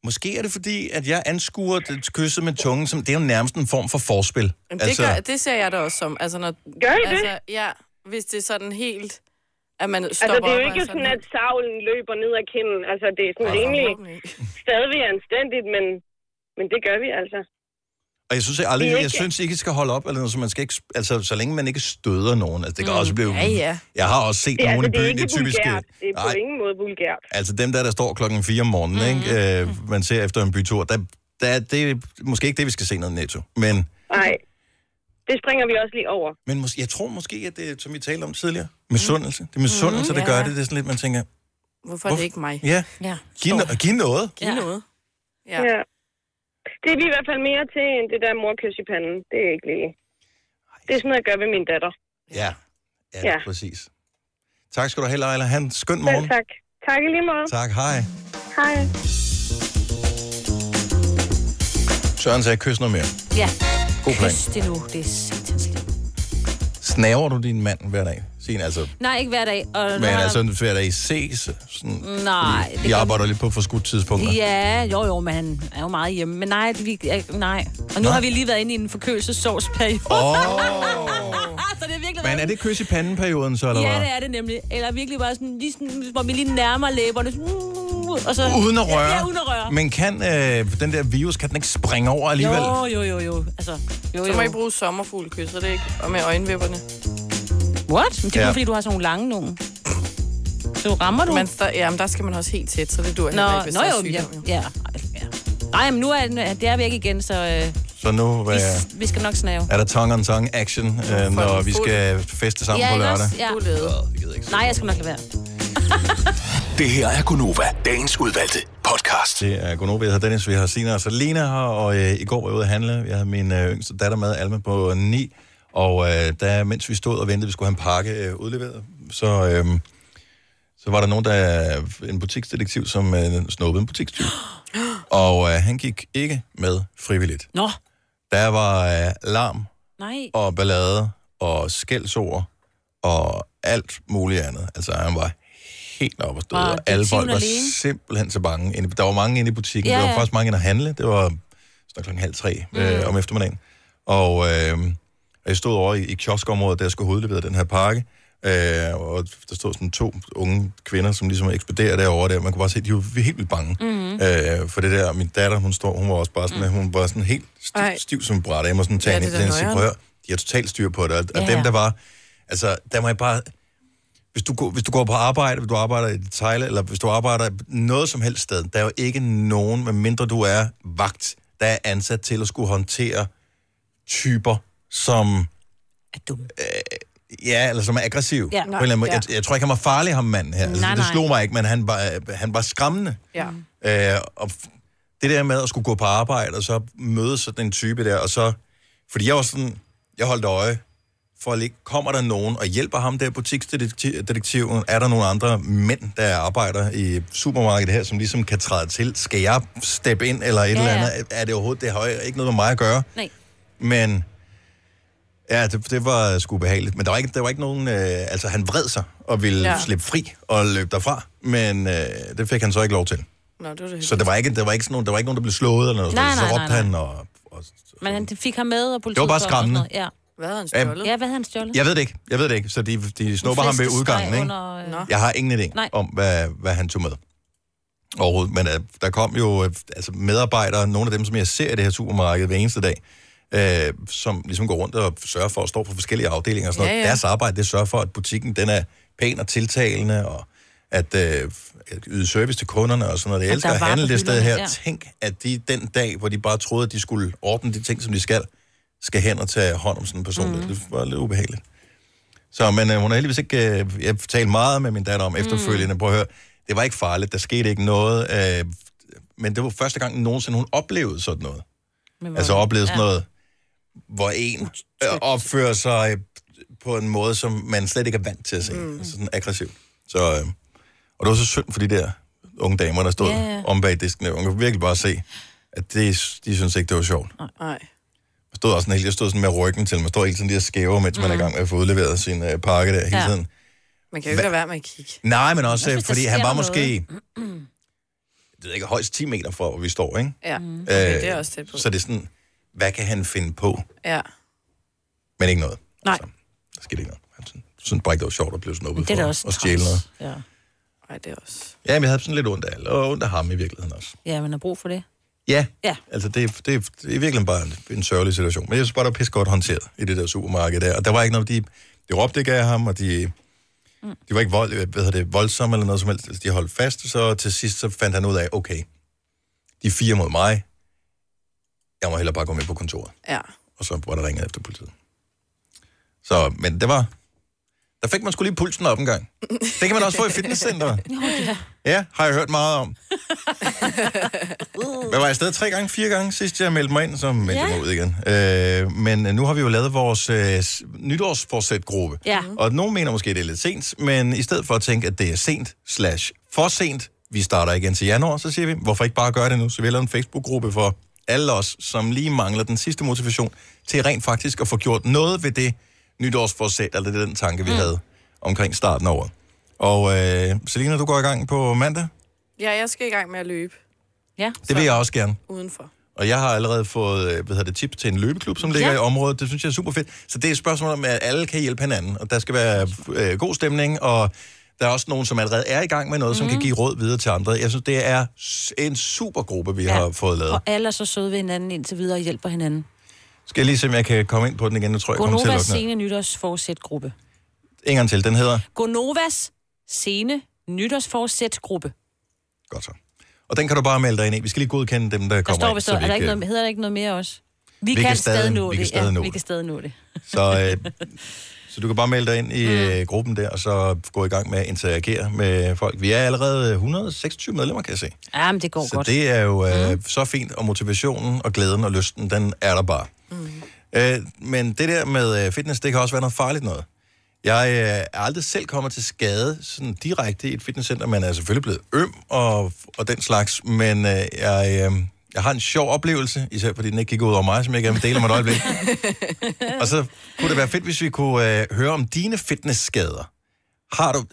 Speaker 1: Måske er det fordi, at jeg anskuer det kysset med tungen, som det er jo nærmest en form for forspil.
Speaker 3: Jamen, det, altså... gør, det ser jeg da også som. Altså, når,
Speaker 11: Gør I det?
Speaker 3: altså, Ja, hvis det er sådan helt, at man
Speaker 11: Altså,
Speaker 3: stopper
Speaker 11: det er
Speaker 3: op
Speaker 11: jo
Speaker 3: og
Speaker 11: ikke sådan,
Speaker 3: helt-
Speaker 11: at savlen løber ned ad kinden. Altså, det er sådan rimelig stadigvæk anstændigt, men, men det gør vi altså.
Speaker 1: Og jeg synes jeg
Speaker 11: Det
Speaker 1: aldrig,
Speaker 11: er
Speaker 1: jeg
Speaker 11: ikke-
Speaker 1: synes ikke, I skal holde op, eller noget, så man skal ikke, altså så længe man ikke støder nogen. Altså det kan
Speaker 11: Mm,
Speaker 1: også blive...
Speaker 11: ja, ja.
Speaker 1: Jeg har også set
Speaker 11: det, er-
Speaker 1: nogen
Speaker 11: altså,
Speaker 1: i
Speaker 11: det er
Speaker 1: byen, det
Speaker 11: ikke
Speaker 1: er typisk... øh,
Speaker 11: vulgært. Det er på
Speaker 1: Nej,
Speaker 11: ingen måde vulgært.
Speaker 1: Altså dem der, der står klokken 4 om morgenen, mm. ikke? Øh, man ser efter en bytur, der, der, det er måske ikke det, vi skal se noget netto. Men,
Speaker 11: Nej. Det springer vi også lige over.
Speaker 1: men mås- jeg tror måske, at det, som vi talte om tidligere, misundelse. Det er misundelse,
Speaker 11: Mhm.
Speaker 1: der gør
Speaker 11: Mm. Ja.
Speaker 1: det. Det er sådan lidt, man tænker,
Speaker 3: Hvorfor er det ikke mig?
Speaker 1: ja,
Speaker 11: Ja.
Speaker 1: giv, no- giv noget.
Speaker 3: Giv noget.
Speaker 11: Ja. ja. Det er vi i hvert fald mere til, end det der morkys i panden. Det er ikke lige. Det er sådan noget, jeg gør ved min datter.
Speaker 1: Ja, ja, ja.
Speaker 11: Ja.
Speaker 1: præcis. Tak skal du have, Leila. Han, skøn morgen.
Speaker 11: Selv tak. Tak i lige måde.
Speaker 1: Tak, hej.
Speaker 11: Hej.
Speaker 1: Søren sagde, kys noget mere.
Speaker 2: Ja.
Speaker 1: God plan.
Speaker 2: Kys det nu, det er satans liv.
Speaker 1: Snaver du din mand hver dag? Signe, altså,
Speaker 2: Nej, ikke hver dag. Og
Speaker 1: men
Speaker 2: når-
Speaker 1: altså hver dag I ses. Sådan,
Speaker 2: Nej, det
Speaker 1: I
Speaker 2: gør-
Speaker 1: arbejder lidt på forskudt tidspunkter.
Speaker 2: Ja, jo jo, men han er jo meget hjemme. Men nej, vi, øh, nej. Og nu
Speaker 1: Nå.
Speaker 2: har vi lige været inde i en forkølelsessovsperiode. [laughs]
Speaker 1: Åh.
Speaker 2: så det er virkelig
Speaker 1: Men er det kys i pandenperioden så, eller
Speaker 2: Ja,
Speaker 1: hvad?
Speaker 2: det er det nemlig. Eller virkelig bare sådan, lige sådan hvor vi lige nærmer læberne. sådan, uh, Og så,
Speaker 1: Uden at røre. Mm.
Speaker 2: Ja, ja uden at røre.
Speaker 1: Men kan øh, den der virus, kan den ikke springe over alligevel?
Speaker 3: Jo,
Speaker 2: jo, jo, jo. Altså, jo,
Speaker 3: Så må
Speaker 2: jo.
Speaker 3: I bruge sommerfuglekys, er det ikke? Og med øjenvipperne.
Speaker 2: What? Men det er
Speaker 3: Ja.
Speaker 2: ja. fordi, du har sådan nogle lange nogen. Så rammer du.
Speaker 3: Man, der, jamen, der skal man også helt tæt, så det dur
Speaker 2: Nå,
Speaker 3: heller ikke, hvis
Speaker 2: nå
Speaker 3: der er
Speaker 2: jo,
Speaker 3: sygdom,
Speaker 2: ja, ja. Nej, men nu er den, det er væk igen, så...
Speaker 1: Så
Speaker 2: Øh,
Speaker 1: Så nu øh,
Speaker 2: Vi skal nok snave.
Speaker 1: er der tongue-on-tongue action, øh, når vi skal feste sammen på
Speaker 2: ikke
Speaker 1: lørdag.
Speaker 2: også? Ja. Du
Speaker 1: leder.
Speaker 2: Nej, jeg skal nok lade være.
Speaker 1: Det her er Gunova, dagens udvalgte podcast. Det er Gunova, jeg hedder Dennis, vi har Sina og Salina her, og øh, i går var jeg ude at handle. Jeg havde min øh, yngste datter med, Alma på 9, og øh, der, mens vi stod og ventede, vi skulle have en pakke øh, udleveret, så, øh, så var der nogen, der øh, en butiksdetektiv, som øh, snuppede en butikstyv. Og øh, han gik ikke med frivilligt.
Speaker 2: Nå.
Speaker 1: Der var øh, larm
Speaker 2: Nej.
Speaker 1: og ballade og skældsord og alt muligt andet. Altså, han var helt oppe at støde,
Speaker 2: Var
Speaker 1: og alle folk
Speaker 2: detektiven
Speaker 1: var
Speaker 2: alene?
Speaker 1: simpelthen så bange. Inde- Der var mange inde i butikken,
Speaker 2: Ja,
Speaker 1: ja, ja. der
Speaker 2: ja.
Speaker 1: var faktisk mange inde at handle. Det var sådan klokken halv tre øh,
Speaker 4: Mm.
Speaker 1: om eftermiddagen. Og øh, jeg stod over i, i kioskområdet, der jeg skulle hovedlevere den her pakke, øh, og der stod sådan to unge kvinder, som ligesom ekspederer derovre der. Man kunne bare se, at de var helt vildt bange.
Speaker 4: Mhm.
Speaker 1: Øh, for det der, min datter, hun står, hun var også bare sådan, mm. hun var sådan helt stiv,
Speaker 4: Ej.
Speaker 1: stiv som et bræt. Jeg må sådan tage
Speaker 4: Ja,
Speaker 1: ja,
Speaker 4: det er
Speaker 1: hende ind
Speaker 4: da
Speaker 1: og sige, prøv
Speaker 4: noieren.
Speaker 1: at høre, de har totalt styr på det. Og, og
Speaker 4: Ja,
Speaker 1: ja. dem,
Speaker 4: ja.
Speaker 1: der var, altså, der må jeg bare, hvis du, går, hvis du går på arbejde, hvis du arbejder i detail, eller hvis du arbejder noget som helst sted, der er jo ikke nogen, medmindre du er vagt, der er ansat til at skulle håndtere typer, som...
Speaker 2: Er dumme.
Speaker 1: Øh, ja, eller som er aggressiv.
Speaker 2: Ja.
Speaker 1: Ja, på en eller anden måde.
Speaker 2: Ja.
Speaker 1: Jeg, jeg tror ikke, han var farlig, ham manden her. Altså,
Speaker 2: Nej,
Speaker 1: det
Speaker 2: nej.
Speaker 1: slog mig ikke, men han var, øh, han var skræmmende.
Speaker 2: Ja.
Speaker 3: mm.
Speaker 1: Øh, og f- det der med at skulle gå på arbejde, og så møde sådan en type der, og så... Fordi jeg var sådan... Jeg holdt øje for at ligge, kommer der nogen og hjælper ham der butiksdetektiven? Er der nogle andre mænd, der arbejder i supermarkedet her, som ligesom kan træde til? Skal jeg steppe ind eller et
Speaker 4: Ja,
Speaker 1: ja. eller
Speaker 4: ja.
Speaker 1: andet? Er det overhovedet, det har jo ikke noget med mig at gøre?
Speaker 2: Nej.
Speaker 1: Men ja, det, det var sgu behageligt. Men der var ikke, der var ikke nogen... Øh, altså, han vred sig og ville
Speaker 3: Ja.
Speaker 1: ja. slippe fri og løbe derfra. Men øh, det fik han så ikke lov til.
Speaker 3: Nå, det var det
Speaker 1: Så der var ikke, der var ikke, sådan nogen, der var ikke nogen, der blev slået eller noget.
Speaker 2: Nej,
Speaker 1: Nej, nej,
Speaker 2: nej,
Speaker 1: så
Speaker 2: nej,
Speaker 1: råbte
Speaker 2: nej.
Speaker 1: han, og
Speaker 2: Men han fik ham med, og politiet...
Speaker 1: Det var bare
Speaker 2: kom og sådan
Speaker 1: skræmmende.
Speaker 2: noget. Ja.
Speaker 3: Hvad havde han
Speaker 1: stjålet?
Speaker 2: Ja, hvad havde han stjålet?
Speaker 1: jeg ved det ikke, jeg ved det ikke. Så de, de snupper ham ved
Speaker 2: flæskesteg
Speaker 1: udgangen, ikke?
Speaker 2: under, øh, Nå.
Speaker 1: Jeg har ingen idé
Speaker 2: Nej.
Speaker 1: Nej. om, hvad, hvad han tog med. Overhovedet. Men øh, der kom jo øh, altså medarbejdere, nogle af dem, som jeg ser i det her supermarked hver eneste dag, øh, som ligesom går rundt og sørger for at stå på forskellige afdelinger og sådan
Speaker 4: Ja,
Speaker 1: ja, noget.
Speaker 4: ja.
Speaker 1: Deres arbejde, det sørger for, at butikken den er pæn og tiltalende, og at øh, at yde service til kunderne og sådan noget. Jeg
Speaker 4: At
Speaker 1: elsker
Speaker 4: der er
Speaker 1: at
Speaker 4: varer
Speaker 1: handle
Speaker 4: på
Speaker 1: det sted
Speaker 4: hylderne,
Speaker 1: her.
Speaker 4: ja.
Speaker 1: Ja. Tænk, at de den dag, hvor de bare troede, at de skulle ordne de ting, som de skal, skal hen og tage hånd om sådan en person. Mm. Det var lidt ubehageligt. Så, men øh, hun har heldigvis ikke... Øh, jeg talte meget med min datter om efterfølgende. Mm. Prøv at høre, det var ikke farligt, der skete ikke noget. Øh, men det var første gang nogensinde, hun oplevede sådan noget.
Speaker 4: Men
Speaker 1: Altså
Speaker 4: hvor-
Speaker 1: oplevede sådan
Speaker 4: ja.
Speaker 1: noget, hvor en øh, opfører sig øh, på en måde, som man slet ikke er vant til at se. Mm. Altså sådan aggressivt. Så, øh, og det var så synd for de der unge damer, der stod
Speaker 2: Ja,
Speaker 1: yeah.
Speaker 2: ja.
Speaker 1: om bag disken. der. Man kunne virkelig bare se, at det, de synes ikke, det var sjovt.
Speaker 3: Nej.
Speaker 1: Jeg stod også sådan, helt- jeg stod sådan med ryggen til, man står hele tiden lige og skæver, mens mm. man er i gang med at få udleveret sin øh, pakke der hele
Speaker 3: Ja.
Speaker 1: ja. tiden.
Speaker 3: Man kan jo ikke lade være med at kigge.
Speaker 1: Nej, men
Speaker 3: Jeg
Speaker 1: også,
Speaker 3: synes,
Speaker 1: synes,
Speaker 3: der
Speaker 1: fordi han
Speaker 3: sker
Speaker 1: var
Speaker 3: noget.
Speaker 1: måske, jeg ved ikke, højst 10 meter fra, hvor vi står, ikke?
Speaker 3: Ja,
Speaker 2: Mm.
Speaker 3: okay, det er også tæt på.
Speaker 1: Øh, Så det er sådan, hvad kan han finde på?
Speaker 3: Ja.
Speaker 1: Men ikke noget.
Speaker 2: Nej.
Speaker 1: Altså, der skete ikke noget. Han synes- synes bare ikke, det var sjovt at blive snuppet
Speaker 2: Det er da
Speaker 1: for
Speaker 2: også
Speaker 1: at stjæle noget.
Speaker 2: Ja.
Speaker 3: Nej, det er også...
Speaker 1: Ja, men jeg havde sådan lidt ondt af alle, og ondt af ham i virkeligheden også.
Speaker 2: Ja, man har brug for det.
Speaker 1: Ja,
Speaker 2: Ja.
Speaker 1: altså det, er- det, er- det er virkelig bare en, en sørgelig situation. Men jeg synes bare, det var pisse godt håndteret i det der supermarked der. Og der var ikke noget, de, de råbte ikke af ham, og de, mm. de var ikke vold, hvad hedder det, voldsomme eller noget som helst. Altså, de holdt fast, så til sidst så fandt han ud af, okay, de er fire mod mig. Jeg må hellere bare gå med på kontoret.
Speaker 3: Ja.
Speaker 1: Og så var der ringet efter politiet. Så, men det var... Der fik man skulle lige pulsen op en gang. Det kan man også få i fitnesscenter. Ja, har jeg hørt meget om. Hvad var jeg afsted tre gange, fire gange, sidst jeg meldte mig ind, så meldte jeg
Speaker 4: Ja.
Speaker 1: mig ud igen. Øh, men nu har vi jo lavet vores øh, s- nytårsforsætgruppe.
Speaker 4: Ja.
Speaker 5: Mm.
Speaker 1: Og nogen mener måske, det er lidt sent, men i stedet for at tænke, at det er sent slash for sent, vi starter igen til januar, så siger vi, hvorfor ikke bare gøre det nu? Så vi har lavet en Facebook-gruppe for alle os, som lige mangler den sidste motivation til rent faktisk at få gjort noget ved det nytårsforsæt, eller det er den tanke, vi mm. havde omkring starten af året. Og øh, Selina, du går i gang på mandag.
Speaker 3: Ja, jeg skal i gang med at løbe.
Speaker 2: Ja.
Speaker 1: Det vil jeg også gerne.
Speaker 3: Udenfor.
Speaker 1: Og jeg har allerede fået øh, hvad hedder det, tips til en løbeklub, som ligger
Speaker 3: Ja.
Speaker 1: ja. i området. Det synes jeg er super fedt. Så det er et spørgsmål om, at alle kan hjælpe hinanden. Og der skal være øh, god stemning, og der er også nogen, som allerede er i gang med noget, mm. som
Speaker 2: Mhm.
Speaker 1: kan give råd videre til andre. Jeg synes, det er s- en super gruppe, vi ja. har fået lavet.
Speaker 2: Og alle er så søde ved hinanden indtil videre og hjælper hinanden.
Speaker 1: Skal jeg lige se, om jeg kan komme ind på den igen? Nu tror jeg, jeg kommer til at
Speaker 2: Gonovas
Speaker 1: lukke den.
Speaker 2: sene nytårsforsætgruppe.
Speaker 1: her. En gang til. Den hedder...
Speaker 2: Gonovas sene nytårsforsætgruppe.
Speaker 1: Og den kan du bare melde dig ind i. Vi skal lige godkende dem, der
Speaker 2: Der
Speaker 1: kommer
Speaker 2: står
Speaker 1: ind.
Speaker 2: vist,
Speaker 1: så vi
Speaker 2: er der ikke
Speaker 1: ikke- øh,
Speaker 2: noget, hedder der ikke noget mere også? Vi, vi kan, kan stadig nå
Speaker 1: vi
Speaker 2: det.
Speaker 1: Kan stadig
Speaker 2: ja,
Speaker 1: nå
Speaker 2: vi
Speaker 1: det.
Speaker 2: kan stadig nå det.
Speaker 1: Så, øh, så du kan bare melde dig ind i øh, gruppen der, og så gå i gang med at interagere med folk. Vi er allerede 126 medlemmer, kan jeg se.
Speaker 2: Ja, men det går
Speaker 1: Så
Speaker 2: godt. Mhm.
Speaker 1: det er jo øh, så fint, og motivationen og glæden og lysten, den er der bare.
Speaker 2: Mhm.
Speaker 1: Mm. Øh, men det der med øh, fitness, det kan også være noget farligt noget. Jeg øh, er aldrig selv kommet til skade sådan direkte i et fitnesscenter. Man er selvfølgelig blevet øm og, og den slags, men øh, jeg, øh, jeg har en sjov oplevelse, især fordi den ikke gik ud over mig, som jeg gerne vil dele om et
Speaker 2: [laughs]
Speaker 1: øjeblik. og så kunne det være fedt, hvis vi kunne øh, høre om dine fitnessskader. Har du...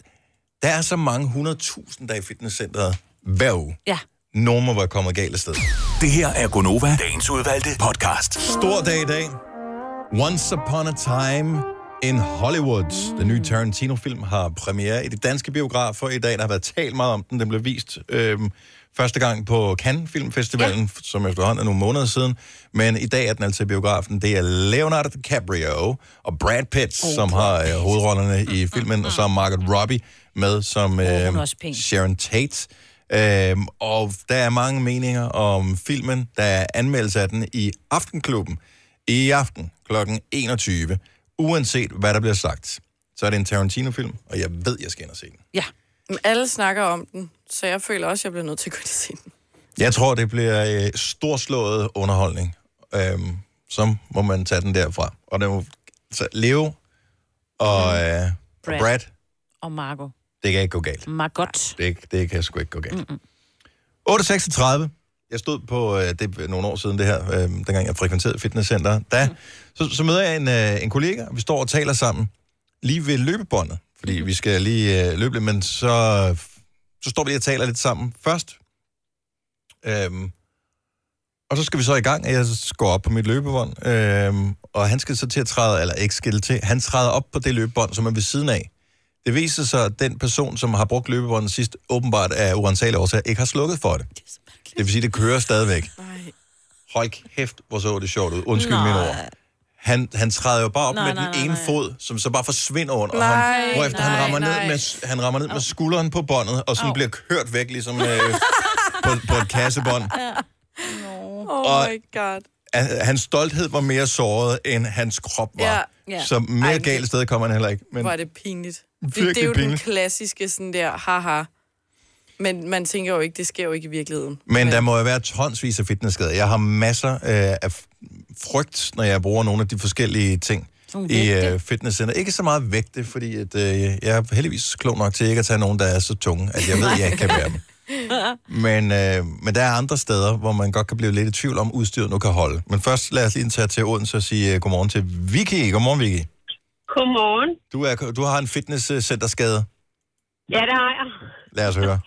Speaker 1: Der er så mange 100.000, der er i fitnesscenteret hver uge.
Speaker 2: Ja.
Speaker 1: Nogen må være kommet galt af sted.
Speaker 7: Det her er Gonova, dagens udvalgte podcast.
Speaker 1: Stor dag i dag. Once Upon a Time in Hollywood. Den nye Tarantino-film har premiere i de danske biografer i dag. Der har været talt meget om den. Den blev vist øhm, første gang på Cannes Film Festivalen, ja. som efterhånden er nogle måneder siden. Men i dag er den altså i biografen. Det er Leonardo DiCaprio og Brad Pitt, oh, som har øh, hovedrollerne i filmen, og så er Margaret Robbie med som
Speaker 2: hun er
Speaker 1: øh,
Speaker 2: også pæn.
Speaker 1: Sharon Tate. Øhm, og der er mange meninger om filmen. Der er anmeldelse af den i Aftenklubben i aften kl. 21. Uanset hvad der bliver sagt, så er det en Tarantino-film, og jeg ved, jeg skal ind og se den.
Speaker 2: Ja.
Speaker 3: Men alle snakker om den, så jeg føler også, at jeg bliver nødt til at gå ind og se den.
Speaker 1: Jeg tror, det bliver øh, storslået underholdning. Øhm, så må man tage den derfra. Og det må så Leo og, øh, og
Speaker 2: Brad.
Speaker 1: Brad,
Speaker 2: Og Marco.
Speaker 1: det kan ikke gå galt.
Speaker 2: Margot.
Speaker 1: Det, det kan sgu ikke gå galt. 8.36. Jeg stod på, øh, det er nogle år siden det her, øh, dengang jeg frekventerede fitnesscenter. Da, så, så møder jeg en, øh, en kollega, og vi står og taler sammen lige ved løbebåndet, fordi vi skal lige øh, løbe lidt, men så, så står vi lige og taler lidt sammen først. Øhm, og så skal vi så i gang, og jeg går op på mit løbebånd, øhm, og han skal så til at træde, eller ikke skille til, han træder op på det løbebånd, som er ved siden af. Det viser sig, at den person, som har brugt løbebåndet sidst, åbenbart af uansagelige årsager, ikke har slukket for det. Det vil sige, det kører stadigvæk. Hold kæft, hvor så det sjovt ud. Undskyld
Speaker 2: Nej.
Speaker 1: nej. mine ord. Han, han træder jo bare op nej,
Speaker 2: Nej,
Speaker 1: med
Speaker 2: nej,
Speaker 1: den
Speaker 2: nej,
Speaker 1: ene
Speaker 2: nej.
Speaker 1: fod, som så bare forsvinder under
Speaker 2: Nej,
Speaker 1: ham. Hvorefter han
Speaker 2: nej,
Speaker 1: rammer,
Speaker 2: nej.
Speaker 1: ned med, han rammer ned med skulderen på båndet, og sådan
Speaker 2: Au.
Speaker 1: bliver kørt væk, ligesom øh, på, på et kassebånd.
Speaker 3: [laughs] Oh
Speaker 1: Og-
Speaker 3: my god.
Speaker 1: At- Hans stolthed var mere såret, end hans krop var.
Speaker 3: Ja. Ja.
Speaker 1: Så mere galt sted kommer han heller ikke.
Speaker 3: Men...
Speaker 1: Men
Speaker 3: Hvor er det pinligt. Det,
Speaker 1: Virkelig
Speaker 3: det er jo
Speaker 1: pinligt.
Speaker 3: den klassiske sådan der, haha. Men man tænker jo ikke, det sker jo ikke i virkeligheden.
Speaker 1: Men der må jo være tonsvis af fitnessskader. Jeg har masser øh, af f- frygt, når jeg bruger nogle af de forskellige ting
Speaker 2: Sådan
Speaker 1: i
Speaker 2: vægte.
Speaker 1: øh, fitnesscenter. Ikke så meget vægte, fordi at, øh, jeg er heldigvis klog nok til ikke at tage nogen, der er så tunge, at jeg ved, at jeg ikke kan bære
Speaker 3: [laughs]
Speaker 1: dem. Men, øh, men der er andre steder, hvor man godt kan blive lidt i tvivl om, udstyret nu kan holde. Men først lad os lige tage til Odense og sige øh, godmorgen til Vicky. Godmorgen, Vicky.
Speaker 12: Godmorgen.
Speaker 1: Du, er, du har en fitnesscenterskade.
Speaker 12: Ja, det har jeg.
Speaker 1: Lad os høre.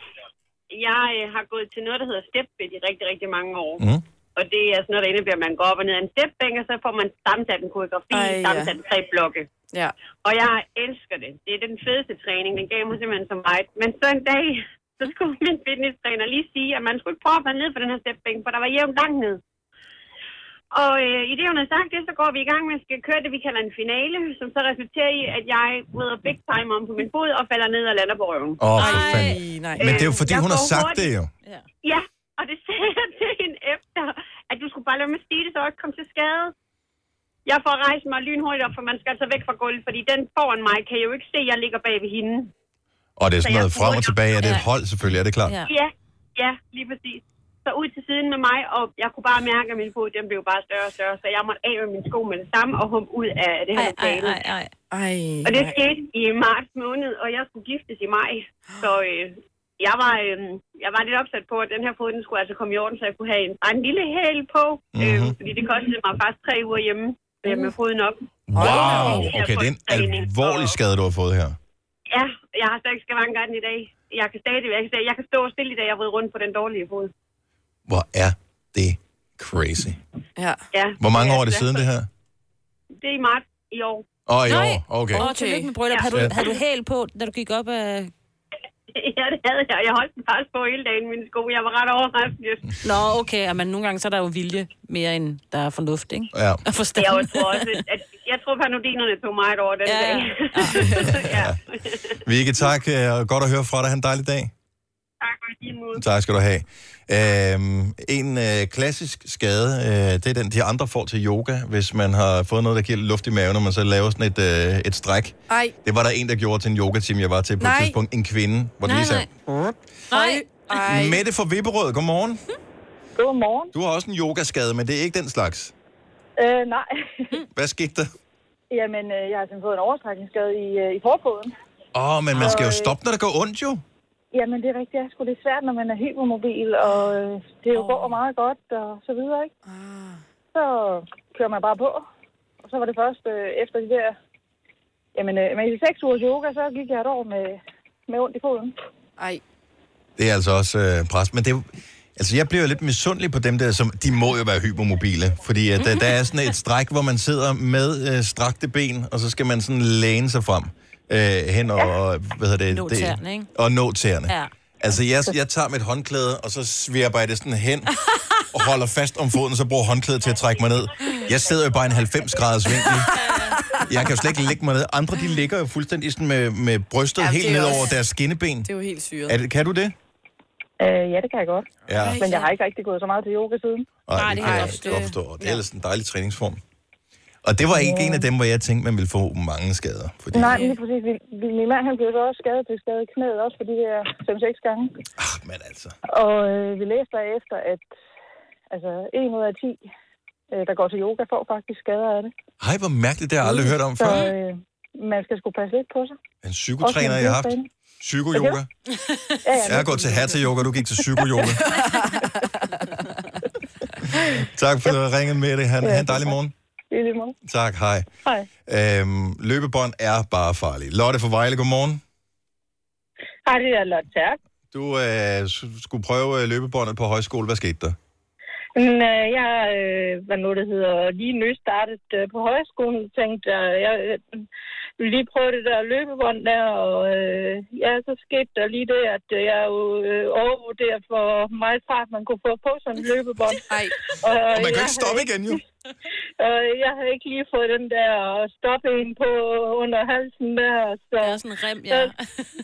Speaker 12: Jeg øh, har gået til noget, der hedder stepbed i rigtig, rigtig mange år.
Speaker 1: Mm.
Speaker 12: Og det er sådan noget, der indebærer, at man går op og ned ad en stepbænk, og så får man sammensat en koreografi,
Speaker 3: Ej, ja.
Speaker 12: Ej, sammensat ja. tre blokke.
Speaker 3: Ja.
Speaker 12: Og jeg elsker det. Det er den fedeste træning. Den gav mig simpelthen så meget. Men så en dag, så skulle [laughs] min fitnesstræner lige sige, at man skulle ikke prøve at falde ned på den her stepbænk, for der var jævnt langt ned. Og øh, i det, hun havde sagt det, så går vi i gang med at skal køre det, vi kalder en finale, som så resulterer i, at jeg rydder big time om på min fod og falder ned og lander på røven.
Speaker 1: Åh, oh, for fanden.
Speaker 12: nej.
Speaker 1: Men det er jo, fordi
Speaker 12: Øh, Jeg
Speaker 1: hun har
Speaker 12: går
Speaker 1: sagt
Speaker 12: hurtigt.
Speaker 1: det jo.
Speaker 12: Ja, og det sagde jeg til hende efter, at du skulle bare lade mig stige det, så jeg ikke kom til skade. Jeg får rejst mig lynhurtigt op, for man skal altså væk fra gulvet, fordi den foran mig kan jo ikke se, at jeg ligger bag ved hende.
Speaker 1: Og det er
Speaker 12: Så
Speaker 1: sådan
Speaker 12: jeg
Speaker 1: noget frem og
Speaker 12: burde-
Speaker 1: tilbage. Er det et
Speaker 12: Ja.
Speaker 1: hold, selvfølgelig? Er det klart?
Speaker 12: Ja. ja, ja, lige præcis. Så ud til siden med mig, og jeg kunne bare mærke, at min fod den blev bare større og større, så jeg måtte af med min sko med det samme og humpe ud af det her lokale.
Speaker 3: Ej,
Speaker 12: Og det
Speaker 3: nej.
Speaker 12: skete i marts måned, og jeg skulle giftes i maj. Så øh, jeg, var, øh, jeg var lidt opsat på, at den her fod, den skulle altså komme i orden, så jeg kunne have en, bare en lille hæl på.
Speaker 1: Mhm.
Speaker 12: Mm-hmm. Øh, fordi det kostede mig faktisk tre uger hjemme øh, med foden op.
Speaker 1: Wow! Okay, det er en alvorlig skade, du har fået her.
Speaker 12: Ja, jeg har stadig skavanker af den i dag. Jeg kan stadig, jeg kan, stadig, jeg kan stå stille i dag, jeg ved rundt på den dårlige fod.
Speaker 1: Hvor er det crazy.
Speaker 3: Ja.
Speaker 12: ja
Speaker 1: Hvor mange
Speaker 12: jeg
Speaker 1: år er det
Speaker 12: glad
Speaker 1: siden,
Speaker 12: for.
Speaker 1: det her?
Speaker 12: Det er i marts i år.
Speaker 1: Åh, i år. Okay.
Speaker 2: Og tillykke med bryllup.
Speaker 12: Ja.
Speaker 2: Havde
Speaker 1: Ja.
Speaker 2: du, havde du hæl på, da du gik op af...
Speaker 12: [laughs] Ja, det havde jeg. Jeg holdt den faktisk på hele dagen, mine sko. Jeg var ret overrasket.
Speaker 2: Nå, okay. Men nogle gange så er der jo vilje mere, end der er fornuft, ikke?
Speaker 1: Ja.
Speaker 2: Og forstand.
Speaker 12: Jeg tror også, at jeg tror, panodinerne tog mig et over den ja. dag.
Speaker 1: Vicky, tak. øh, Og godt at høre fra dig. Ha' en dejlig dag.
Speaker 12: tak for din måde.
Speaker 1: Tak skal du have. Øhm, en øh, klassisk skade, øh, det er den, de andre får til yoga, hvis man har fået noget, der giver lidt luft i maven, og man så laver sådan et, øh, et stræk.
Speaker 3: Ej.
Speaker 1: Det var der en, der gjorde til en yogatime, jeg var til på
Speaker 3: Nej.
Speaker 1: et tidspunkt. En kvinde, hvor det
Speaker 3: Nej,
Speaker 1: lige sagde...
Speaker 3: Nej. Ej.
Speaker 1: Mette [laughs] fra Vipperød, godmorgen.
Speaker 13: Godmorgen.
Speaker 1: Du har også en yogaskade, men det er ikke den slags.
Speaker 13: Øh, nej. [laughs]
Speaker 1: Hvad skete der?
Speaker 13: Jamen, øh, jeg har simpelthen fået en overstrækningsskade i, øh, i forfoden.
Speaker 1: Åh, oh, men man skal jo
Speaker 13: Øh.
Speaker 1: stoppe, når det går ondt jo.
Speaker 13: Jamen, det er rigtigt. Det er sgu lidt svært, når man er hypermobil, og øh, det jo oh. går meget godt, og så videre, ikke? Ah. Så kører man bare på. Og så var det først øh, efter de der... Jamen, øh, men i seks ugers yoga, så gik jeg et år med, med ondt i foden.
Speaker 3: Ej.
Speaker 1: Det er altså også øh, pres, men det er jo- Altså, jeg bliver jo lidt misundelig på dem der, som, de må jo være hypermobile, fordi at, øh, der, der er sådan et stræk, hvor man sidder med øh, strakte ben, og så skal man sådan læne sig frem øh, hen og, og, hvad hedder det?
Speaker 2: Nå
Speaker 1: det-
Speaker 2: tæerne, ikke?
Speaker 1: Og nå tæerne.
Speaker 2: Ja.
Speaker 1: Altså, jeg, jeg tager mit håndklæde, og så svirper jeg det sådan hen, og holder fast om foden, så bruger håndklædet til at trække mig ned. Jeg sidder jo bare i en 90-graders vinkel. Jeg kan jo slet ikke lægge mig ned. Andre, de ligger jo fuldstændig sådan med, med brystet
Speaker 13: Ja,
Speaker 1: ja,
Speaker 13: det
Speaker 1: helt
Speaker 13: er
Speaker 1: ned
Speaker 13: også-
Speaker 1: over deres skinneben.
Speaker 3: Det er jo helt syret.
Speaker 1: Er det, kan du det?
Speaker 13: Øh, ja, det kan jeg godt.
Speaker 1: Ja.
Speaker 13: Men jeg har ikke rigtig gået så meget til yoga siden.
Speaker 1: Nej, det kan jeg også godt forstå. Det er ellers en dejlig træningsform. Og det var ikke en af dem, hvor jeg tænkte, man ville få mange skader. Fordi,
Speaker 13: Nej, men lige præcis. Min- Min, min mand, han blev så også skadet til skadet i knæet, også fordi det er 5-6 gange.
Speaker 1: ah, men altså.
Speaker 13: Og øh, vi læste derefter, at altså, 1 ud af 10, øh, der går til yoga, får faktisk skader af det.
Speaker 1: Hej, hvor mærkeligt, det har jeg aldrig hørt om
Speaker 13: Så
Speaker 1: før.
Speaker 13: øh, man skal sgu passe lidt på sig.
Speaker 1: En psykotræner, jeg har haft. Psykoyoga.
Speaker 13: Ja, ja,
Speaker 1: Jeg har gået til hatteyoga, du gik til psykoyoga. tak for at ringe med det. Han, han en dejlig morgen.
Speaker 13: i lige måde.
Speaker 1: Tak, hej.
Speaker 13: Hej.
Speaker 1: Øhm, løbebånd er bare farlige. Lotte fra Vejle, godmorgen.
Speaker 15: Hej, det er Lotte Terp.
Speaker 1: Du øh, s- skulle prøve øh, løbebåndet på højskole. Hvad skete der?
Speaker 15: Men, øh, Jeg, øh, hvad nu det hedder, lige nystartet øh, på højskolen, og tænkte, øh, jeg øh, ville lige prøve det der løbebånd der, og øh, ja, så skete der lige det, at øh, jeg jo øh, overvurderede, hvor meget fart man kunne få på sådan et løbebånd. [laughs]
Speaker 3: Ej.
Speaker 15: Og, øh,
Speaker 4: Og man kan jo
Speaker 15: jeg
Speaker 4: ikke stoppe
Speaker 15: havde
Speaker 4: igen,
Speaker 1: jo.
Speaker 15: [laughs] Og jeg havde ikke lige fået den der stoppe en på under halsen der. Så, ja,
Speaker 2: sådan en rem,
Speaker 15: ja.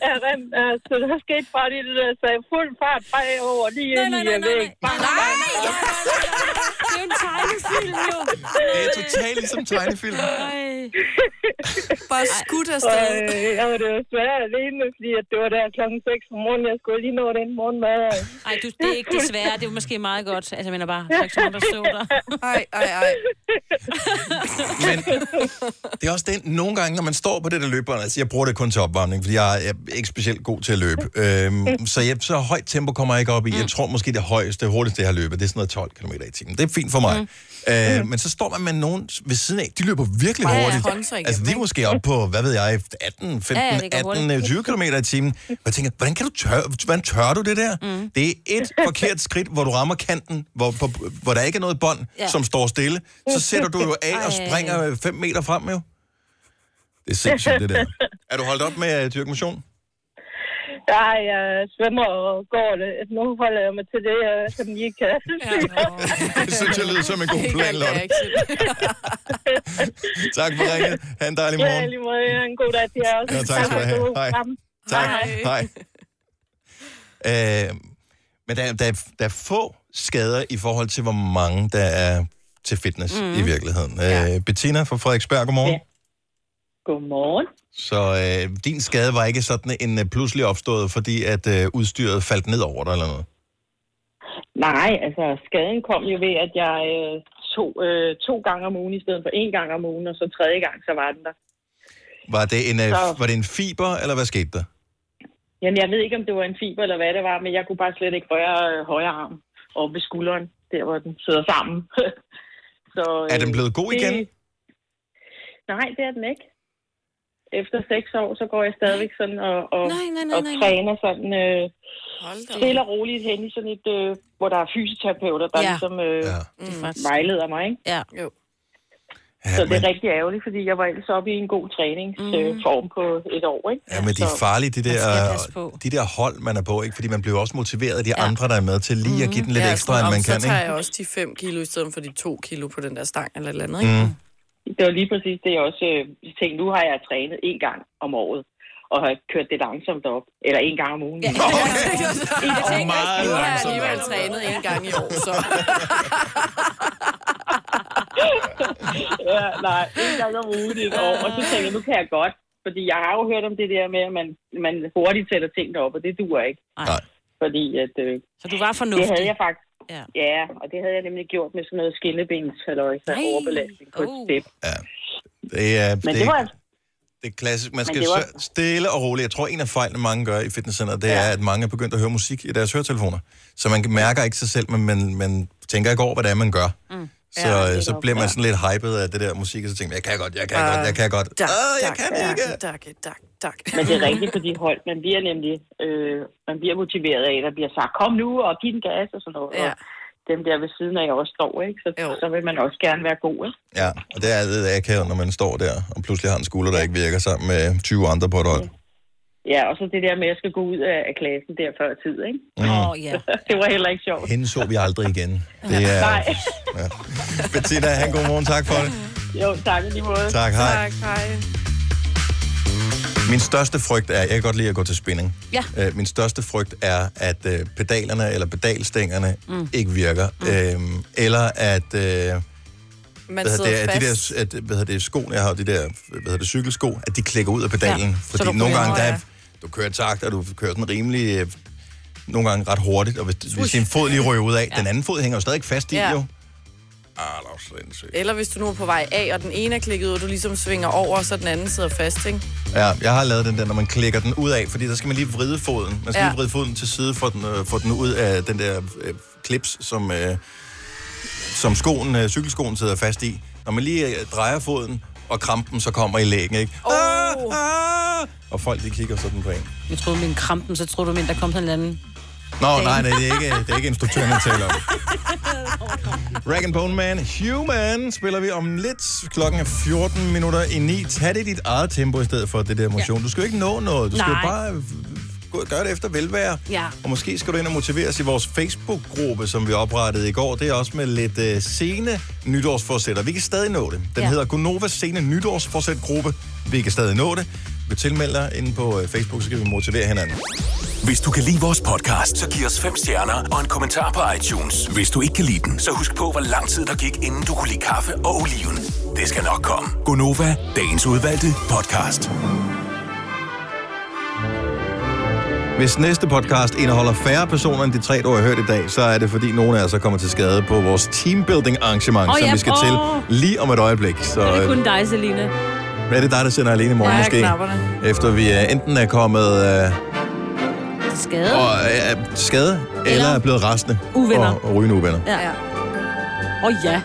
Speaker 15: ja, rem, ja. Så der skete bare lige det der, så jeg fuld fart bagover lige ind i en væg. Nej, nej, nej, nej, nej,
Speaker 2: Det er jo en tegnefilm, jo.
Speaker 1: Det er totalt ligesom tegnefilm.
Speaker 15: Bare skudt afsted. Øh, jeg var desværre alene, fordi at det var der klokken 6 om morgenen. Jeg skulle lige nå den morgenmad.
Speaker 2: Ej, du, det er ikke desværre. Det er jo måske meget godt. Altså, jeg mener bare, der er ikke så mange, der så
Speaker 1: [laughs]
Speaker 2: der.
Speaker 3: Ej, ej, ej.
Speaker 1: Det er også den, nogle gange, når man står på det der løbebånd, altså jeg bruger det kun til opvarmning, fordi jeg er, jeg er ikke specielt god til at løbe.
Speaker 4: [laughs]
Speaker 1: Øhm, så, jeg, så højt tempo kommer jeg ikke op
Speaker 4: Mm.
Speaker 1: i. Jeg tror måske det højeste, hurtigste jeg har løbet, det er sådan noget 12 km i timen. Det er fint for mig. Mm. Øh, men så står man med nogen ved siden af, de løber virkelig
Speaker 4: Ja, ja,
Speaker 1: hurtigt.
Speaker 4: sponsor igennem,
Speaker 1: altså de er måske oppe på, hvad ved jeg, 18, 15,
Speaker 4: Ja, ja,
Speaker 1: ja,
Speaker 4: det går
Speaker 1: 18,
Speaker 4: hurtigt.
Speaker 1: 20 km i timen. Og jeg tænker, hvordan, kan du tør, hvordan tør du det der?
Speaker 4: Mm.
Speaker 1: Mm. Det er et forkert skridt, hvor du rammer kanten, hvor, hvor, hvor der ikke er noget bånd,
Speaker 4: Ja.
Speaker 1: ja. som står stille. Så sætter du jo af og
Speaker 4: Ej.
Speaker 1: springer 5 meter frem jo. Det er sindssygt, det der. Er du holdt op med at dyrke [laughs] motion?
Speaker 15: Nej, jeg svømmer og går det. Nu holder jeg mig til det, jeg som lige kan.
Speaker 1: Det synes jeg lyder som en god plan, Lotte. Tak for ringet. Ha' en dejlig
Speaker 15: Ja,
Speaker 1: morgen.
Speaker 15: lige måde. Ja, En god dag til jer også.
Speaker 1: Ja, tak skal du have. Hej. Tak. Hej. Øh, men der, der, der er få skader i forhold til, hvor mange der er til fitness
Speaker 15: Mm.
Speaker 1: mm. i virkeligheden. Ja. Øh, Bettina fra Frederiksberg, godmorgen. Ja.
Speaker 15: Godmorgen.
Speaker 1: Så øh, din skade var ikke sådan en øh, pludselig opstået, fordi at øh, udstyret faldt ned over dig eller noget?
Speaker 15: Nej, altså skaden kom jo ved, at jeg øh, tog øh, to gange om ugen i stedet for en gang om ugen, og så tredje gang, så var den der.
Speaker 1: Var det en, øh,
Speaker 15: Så-
Speaker 1: var det en fiber, eller hvad skete der?
Speaker 15: Jamen, jeg ved ikke, om det var en fiber eller hvad det var, men jeg kunne bare slet ikke røre øh, højre arm oppe ved skulderen, der hvor den sidder sammen. [laughs] så,
Speaker 1: Er den blevet god igen?
Speaker 15: Nej, det er den ikke. Efter seks år, så går jeg stadigvæk sådan og, og,
Speaker 4: Nej, nej, nej,
Speaker 15: og
Speaker 4: nej, nej.
Speaker 15: træner sådan øh,
Speaker 4: da op.
Speaker 15: stille og roligt hen i sådan et, øh, hvor der er fysioterapeuter, der
Speaker 4: Ja.
Speaker 15: ja. ligesom øh, ja.
Speaker 4: faktisk-
Speaker 15: vejleder mig, ikke?
Speaker 2: Ja.
Speaker 15: Jo. Så det er rigtig ærgerligt, fordi jeg var ellers oppe i en god træningsform øh, form på et år, ikke?
Speaker 1: Ja, men de er
Speaker 15: Så-
Speaker 1: farlige, de der,
Speaker 15: Altså, passe på.
Speaker 1: de der hold, man er på, ikke? Fordi man bliver også motiveret af de andre, der er med til lige at give den lidt
Speaker 3: Mhm. Ja,
Speaker 1: ekstra,
Speaker 3: sådan,
Speaker 1: end
Speaker 3: om,
Speaker 1: man kan,
Speaker 3: Så tager jeg
Speaker 1: ikke?
Speaker 3: også de 5 kilo i stedet for de 2 kilo på den der stang eller et eller andet,
Speaker 1: Mm.
Speaker 3: ikke?
Speaker 15: Det var lige præcis det, jeg også øh, tænkte. Nu har jeg trænet en gang om året, og og have kørt det langsomt op. Eller en gang om ugen. [laughs] Ja.
Speaker 3: [laughs] Jeg tænker,
Speaker 15: meget
Speaker 3: nu har jeg
Speaker 15: langsomt.
Speaker 3: alligevel
Speaker 1: altså.
Speaker 3: trænet en gang i år, så...
Speaker 15: [laughs] ja, nej, en gang om ugen i et år. Og så tænkte jeg, nu kan jeg godt. Fordi jeg har jo hørt om det der med, at man, man hurtigt sætter tingene op, og det duer ikke.
Speaker 1: Nej.
Speaker 15: Fordi at... Øh,
Speaker 2: så du var fornuftig?
Speaker 15: Det havde jeg faktisk.
Speaker 2: Ja.
Speaker 15: ja, og det havde jeg nemlig gjort med sådan noget skinnebens, eller
Speaker 2: Nej.
Speaker 15: overbelastning på et step.
Speaker 1: Det er,
Speaker 15: Men
Speaker 1: det,
Speaker 15: det
Speaker 1: det,
Speaker 15: var
Speaker 1: det er klassisk. Man
Speaker 15: Men
Speaker 1: skal
Speaker 15: det var-
Speaker 1: var... stille og roligt. Jeg tror, en af fejlene, mange gør i fitnesscenter, det ja. er, at mange er begyndt at høre musik i deres høretelefoner. Så man mærker ikke sig selv, men man, man tænker ikke over, hvad det er, man gør. Mm. Så, ja, så bliver man sådan lidt hypet af det der musik, og så tænker man, jeg kan godt, jeg kan
Speaker 15: Ah,
Speaker 1: godt, jeg kan godt.
Speaker 15: tak,
Speaker 1: Ah, jeg
Speaker 15: tak,
Speaker 1: kan
Speaker 15: tak,
Speaker 1: ikke.
Speaker 15: tak, tak, tak. Men det er rigtigt, fordi hold, man bliver nemlig øh, man bliver motiveret af, der bliver sagt, kom nu og giv den gas og sådan noget. Ja. Og dem der ved siden af også står, ikke? Så, så vil man også gerne være god, ikke?
Speaker 1: Ja, og det er altid akavet, når man står der, og pludselig har en skulder, der ikke virker sammen med 20 andre på et hold.
Speaker 15: Ja, og så det der med, at jeg skal gå ud af, af klassen der før tid, ikke?
Speaker 1: Mm.
Speaker 15: Åh, ja. [laughs] det var heller ikke sjovt.
Speaker 1: Hende så vi aldrig
Speaker 3: [laughs]
Speaker 1: igen. Det er...
Speaker 15: Nej.
Speaker 1: Bettina, han god morgen. Tak for det.
Speaker 15: Jo, tak i lige måde.
Speaker 1: Tak, hej.
Speaker 15: Tak, hej.
Speaker 1: Min største frygt er, jeg kan godt lide at gå til spinning.
Speaker 2: Ja.
Speaker 1: Øh, min største frygt er, at øh, pedalerne eller pedalstængerne
Speaker 2: Mm.
Speaker 1: mm. ikke virker. Mm. Øh, eller at... Øh,
Speaker 3: Man
Speaker 1: hvad hedder
Speaker 3: sidder
Speaker 1: det, at de
Speaker 3: fast.
Speaker 1: der, at, hvad hedder det, skoene, jeg har, de der, hvad hedder det, cykelsko, at de klikker ud af pedalen.
Speaker 3: Ja,
Speaker 1: Ja,
Speaker 3: så
Speaker 1: fordi
Speaker 3: du
Speaker 1: nogle
Speaker 3: ryger,
Speaker 1: gange, der
Speaker 3: ja.
Speaker 1: er, du kører takt, og du kører sådan rimelig, øh, nogle gange ret hurtigt, og hvis, hvis din fod lige ryger ud af, ja. den anden fod hænger jo stadig fast i,
Speaker 3: Ja.
Speaker 1: ja. jo. Ah, der er også sindssygt.
Speaker 3: Eller hvis du nu er på vej af, og den ene er klikket ud, og du ligesom svinger over, så den anden sidder fast, ikke?
Speaker 1: Ja, jeg har lavet den der, når man klikker den ud af, fordi der skal man lige vride foden. Man skal
Speaker 3: Ja.
Speaker 1: ja. lige vride foden til side for den, øh, for den ud af den der øh, klips, som, øh, som skoen, øh, cykelskoen sidder fast i. Når man lige øh, drejer foden, og krampen så kommer i lægen, ikke?
Speaker 2: Oh.
Speaker 1: Og folk, de kigger sådan på en.
Speaker 2: Jeg troede min krampen, så troede du min, der kom sådan en eller anden...
Speaker 1: Nå, nej,
Speaker 2: Dame.
Speaker 1: nej, det er ikke, det er
Speaker 23: [laughs]
Speaker 1: ikke instruktøren, jeg taler om. Rag and Bone Man, Human, spiller vi om lidt. Klokken er 14 minutter i 9. Tag det i dit eget tempo i stedet for det der motion. Du skal jo ikke nå noget. Du skal
Speaker 2: Nej.
Speaker 1: jo bare øh, gå- gøre det efter velvære.
Speaker 2: Ja.
Speaker 1: Og måske skal du ind og motiveres i vores Facebook-gruppe, som vi oprettede i går. Det er også med lidt øh, sene nytårsforsætter. Vi kan stadig nå det. Den
Speaker 2: Ja.
Speaker 1: ja. hedder Gonova Sene Nytårsforsæt-gruppe. Vi kan stadig nå det. Vi tilmelder dig inde på øh, Facebook, så kan vi motivere hinanden.
Speaker 7: Hvis du kan lide vores podcast, så giv os fem stjerner og en kommentar på iTunes. Hvis du ikke kan lide den, så husk på, hvor lang tid der gik, inden du kunne lide kaffe og oliven. Det skal nok komme.
Speaker 23: Gonova,
Speaker 7: Dagens udvalgte podcast.
Speaker 1: Hvis næste podcast indeholder færre personer end de tre, du har hørt i dag, så er det fordi nogle af os er kommet til skade på vores teambuilding arrangement,
Speaker 2: Åh,
Speaker 1: oh, som
Speaker 2: ja,
Speaker 1: vi skal
Speaker 2: åh.
Speaker 1: til lige om et øjeblik. Så
Speaker 2: Det er
Speaker 1: øh,
Speaker 2: kun dig, Selina.
Speaker 1: er det dig, der sender alene i morgen
Speaker 2: Ja, jeg
Speaker 1: måske?
Speaker 2: knapper
Speaker 1: Efter vi øh, enten er kommet øh,
Speaker 2: Skade.
Speaker 1: og, øh, er til skade, eller, eller er blevet restende
Speaker 2: Uvenner.
Speaker 1: og, og rygende uvenner.
Speaker 2: Ja. Åh ja.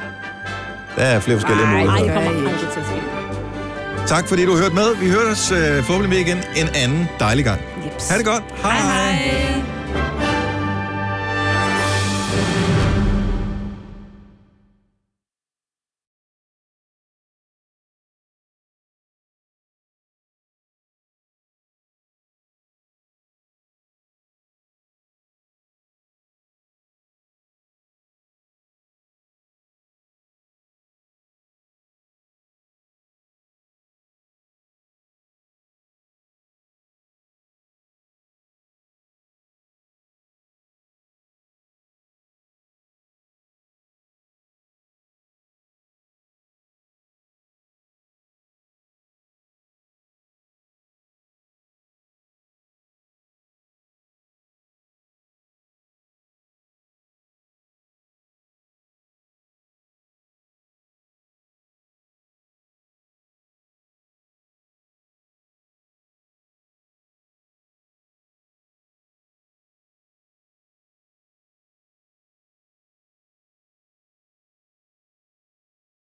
Speaker 1: Der er flere forskellige
Speaker 2: Ej,
Speaker 1: muligheder.
Speaker 2: det kommer aldrig til at ske.
Speaker 1: Tak fordi du hørte med. Vi hørte os øh, forhåbentlig med igen en anden dejlig gang. Yes. Ha' det godt. Hej. hej.
Speaker 2: Hej.